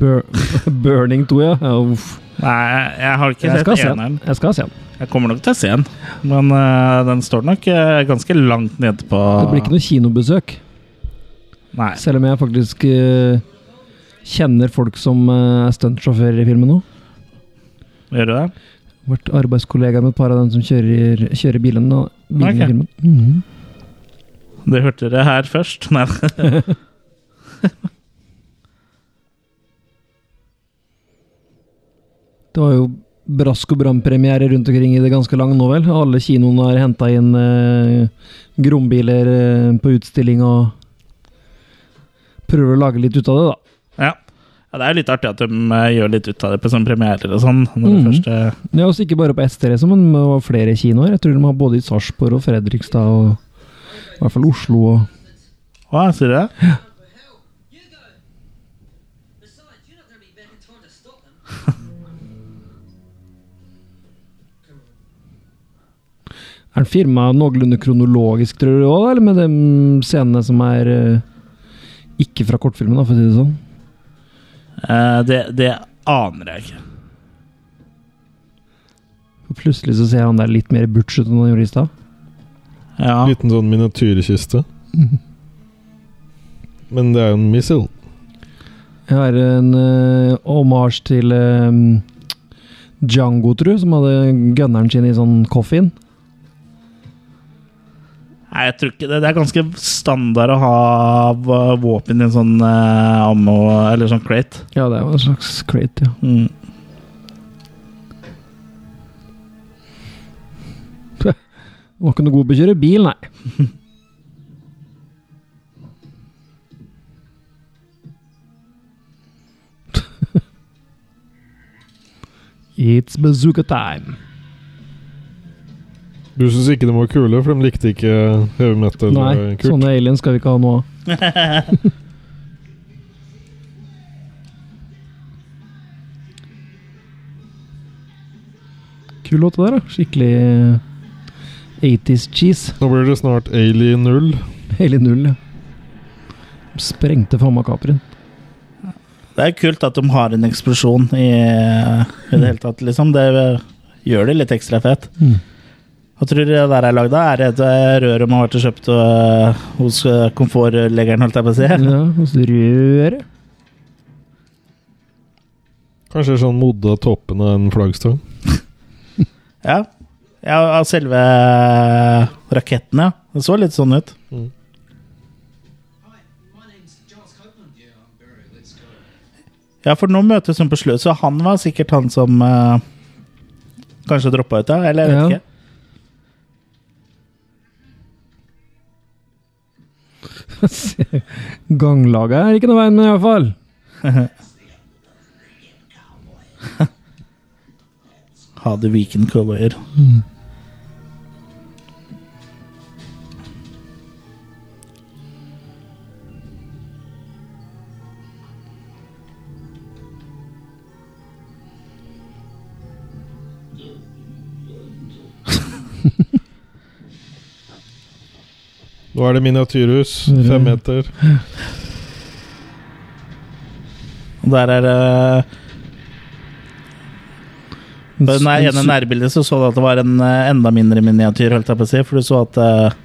Speaker 3: Bur (laughs) Burning 2, ja. ja. Uff.
Speaker 1: Nei, jeg har ikke
Speaker 3: Jeg skal
Speaker 1: sett
Speaker 3: se
Speaker 1: eneren.
Speaker 3: den. Jeg skal se den.
Speaker 1: Jeg kommer nok til å se den, men eh, den står nok eh, ganske langt nede på
Speaker 3: Det blir ikke noe kinobesøk.
Speaker 1: Nei.
Speaker 3: Selv om jeg faktisk eh, kjenner folk som eh, er stuntsjåfører i filmen nå.
Speaker 1: Gjør du det?
Speaker 3: Vært arbeidskollega med et par av dem som kjører, kjører bilen. da. bilen
Speaker 1: Ok.
Speaker 3: i filmen. Mhm.
Speaker 1: Det hørte dere her først. (laughs) Nei.
Speaker 3: Det var jo brask og bram-premiere rundt omkring i det ganske lange nå, vel. Alle kinoene har henta inn eh, grombiler eh, på utstilling og prøver å lage litt ut av det, da.
Speaker 1: Ja. ja, det er litt artig at de eh, gjør litt ut av det på sånne premierer og sånn. Når det
Speaker 3: Mhm.
Speaker 1: først, eh,
Speaker 3: Ja, også ikke bare på ett sted, liksom, men det var flere kinoer. Jeg tror de har både i Sarpsborg og Fredrikstad og i hvert fall Oslo og
Speaker 1: Hva, sier du det?
Speaker 4: Besides, you're not going to be back in time to stop them.
Speaker 3: Er den firma noenlunde kronologisk, tror du òg, eller med de scenene som er eh, ikke fra kortfilmen, da, for å si det sånn?
Speaker 1: Eh, det? Det aner jeg ikke.
Speaker 3: For plutselig så ser han der litt mer butchet enn han gjorde i stad.
Speaker 1: Ja.
Speaker 2: Liten sånn
Speaker 1: (laughs)
Speaker 2: miniatyrkiste. Men det er jo en missile.
Speaker 3: Jeg har en uh, omasj til eh, Django, tror jeg, som hadde gunneren sin i sånn coffin.
Speaker 1: Nei, jeg tror ikke det. Det er ganske standard å ha v- våpen i en sånn eh, ammo Eller sånn crate.
Speaker 3: Ja, det var en slags crate, ja.
Speaker 1: Mm.
Speaker 3: Var ikke noe god på å kjøre bil, nei. (laughs) It's bazooka time.
Speaker 2: Du syns ikke de var kule, for de likte ikke heavy metal?
Speaker 3: Nei,
Speaker 2: eh,
Speaker 1: sånn
Speaker 2: kult.
Speaker 3: sånne aliens skal vi ikke ha nå. Kul låt det der, da. Skikkelig eh, 80s cheese. (laughs)
Speaker 2: Nå blir det snart Alien 0.
Speaker 3: Hele null, ja. Sprengte faen meg kaperen.
Speaker 1: Det er kult at de har en eksplosjon i, i det hele tatt, liksom. Det gjør det litt ekstra fett.
Speaker 3: Mm.
Speaker 1: Hva tror du det der er lagd av? Er det et eh, rør de har vært og kjøpt øh, hos øh, komfortleggeren, holdt jeg på å si?
Speaker 3: Ja, hos røret.
Speaker 2: Kanskje sånn modda toppen av en flaggstang.
Speaker 1: Ja. ja av selve eh, raketten, ja. Det så litt sånn ut.
Speaker 3: Mm.
Speaker 6: Hi, my name's Giles Copeland. Yeah, I'm Barry. Let's go.
Speaker 1: Ja, for nå møtes hun på slutt, så han var sikkert han som øh, kanskje droppa ut, da. Eller jeg vet
Speaker 3: Ja.
Speaker 1: ikke.
Speaker 3: (laughs) Ganglaget er ikke noe veien med, iallfall.
Speaker 1: Ha det weekend cowboyer.
Speaker 2: Nå er det miniatyrhus. Fem meter.
Speaker 1: Og der er øh, På det
Speaker 3: En
Speaker 1: ene
Speaker 3: su-
Speaker 1: nærbildet så, så du at det var en eh, enda mindre miniatyr, holdt jeg på å si, for du så at eh,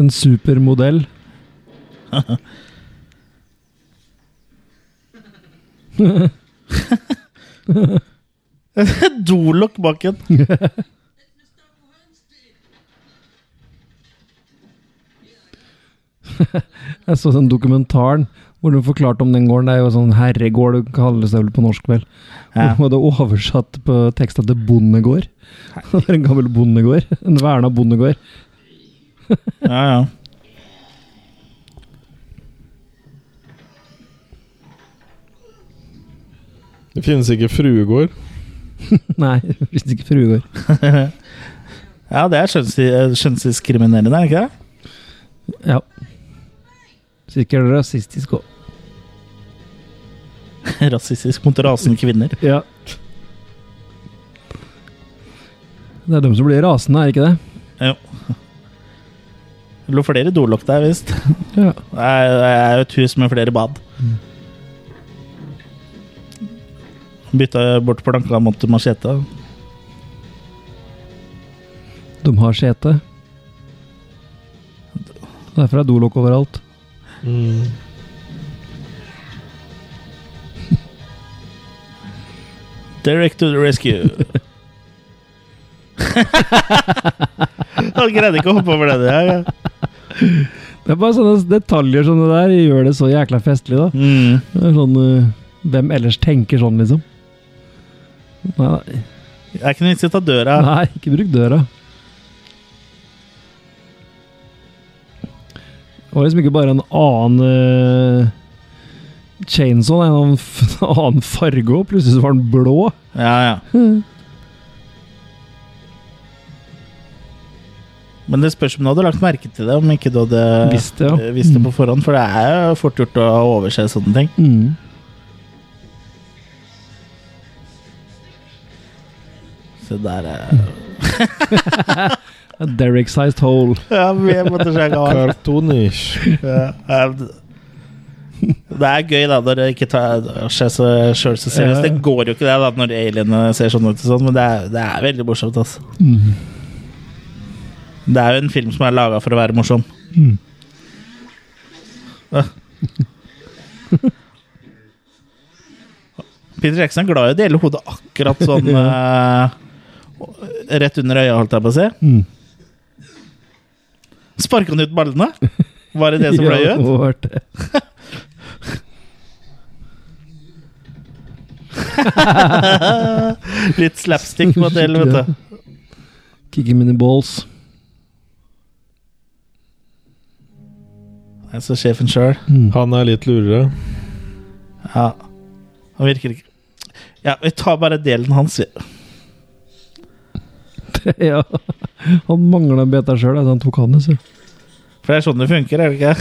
Speaker 3: En supermodell.
Speaker 1: Dolok baken.
Speaker 3: Jeg så den dokumentaren hvor de forklarte om den gården. Det er jo sånn herregård, det kalles det vel på norsk, vel.
Speaker 1: Ja.
Speaker 3: (laughs) Og det er oversatt på teksta til bondegård. (laughs) Det er en gammel bondegård. En verna bondegård.
Speaker 1: Ja, ja.
Speaker 2: Det finnes ikke fruegård.
Speaker 3: Nei, (laughs) hvis ikke fruegård.
Speaker 1: (laughs) ja, det er skjønns- eh, skjønnsdiskriminerende, er det ikke det?
Speaker 3: Ja. Sikkert rasistisk òg.
Speaker 1: (laughs) Rasistisk mot rasen kvinner.
Speaker 3: Ja. Det er dem som blir rasende, er ikke det?
Speaker 1: Jo. Det lå flere dolokk der, visst.
Speaker 3: Ja.
Speaker 1: Det er det er jo et hus med flere bad. Bytta bort planka mot machete.
Speaker 3: De har sete. Derfor er dolokk overalt.
Speaker 1: Derek to the rescue. Han greide ikke å hoppe over den. Ja, ja.
Speaker 3: Det er bare sånne detaljer som det der gjør det så jækla festlig, da.
Speaker 1: Mm.
Speaker 3: Det er sånn, eh, hvem ellers tenker sånn, liksom? Nei,
Speaker 1: Det er ikke noe vits i å ta døra.
Speaker 3: nei, ikke bruk døra. Det var liksom ikke bare en annen eh, chainsaw, det er en annen, f- (laughs) annen farge òg. Plutselig så var den blå.
Speaker 1: Ja, ja. Men det spørs om du hadde lagt merke til det, om ikke du hadde
Speaker 3: Visst det, ja.
Speaker 1: eh, visst det på forhånd. For det er jo fort gjort å overse sånne ting.
Speaker 3: Mm.
Speaker 1: Så der er
Speaker 3: A Derrick-sized hole.
Speaker 1: Ja, vi måtte sjekke av.
Speaker 2: Cartoonish.
Speaker 1: Ja, ja, det- Det er gøy, da, når det ikke tar seg så sjøl så seriøst. Det går jo ikke, det, da, når alienene ser sånn ut, og sånn, men det er, det er veldig morsomt. Altså. Det er jo en film som er laga for å være morsom. Ja. (laughs) Peter Jackson er glad i å dele hodet akkurat sånn eh, Rett under øya, holdt jeg på å si.
Speaker 3: Mm.
Speaker 1: Sparka han ut ballene? Var det det som ble
Speaker 3: Ja,
Speaker 1: gjort?
Speaker 3: hva var det?
Speaker 1: (laughs) Litt slapstick på det, vet du.
Speaker 3: Kick him in the balls.
Speaker 1: Jeg så sjefen sjøl.
Speaker 3: Mm.
Speaker 2: Han er litt lurere.
Speaker 1: Ja. Han virker ikke Ja, vi tar bare delen hans, vi.
Speaker 3: (laughs) ja. Han mangla en beta sjøl, han tok han, altså. så.
Speaker 1: For det er sånn det funker, er det ikke?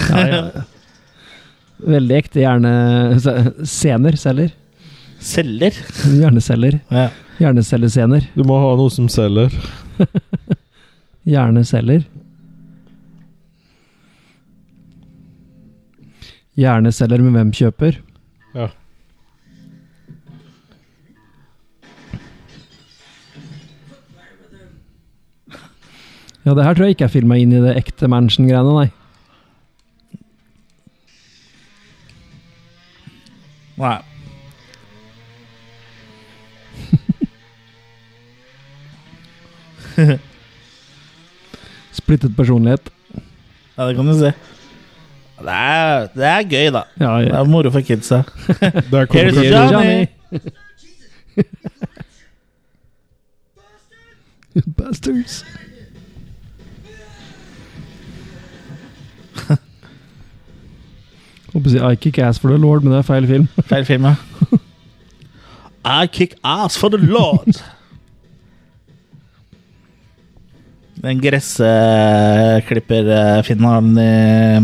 Speaker 1: (laughs)
Speaker 3: Veldig ekte hjerne... se- Scener, celler.
Speaker 1: Celler.
Speaker 3: Hjerneceller.
Speaker 1: Ja.
Speaker 3: Hjernecellescener.
Speaker 2: Du må ha noe som selger.
Speaker 3: Hjerneceller. Hjerneceller med hvem kjøper?
Speaker 2: Ja.
Speaker 3: Ja, det her tror jeg ikke er filma inn i det ekte Mansion-greiene, nei.
Speaker 1: Nei.
Speaker 3: Splittet personlighet.
Speaker 1: Ja, det kan du si. Det er, det er gøy, da.
Speaker 3: Ja,
Speaker 1: Det
Speaker 3: ja.
Speaker 1: er moro for kidsa.
Speaker 2: Der kommer
Speaker 1: Here's
Speaker 2: det
Speaker 3: Johnny.
Speaker 1: Johnny!
Speaker 3: (laughs) Bastards. Håper å si I kick ass for the lord, men det er feil film.
Speaker 1: Feil film, ja. (laughs) I kick ass for the lord! Den gressklipperfinneren i,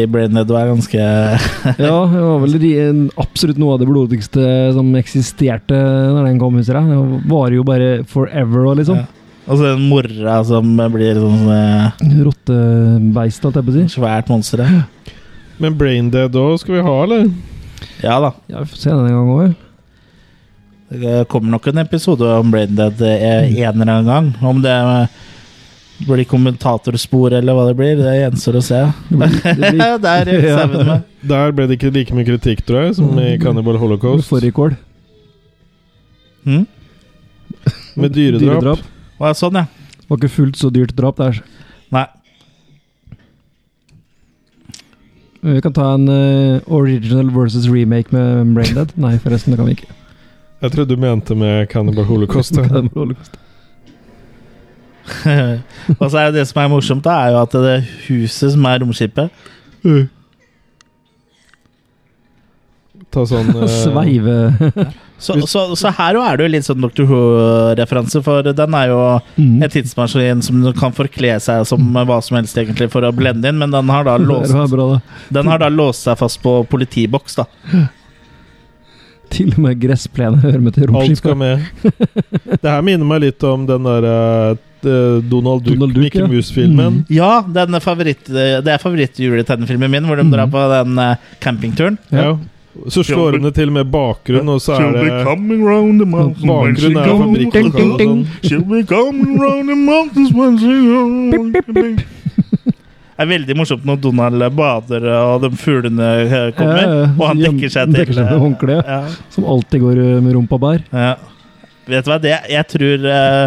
Speaker 1: i Brain Dead var ganske
Speaker 3: Ja, det var vel de, absolutt noe av det blodigste som eksisterte når den kom, husker jeg. Det varer jo bare forever og liksom.
Speaker 1: Ja. Og så den mora som blir sånn eh,
Speaker 3: Rottebeist, holdt jeg på å si.
Speaker 1: svært monster. ja.
Speaker 2: Men Braindead òg skal vi ha, eller?
Speaker 1: Ja da.
Speaker 3: Ja, vi får se den en gang òg.
Speaker 1: Det kommer nok en episode om Brain Dead eh, en eller annen gang. Om det eh, blir kommentatorspor eller hva det blir, det gjenstår å se. (laughs) Der er vi sammen med.
Speaker 2: Der ble det ikke like mye kritikk, tror jeg, som i Cannibal Holocaust.
Speaker 3: Fårikål.
Speaker 1: Hm?
Speaker 2: Med dyredrap.
Speaker 3: Dyredrap.
Speaker 1: Å, ja, sånn, ja.
Speaker 3: Var ikke fullt så dyrt drap der.
Speaker 1: Nei. (laughs)
Speaker 3: Vi kan ta en eh, original versus remake med Braindead. (laughs) Nei, forresten, det kan vi ikke.
Speaker 2: Jeg trodde du mente med Cannibal
Speaker 3: (laughs)
Speaker 2: Holocaust.
Speaker 3: Det
Speaker 2: ja.
Speaker 3: må holde kost.
Speaker 1: Og så er jo det som er morsomt, da, er jo at det huset som er romskipet
Speaker 2: Ta sånn eh,
Speaker 3: (laughs) Sveive (laughs)
Speaker 1: Så, så, så her jo er det jo litt sånn Dr. Who-referanse, for den er jo
Speaker 3: Mm.
Speaker 1: en tidsmaskin som du kan forkle seg som hva som helst egentlig for å blende inn, men den har da
Speaker 3: (laughs) Det
Speaker 1: låst,
Speaker 3: var bra, da.
Speaker 1: den har da låst seg fast på politiboks, da.
Speaker 3: Til og med gressplenen hører med til
Speaker 2: Alt skal
Speaker 3: romskipet.
Speaker 2: med. Det her minner meg litt om den der eh, eh, Donald Duck,
Speaker 3: Donald Duck,
Speaker 2: Mickey
Speaker 3: ja.
Speaker 2: Mouse-filmen.
Speaker 1: Ja, den er favoritt, det er favorittjuletennefilmen min, hvor de drar på den eh, campingturen.
Speaker 2: Ja. Så slår hun det til med bakgrunn, og så er det
Speaker 5: coming round the mountains when she
Speaker 2: Bakgrunnen er
Speaker 5: goes.
Speaker 2: fabrikklokale og sånn.
Speaker 5: She'll be coming round the mountains when she goes.
Speaker 1: Det er veldig morsomt når Donald bader, og de fuglene eh, kommer,
Speaker 3: Ja, ja.
Speaker 1: og han
Speaker 3: Gjem-
Speaker 1: dekker seg til. eh,
Speaker 3: dekker seg med håndkle,
Speaker 1: ja.
Speaker 3: Som alltid går eh, med rumpa bær.
Speaker 1: Ja. Vet du hva, det, jeg tror eh,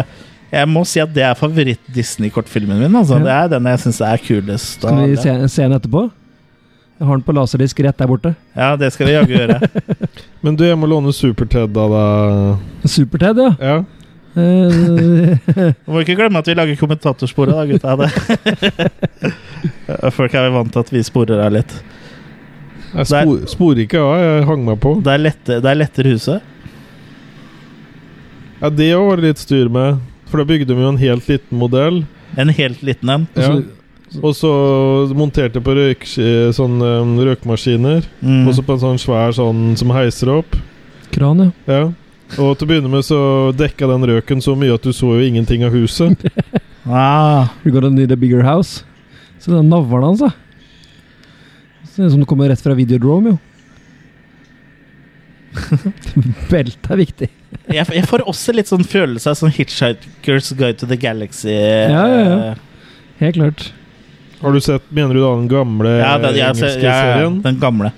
Speaker 1: Jeg må si at det er favoritt-Disney-kortfilmen min. Altså.
Speaker 3: Ja.
Speaker 1: Det er den jeg syns er kulest. av
Speaker 3: Skal vi
Speaker 1: alle.
Speaker 3: se, se den etterpå? Jeg har den på laserdisk rett der borte.
Speaker 1: Ja, det skal vi jaggu gjøre.
Speaker 2: Men du, jeg må låne Super-Ted av deg.
Speaker 3: Super-Ted, ja.
Speaker 2: Ja.
Speaker 3: Eh,
Speaker 1: Vi Må ikke glemme at vi lager kommentatorsporet, da, gutta. Det. (laughs) Folk er jo vant til at vi sporer av litt.
Speaker 2: Jeg spor, sporer ikke av. Jeg hang meg på.
Speaker 1: Det er, lette, det er lettere huset.
Speaker 2: Ja, Det òg var det litt styr med. For da bygde de jo en helt liten modell.
Speaker 1: En helt liten en.
Speaker 2: (laughs) Ja. Og så monterte på røyk, sånn, eh, røykmaskiner.
Speaker 1: Mm.
Speaker 2: Og så på en sånn svær sånn som heiser opp.
Speaker 3: kran, ja.
Speaker 2: Ja. Og til å begynne med så dekka den røken så mye at du så jo ingenting av
Speaker 1: (laughs)
Speaker 2: huset.
Speaker 1: Ah,
Speaker 3: You gotta need a bigger house. Så den navlen hans, da. Ser ut som det kommer rett fra Videodrome, jo. (laughs) Belte er viktig.
Speaker 1: jeg, jeg får også litt sånn følelse av sånn Hitchhiker's Guide to the Galaxy. eh,
Speaker 3: Ja, ja, ja. Helt klart.
Speaker 2: Har du sett, Mener du da den gamle
Speaker 1: Ja, den, jeg,
Speaker 2: engelske
Speaker 1: ja, ja,
Speaker 2: serien?
Speaker 1: den gamle.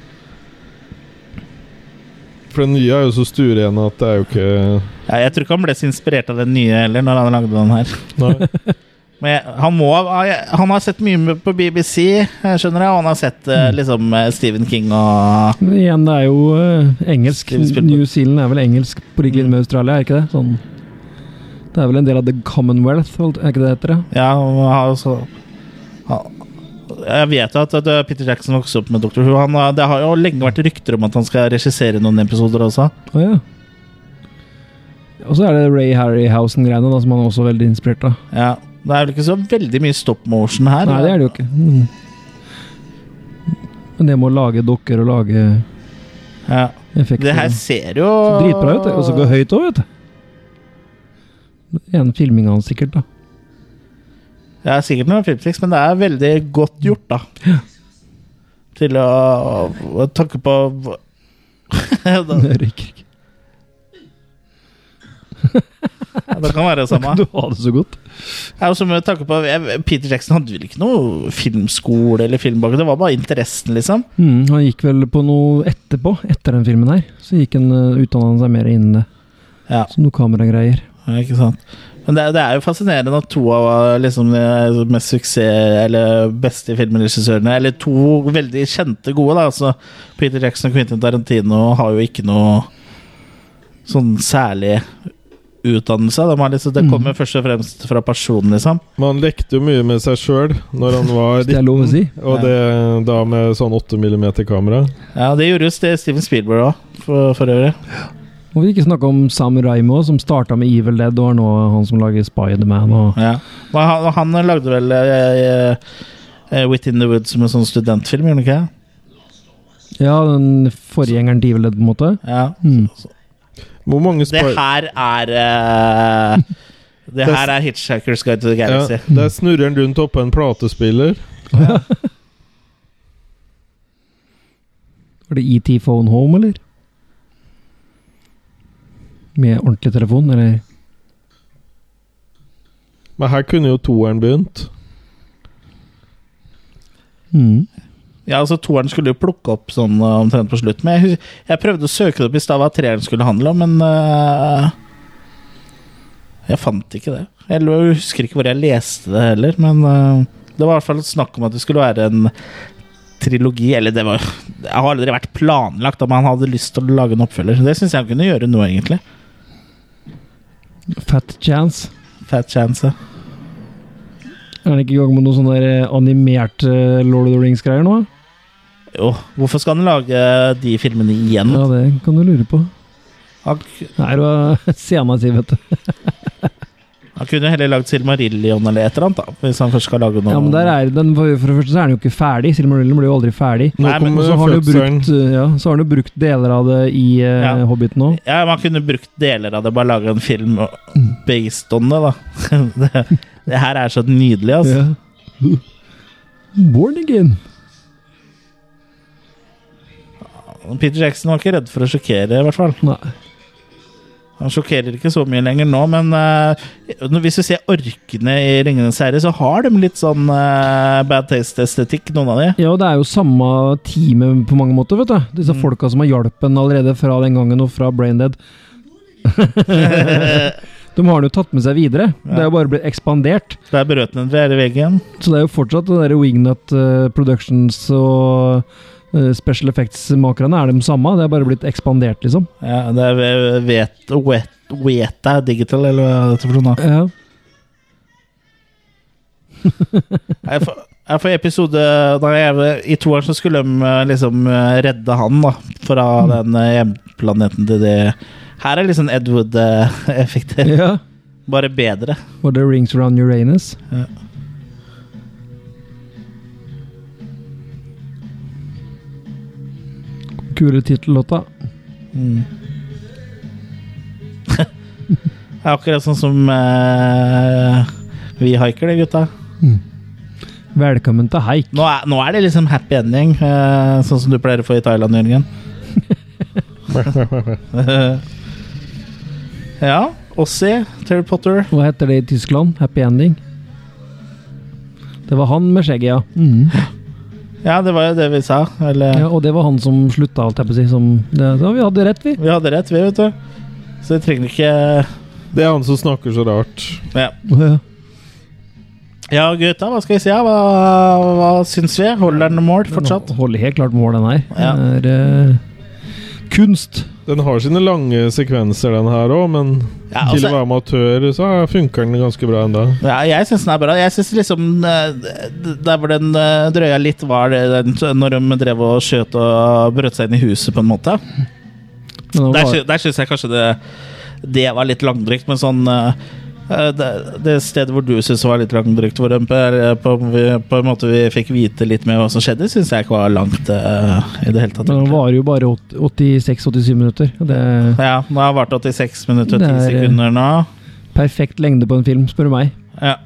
Speaker 2: For den nye er jo så stueren at det er jo ikke
Speaker 1: Ja, jeg tror ikke han ble så inspirert av den nye heller, når han lagde den her.
Speaker 2: (laughs) Nei.
Speaker 1: Men jeg, han, må, han har sett mye på BBC, jeg skjønner jeg, og han har sett
Speaker 3: Mm.
Speaker 1: eh, liksom eh, Stephen King og
Speaker 3: Men igjen, det er jo eh, engelsk.
Speaker 1: Steven Spielberg.
Speaker 3: New Zealand er vel engelsk på lik linje med Australia, er ikke det? Sånn. Det er vel en del av The Commonwealth, holdt- er ikke det det heter? det?
Speaker 1: Ja, han har også han, Jeg vet jo at, at eh, Peter Jackson vokste opp med Dr. Who. Han, har- det har jo lenge vært rykter om at han skal regissere noen episoder også.
Speaker 3: Å ja. Og så er det Ray Harryhausen-greiene, da, som han er også veldig inspirert av.
Speaker 1: Ja, det er vel ikke så veldig mye stop motion her.
Speaker 3: Nei, det er det jo ikke. Mm. Men det med å lage dokker og lage
Speaker 1: Ja.
Speaker 3: effekter
Speaker 1: Det her ser jo
Speaker 3: Så Dritbra ut, det. og så går høyt òg, vet du. Gjennom filminga hans, sikkert. da
Speaker 1: Det er sikkert noen filmtriks, men det er veldig godt gjort, da. Til å, å tanke på (laughs) da,
Speaker 3: Jeg røyker ikke.
Speaker 1: Det kan være det
Speaker 3: (laughs)
Speaker 1: samme.
Speaker 3: Du har det så godt.
Speaker 1: Det er jo som med tanke på jeg- Peter Jackson hadde vel ikke noe filmskole eller filmbakgrunn, det var bare interessen, liksom.
Speaker 3: Mm, han gikk vel på noe etterpå, etter den filmen her. Så gikk han eh, utdannet han seg mer innen det.
Speaker 1: Ja.
Speaker 3: Som noe kameragreier.
Speaker 1: Ja, Ikke sant? Men det, er- det er jo fascinerende at to av liksom, de mest suksess Eller beste filmregissørene Eller to veldig kjente gode, da. Altså, Peter Jackson og Quentin Tarantino har jo ikke noe sånn særlig utdannelse. De har liksom, det kommer først og fremst fra personen, liksom.
Speaker 2: Men han lekte jo mye med seg sjøl når han var
Speaker 3: Hvis det er lov å si.
Speaker 2: Og det da med sånn 8 mm-kamera.
Speaker 1: Ja, Det gjorde jo Ste- Steven Spielberg òg, for, for øvrig.
Speaker 3: Og vi ikke snakke om Sam Raimo, som starta med Evil Dead, og er nå han som lager Spiderman og
Speaker 1: Ja. Men han, han lagde vel eh, eh, Within the Woods som en sånn studentfilm, gjorde han ikke? det?
Speaker 3: Ja, den forgjengeren til Evil Dead, på en måte.
Speaker 1: Ja.
Speaker 3: Mm.
Speaker 2: Hvor mange
Speaker 1: Det
Speaker 2: spy-
Speaker 1: her er eh, Det her er Hitchhiker's Guide to the
Speaker 2: ja,
Speaker 1: Galaxy.
Speaker 2: Der snurrer han rundt oppå en platespiller.
Speaker 3: Var det ET Phone Home, eller? Med ordentlig telefon, eller?
Speaker 2: Men her kunne jo toeren begynt.
Speaker 3: Mm.
Speaker 1: Ja, altså Toeren skulle jo plukke opp sånn eh, omtrent på slutt. Men jeg, hus- jeg prøvde å søke det opp i stad hva treeren skulle handle om, men eh, Jeg fant ikke det. Jeg lo- husker ikke hvor jeg leste det heller, men eh, det var i hvert fall snakk om at det skulle være en trilogi. Eller det var Det har aldri vært planlagt om han hadde lyst til å lage en oppfølger. Det syns jeg han kunne gjøre nå, egentlig.
Speaker 3: Fat Chance.
Speaker 1: Fat chance. ja.
Speaker 3: Er han ikke i gang med noe sånn der eh, animert eh, Lord of the Rings-greier nå?
Speaker 1: Jo, hvorfor skal han lage de filmene igjen?
Speaker 3: Ja, det kan du lure på.
Speaker 1: Han,
Speaker 3: Nei, det (laughs) var sena si, vet du.
Speaker 1: han kunne jo heller lagd Silmarillion eller et eller annet, da. Hvis han først skal lage noe.
Speaker 3: Ja, men der er den, for, for det første så er den jo ikke ferdig. Silmarillion blir jo aldri ferdig.
Speaker 2: Nå
Speaker 1: Nei, men
Speaker 3: Og
Speaker 2: kommer
Speaker 3: så har han jo
Speaker 2: fødselen.
Speaker 3: brukt, eh, ja, så har han jo brukt deler av det i eh,
Speaker 1: Ja.
Speaker 3: Hobbiten òg.
Speaker 1: Ja, man kunne brukt deler av det, bare lage en film og- based on det, da. (laughs) det, det her er så nydelig, altså.
Speaker 3: Ja. Born again.
Speaker 1: Peter Jackson var ikke redd for å sjokkere, i hvert fall.
Speaker 3: Nei.
Speaker 1: Han sjokkerer ikke så mye lenger nå, men eh, når- hvis du ser orkene i 'Ringenes herre', så har de litt sånn eh, bad taste-estetikk, noen av de.
Speaker 3: (laughs) Ja, og det er jo samme teamet på mange måter, vet du. Disse folka som har hjulpet en allerede fra den gangen og fra Braindead. De har den jo tatt med seg videre. Det er jo bare blitt ekspandert.
Speaker 1: Der brøt den fjerde veggen.
Speaker 3: Så det er jo fortsatt det der Wingnut eh, Productions og eh, Special Effects-makerne er de samme. Det er bare blitt ekspandert, liksom.
Speaker 1: Ja, det er vet, wet, Weta Digital, eller hva det heter for noe.
Speaker 3: Ja.
Speaker 1: Nei, for, nei, for episode da jeg, I toeren så skulle de eh, liksom eh, redde han da fra den eh, hjemplaneten til de Her er liksom Ed (laughs) Wood-effekter.
Speaker 3: (laughs) ja.
Speaker 1: Bare bedre.
Speaker 3: Var det Rings Around Uranus? Kule tittellåta.
Speaker 1: (laughs) Det er akkurat sånn som eh, vi haiker, det, gutta.
Speaker 3: Velkommen til haik.
Speaker 1: Nå er, nå er det liksom happy ending, eh, sånn som du pleier å få i Thailand, Jørgen. (laughs) ja. Ossie, Terry Potter.
Speaker 3: Hva heter det i Tyskland? Happy ending? Det var han med skjegget, ja.
Speaker 1: Ja, det var jo det vi sa. Eller
Speaker 3: ja. Og det var han som slutta, holdt jeg på å si. Som det, da vi hadde rett, vi.
Speaker 1: Vi hadde rett, vi, vet du. Så vi trenger ikke
Speaker 2: Det er han som snakker så rart.
Speaker 1: Ja,
Speaker 3: Ja.
Speaker 1: ja gutta, hva skal vi si? ja? Hva, hva syns vi? Holder den mål fortsatt?
Speaker 3: Den Holder helt klart mål, den her.
Speaker 1: Ja.
Speaker 3: Det er eh, kunst.
Speaker 2: Den har sine lange sekvenser, den her òg, men
Speaker 1: Ja,
Speaker 2: til å
Speaker 1: altså,
Speaker 2: være amatør så funker den ganske bra enda.
Speaker 1: (laughs) ja, jeg syns den er bra. Jeg syns liksom eh, d- Der hvor den eh, drøya litt, var det den, når de drev og skjøt og brøt seg inn i huset, på en måte.
Speaker 3: Den var-
Speaker 1: Der, sy- der syns jeg kanskje det, det var litt langdrygt, men sånn eh, eh, det, det stedet hvor du syns var litt langdrygt, hvor de på, på, på en måte vi fikk vite litt mer hva som skjedde, syns jeg ikke var langt eh, i det hele tatt.
Speaker 3: Men den varer jo bare åt- 86-87 minutter. og Det er
Speaker 1: Ja, nå har jeg vært 86 minutter og 10
Speaker 3: Det er-
Speaker 1: sekunder nå.
Speaker 3: perfekt lengde på en film, spør du meg.
Speaker 1: Ja.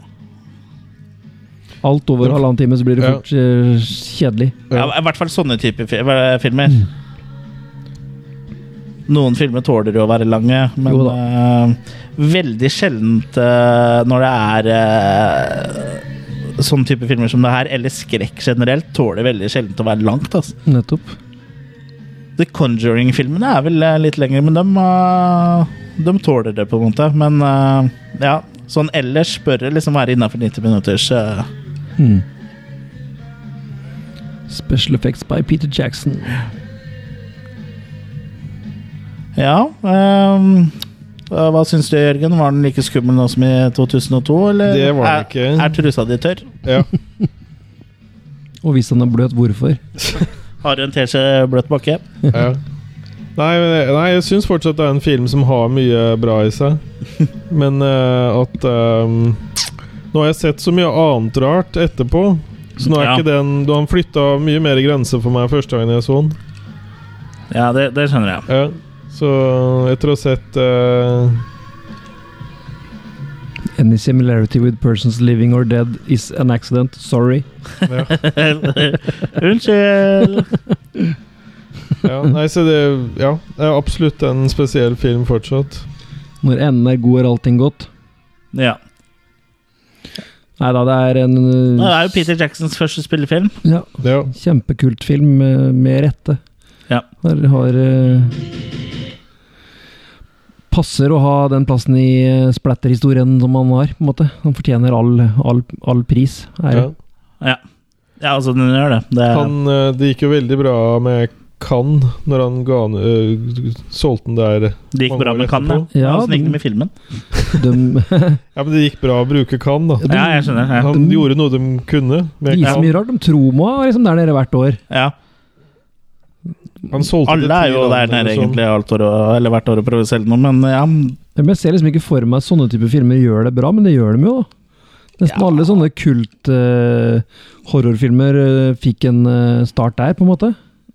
Speaker 3: Alt over halvannen time så blir det
Speaker 2: Ja.
Speaker 3: fort eh, kjedelig.
Speaker 1: Ja, I hvert fall sånne typer fi eh, filmer. Noen filmer tåler jo å være lange, men
Speaker 3: Jo da.
Speaker 1: eh, veldig sjeldent eh, når det er eh, sånne type filmer som det her, eller skrekk generelt, tåler veldig sjeldent å være langt. Altså.
Speaker 3: Nettopp.
Speaker 1: The Conjuring-filmene er vel eh, litt lengre, men de, eh, de tåler det, på en måte. Men eh, ja, sånn ellers bør det liksom være innafor 90 minutters eh,
Speaker 3: Special effects by Peter Jackson.
Speaker 1: Ja. ehm, eh, hva syns du, Jørgen? Var den like skummel nå som i 2002? Eller
Speaker 2: Det var den ikke.
Speaker 1: Er, er trusa di tørr?
Speaker 2: Ja.
Speaker 3: Og hvis han er bløt, hvorfor?
Speaker 1: Har du en teskje bløt bakke?
Speaker 2: ja. Nei, men jeg- nei, jeg syns fortsatt det er en film som har mye bra i
Speaker 1: (laughs)
Speaker 2: seg. Men eh, at ehm, Nå har jeg sett så mye annet rart etterpå. Så nå er
Speaker 1: Ja.
Speaker 2: ikke den Du har flytta mye mer grenser for meg første gangen jeg så den.
Speaker 1: Ja, det, det skjønner jeg.
Speaker 2: Ja. Så etter å ha sett eh,
Speaker 3: Any similarity with persons living or dead is an accident. Sorry.
Speaker 1: (laughs) Unnskyld!
Speaker 2: ja, Nei, så det Ja, det er absolutt en spesiell film fortsatt.
Speaker 3: Når enden er god, er allting godt.
Speaker 1: Ja.
Speaker 3: Nei da, det er en eh,
Speaker 1: Det er jo Peter Jacksons første spillefilm.
Speaker 3: ja,
Speaker 2: Ja.
Speaker 3: kjempekult film eh, med rette.
Speaker 1: Ja.
Speaker 3: Her har eh, Passer å ha den plassen i eh, splatterhistorien som han har. på en måte. Han fortjener all, all, all pris.
Speaker 2: ja.
Speaker 3: Ære.
Speaker 1: Ja. ja, altså, den gjør det. det er,
Speaker 2: Han, eh, det gikk jo veldig bra med Cannes når han ga, han- eh, solgte den der.
Speaker 1: det gikk
Speaker 2: mange
Speaker 1: bra
Speaker 2: år
Speaker 1: med Cannes,
Speaker 2: etterpå.
Speaker 1: ja.
Speaker 3: Ja,
Speaker 1: Åssen gikk det
Speaker 3: den-
Speaker 1: med filmen? (laughs)
Speaker 3: (laughs) De,
Speaker 2: Ja, men det gikk bra å bruke Cannes, da.
Speaker 1: Ja, jeg skjønner. Ja.
Speaker 2: Han gjorde noe de kunne.
Speaker 3: de
Speaker 2: Med
Speaker 3: gir så
Speaker 2: Cannes.
Speaker 3: mye rart. De Troma er liksom der nede hvert år.
Speaker 1: Ja.
Speaker 2: Han solgte det
Speaker 1: Alle er
Speaker 2: til
Speaker 1: jo der
Speaker 2: andre,
Speaker 1: nede
Speaker 2: liksom.
Speaker 1: egentlig alt år, og- eller hvert år og prøver å selge noe, men ja,
Speaker 3: Men jeg ser liksom ikke for meg at sånne typer filmer gjør det bra, men det gjør de jo. da. Nesten
Speaker 1: Ja.
Speaker 3: alle sånne kult-horrorfilmer fikk en eh, start der, på en måte.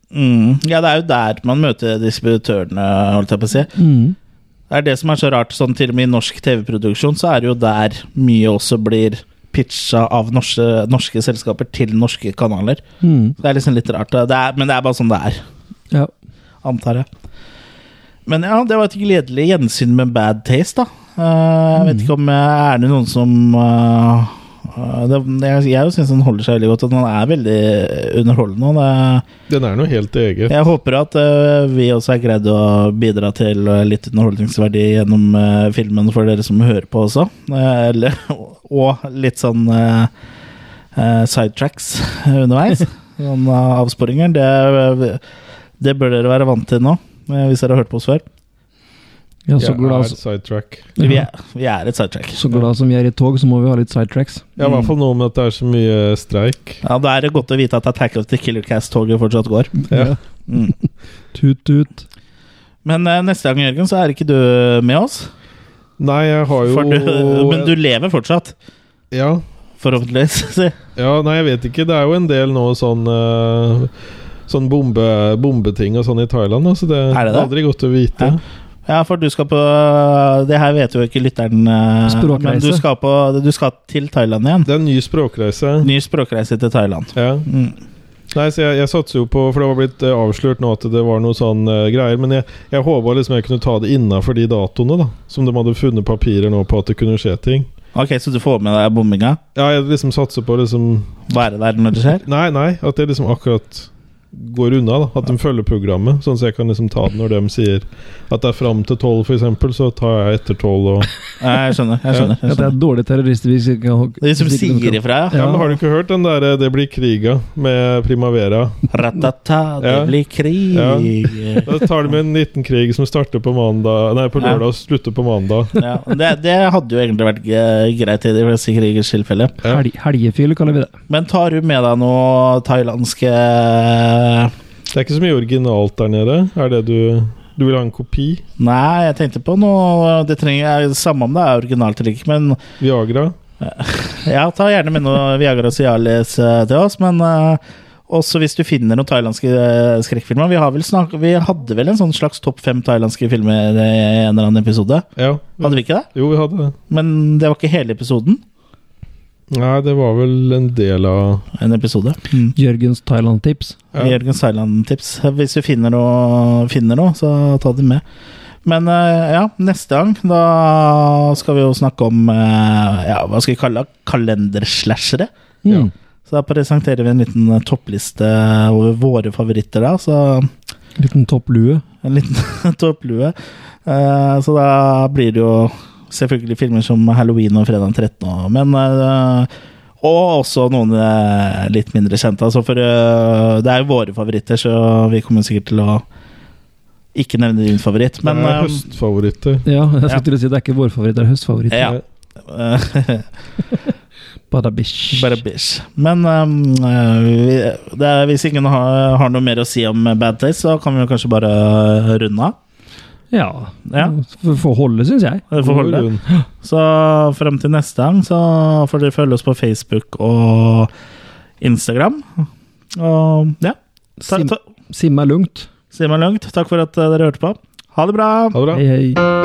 Speaker 1: Mm. Ja, det er jo der man møter distributørene, holdt jeg på å si. Det er det som er så rart, sånn til og med i norsk TV-produksjon, så er det jo der mye også blir pitcha av norske, norske selskaper til norske kanaler.
Speaker 3: Mm.
Speaker 1: Så det er liksom litt rart, det er, men det er bare sånn det er,
Speaker 3: Ja.
Speaker 1: antar jeg. Men ja, det var et gledelig gjensyn med bad taste, da. Eh, Jeg vet ikke om eh, er det noen som eh, Eh, Det, jeg jeg syns den holder seg veldig godt, og den er veldig underholdende. og det
Speaker 2: Den er noe helt eget.
Speaker 1: Jeg håper at eh, vi også har greid å bidra til eh, litt underholdningsverdi gjennom eh, filmen for dere som hører på også. Eh, eller, (laughs) og litt sånn eh, eh, sidetracks (laughs) underveis. Sånn eh, avsporinger. Det, det bør dere være vant til nå, eh, hvis dere har hørt på oss før.
Speaker 7: Jeg er
Speaker 2: Jeg
Speaker 7: så glad,
Speaker 3: altså.
Speaker 2: er sidetrack.
Speaker 1: Vi er, vi er et sidetrack.
Speaker 7: så glad som vi er i tog, så må vi ha litt sidetracks.
Speaker 2: Ja, I hvert fall noe med at det er så mye streik.
Speaker 1: Ja, Da er det godt å vite at Attack of the Killer Cast-toget fortsatt går.
Speaker 2: Ja.
Speaker 1: Mm.
Speaker 7: Tut-tut.
Speaker 1: Men eh, neste gang, Jørgen, så er ikke du med oss.
Speaker 2: Nei, jeg har jo
Speaker 1: For du, men du lever fortsatt,
Speaker 2: ja.
Speaker 1: forhåpentligvis. (laughs)
Speaker 2: ja, nei, jeg vet ikke. Det er jo en del nå sånn eh, Sånn bombe, bombeting og sånn i Thailand, da, så det
Speaker 1: Er det det?
Speaker 2: aldri godt å vite.
Speaker 1: Ja. Ja, for du skal på Det her vet jo ikke lytteren, eh,
Speaker 7: Språkreise.
Speaker 1: men du skal, på, du skal til Thailand igjen.
Speaker 2: Det er en ny språkreise.
Speaker 1: Ny språkreise til Thailand.
Speaker 2: Ja.
Speaker 1: Mm.
Speaker 2: Nei, så jeg, jeg satser jo på For det var blitt eh, avslørt nå at det var noe sånn eh, greier. Men jeg, jeg håpa liksom jeg kunne ta det innafor de datoene, da. Som de hadde funnet papirer nå på at det kunne skje ting.
Speaker 1: Ok, så du får med deg bombinga?
Speaker 2: Ja, jeg liksom satser på liksom
Speaker 1: Være der når det skjer?
Speaker 2: Nei, nei. At det liksom akkurat går unna. da At de følger programmet. Sånn så jeg kan liksom ta det når de sier at det er fram til tolv, f.eks. Så tar jeg etter tolv og
Speaker 1: Ja, Jeg skjønner. jeg
Speaker 7: Ja,
Speaker 1: skjønner, jeg
Speaker 7: det er
Speaker 1: skjønner.
Speaker 7: dårlige terrorister hvis ikke kan
Speaker 1: De som sier ifra, ja.
Speaker 2: Ja, men har du ikke hørt den derre 'Det blir kriga' med Primavera?
Speaker 1: Ratata, det
Speaker 2: Ja.
Speaker 1: blir krig. Ja. (laughs)
Speaker 2: Da tar de en liten krig som starter på mandag Nei, på
Speaker 1: Ja.
Speaker 2: lørdag og slutter på mandag.
Speaker 1: det, det hadde jo egentlig vært eh, greit i de fleste krigers tilfelle.
Speaker 7: Hel helgefyll, kaller vi det.
Speaker 1: Men tar du med deg noe thailandske eh,
Speaker 2: Det er ikke så mye originalt der nede. Er det du Du vil ha en kopi?
Speaker 1: Nei, jeg tenkte på noe Det trenger Samme om det er originalt eller ikke, men
Speaker 2: Viagra?
Speaker 1: Ja, ta gjerne med noe Viagra Cialis eh, til oss, men eh, også hvis du finner noen thailandske eh, skrekkfilmer. Vi, har vel snak vi hadde vel en sånn slags topp fem thailandske filmer i en eller annen episode?
Speaker 2: Ja.
Speaker 1: Hadde vi ikke det?
Speaker 2: Jo, vi hadde det.
Speaker 1: Men det var ikke hele episoden.
Speaker 2: Nei, det var vel en del av
Speaker 1: En episode. Mm.
Speaker 7: Jørgens Thailand-tips.
Speaker 2: Ja.
Speaker 1: Jørgens Thailand-tips. Hvis du finner noe, finner noe, så ta det med. Men eh, ja, neste gang da skal vi jo snakke om eh, ja, hva skal vi kalle det? kalenderslashere.
Speaker 2: Ja.
Speaker 7: Mm.
Speaker 1: Så da presenterer vi en liten eh, toppliste over våre favoritter da, så
Speaker 7: Liten topplue.
Speaker 1: en liten (laughs) topplue. Eh, så da blir det jo selvfølgelig filmer som Halloween og Fredag den 13. og- Men, eh, og også noen eh, litt mindre kjente. Altså for eh, det er jo våre favoritter, så vi kommer sikkert til å ikke nevne din favoritt. Men
Speaker 2: det er
Speaker 1: eh,
Speaker 2: høstfavoritter.
Speaker 7: Ja, jeg
Speaker 1: Ja.
Speaker 7: skulle til å si det er ikke vår favoritt, det er høstfavoritt.
Speaker 1: ja. (laughs) Eh,
Speaker 7: Bada bish.
Speaker 1: Bare bitch. Men um, eh, vi- det er, hvis ingen har, har noe mer å si om Bad Taste, så kan vi jo kanskje bare eh, runde av.
Speaker 7: Ja.
Speaker 1: Ja.
Speaker 7: For, for holde, syns jeg.
Speaker 1: Det får holde.
Speaker 2: Rund.
Speaker 1: Så frem til neste gang så får dere følge oss på Facebook og Instagram. Og ja, ta,
Speaker 7: Sim-
Speaker 1: ta,
Speaker 7: Simme er lungt.
Speaker 1: si meg langt. Takk for at eh, dere hørte på. Ha det bra!
Speaker 2: Ha det bra.
Speaker 7: Hei, hei.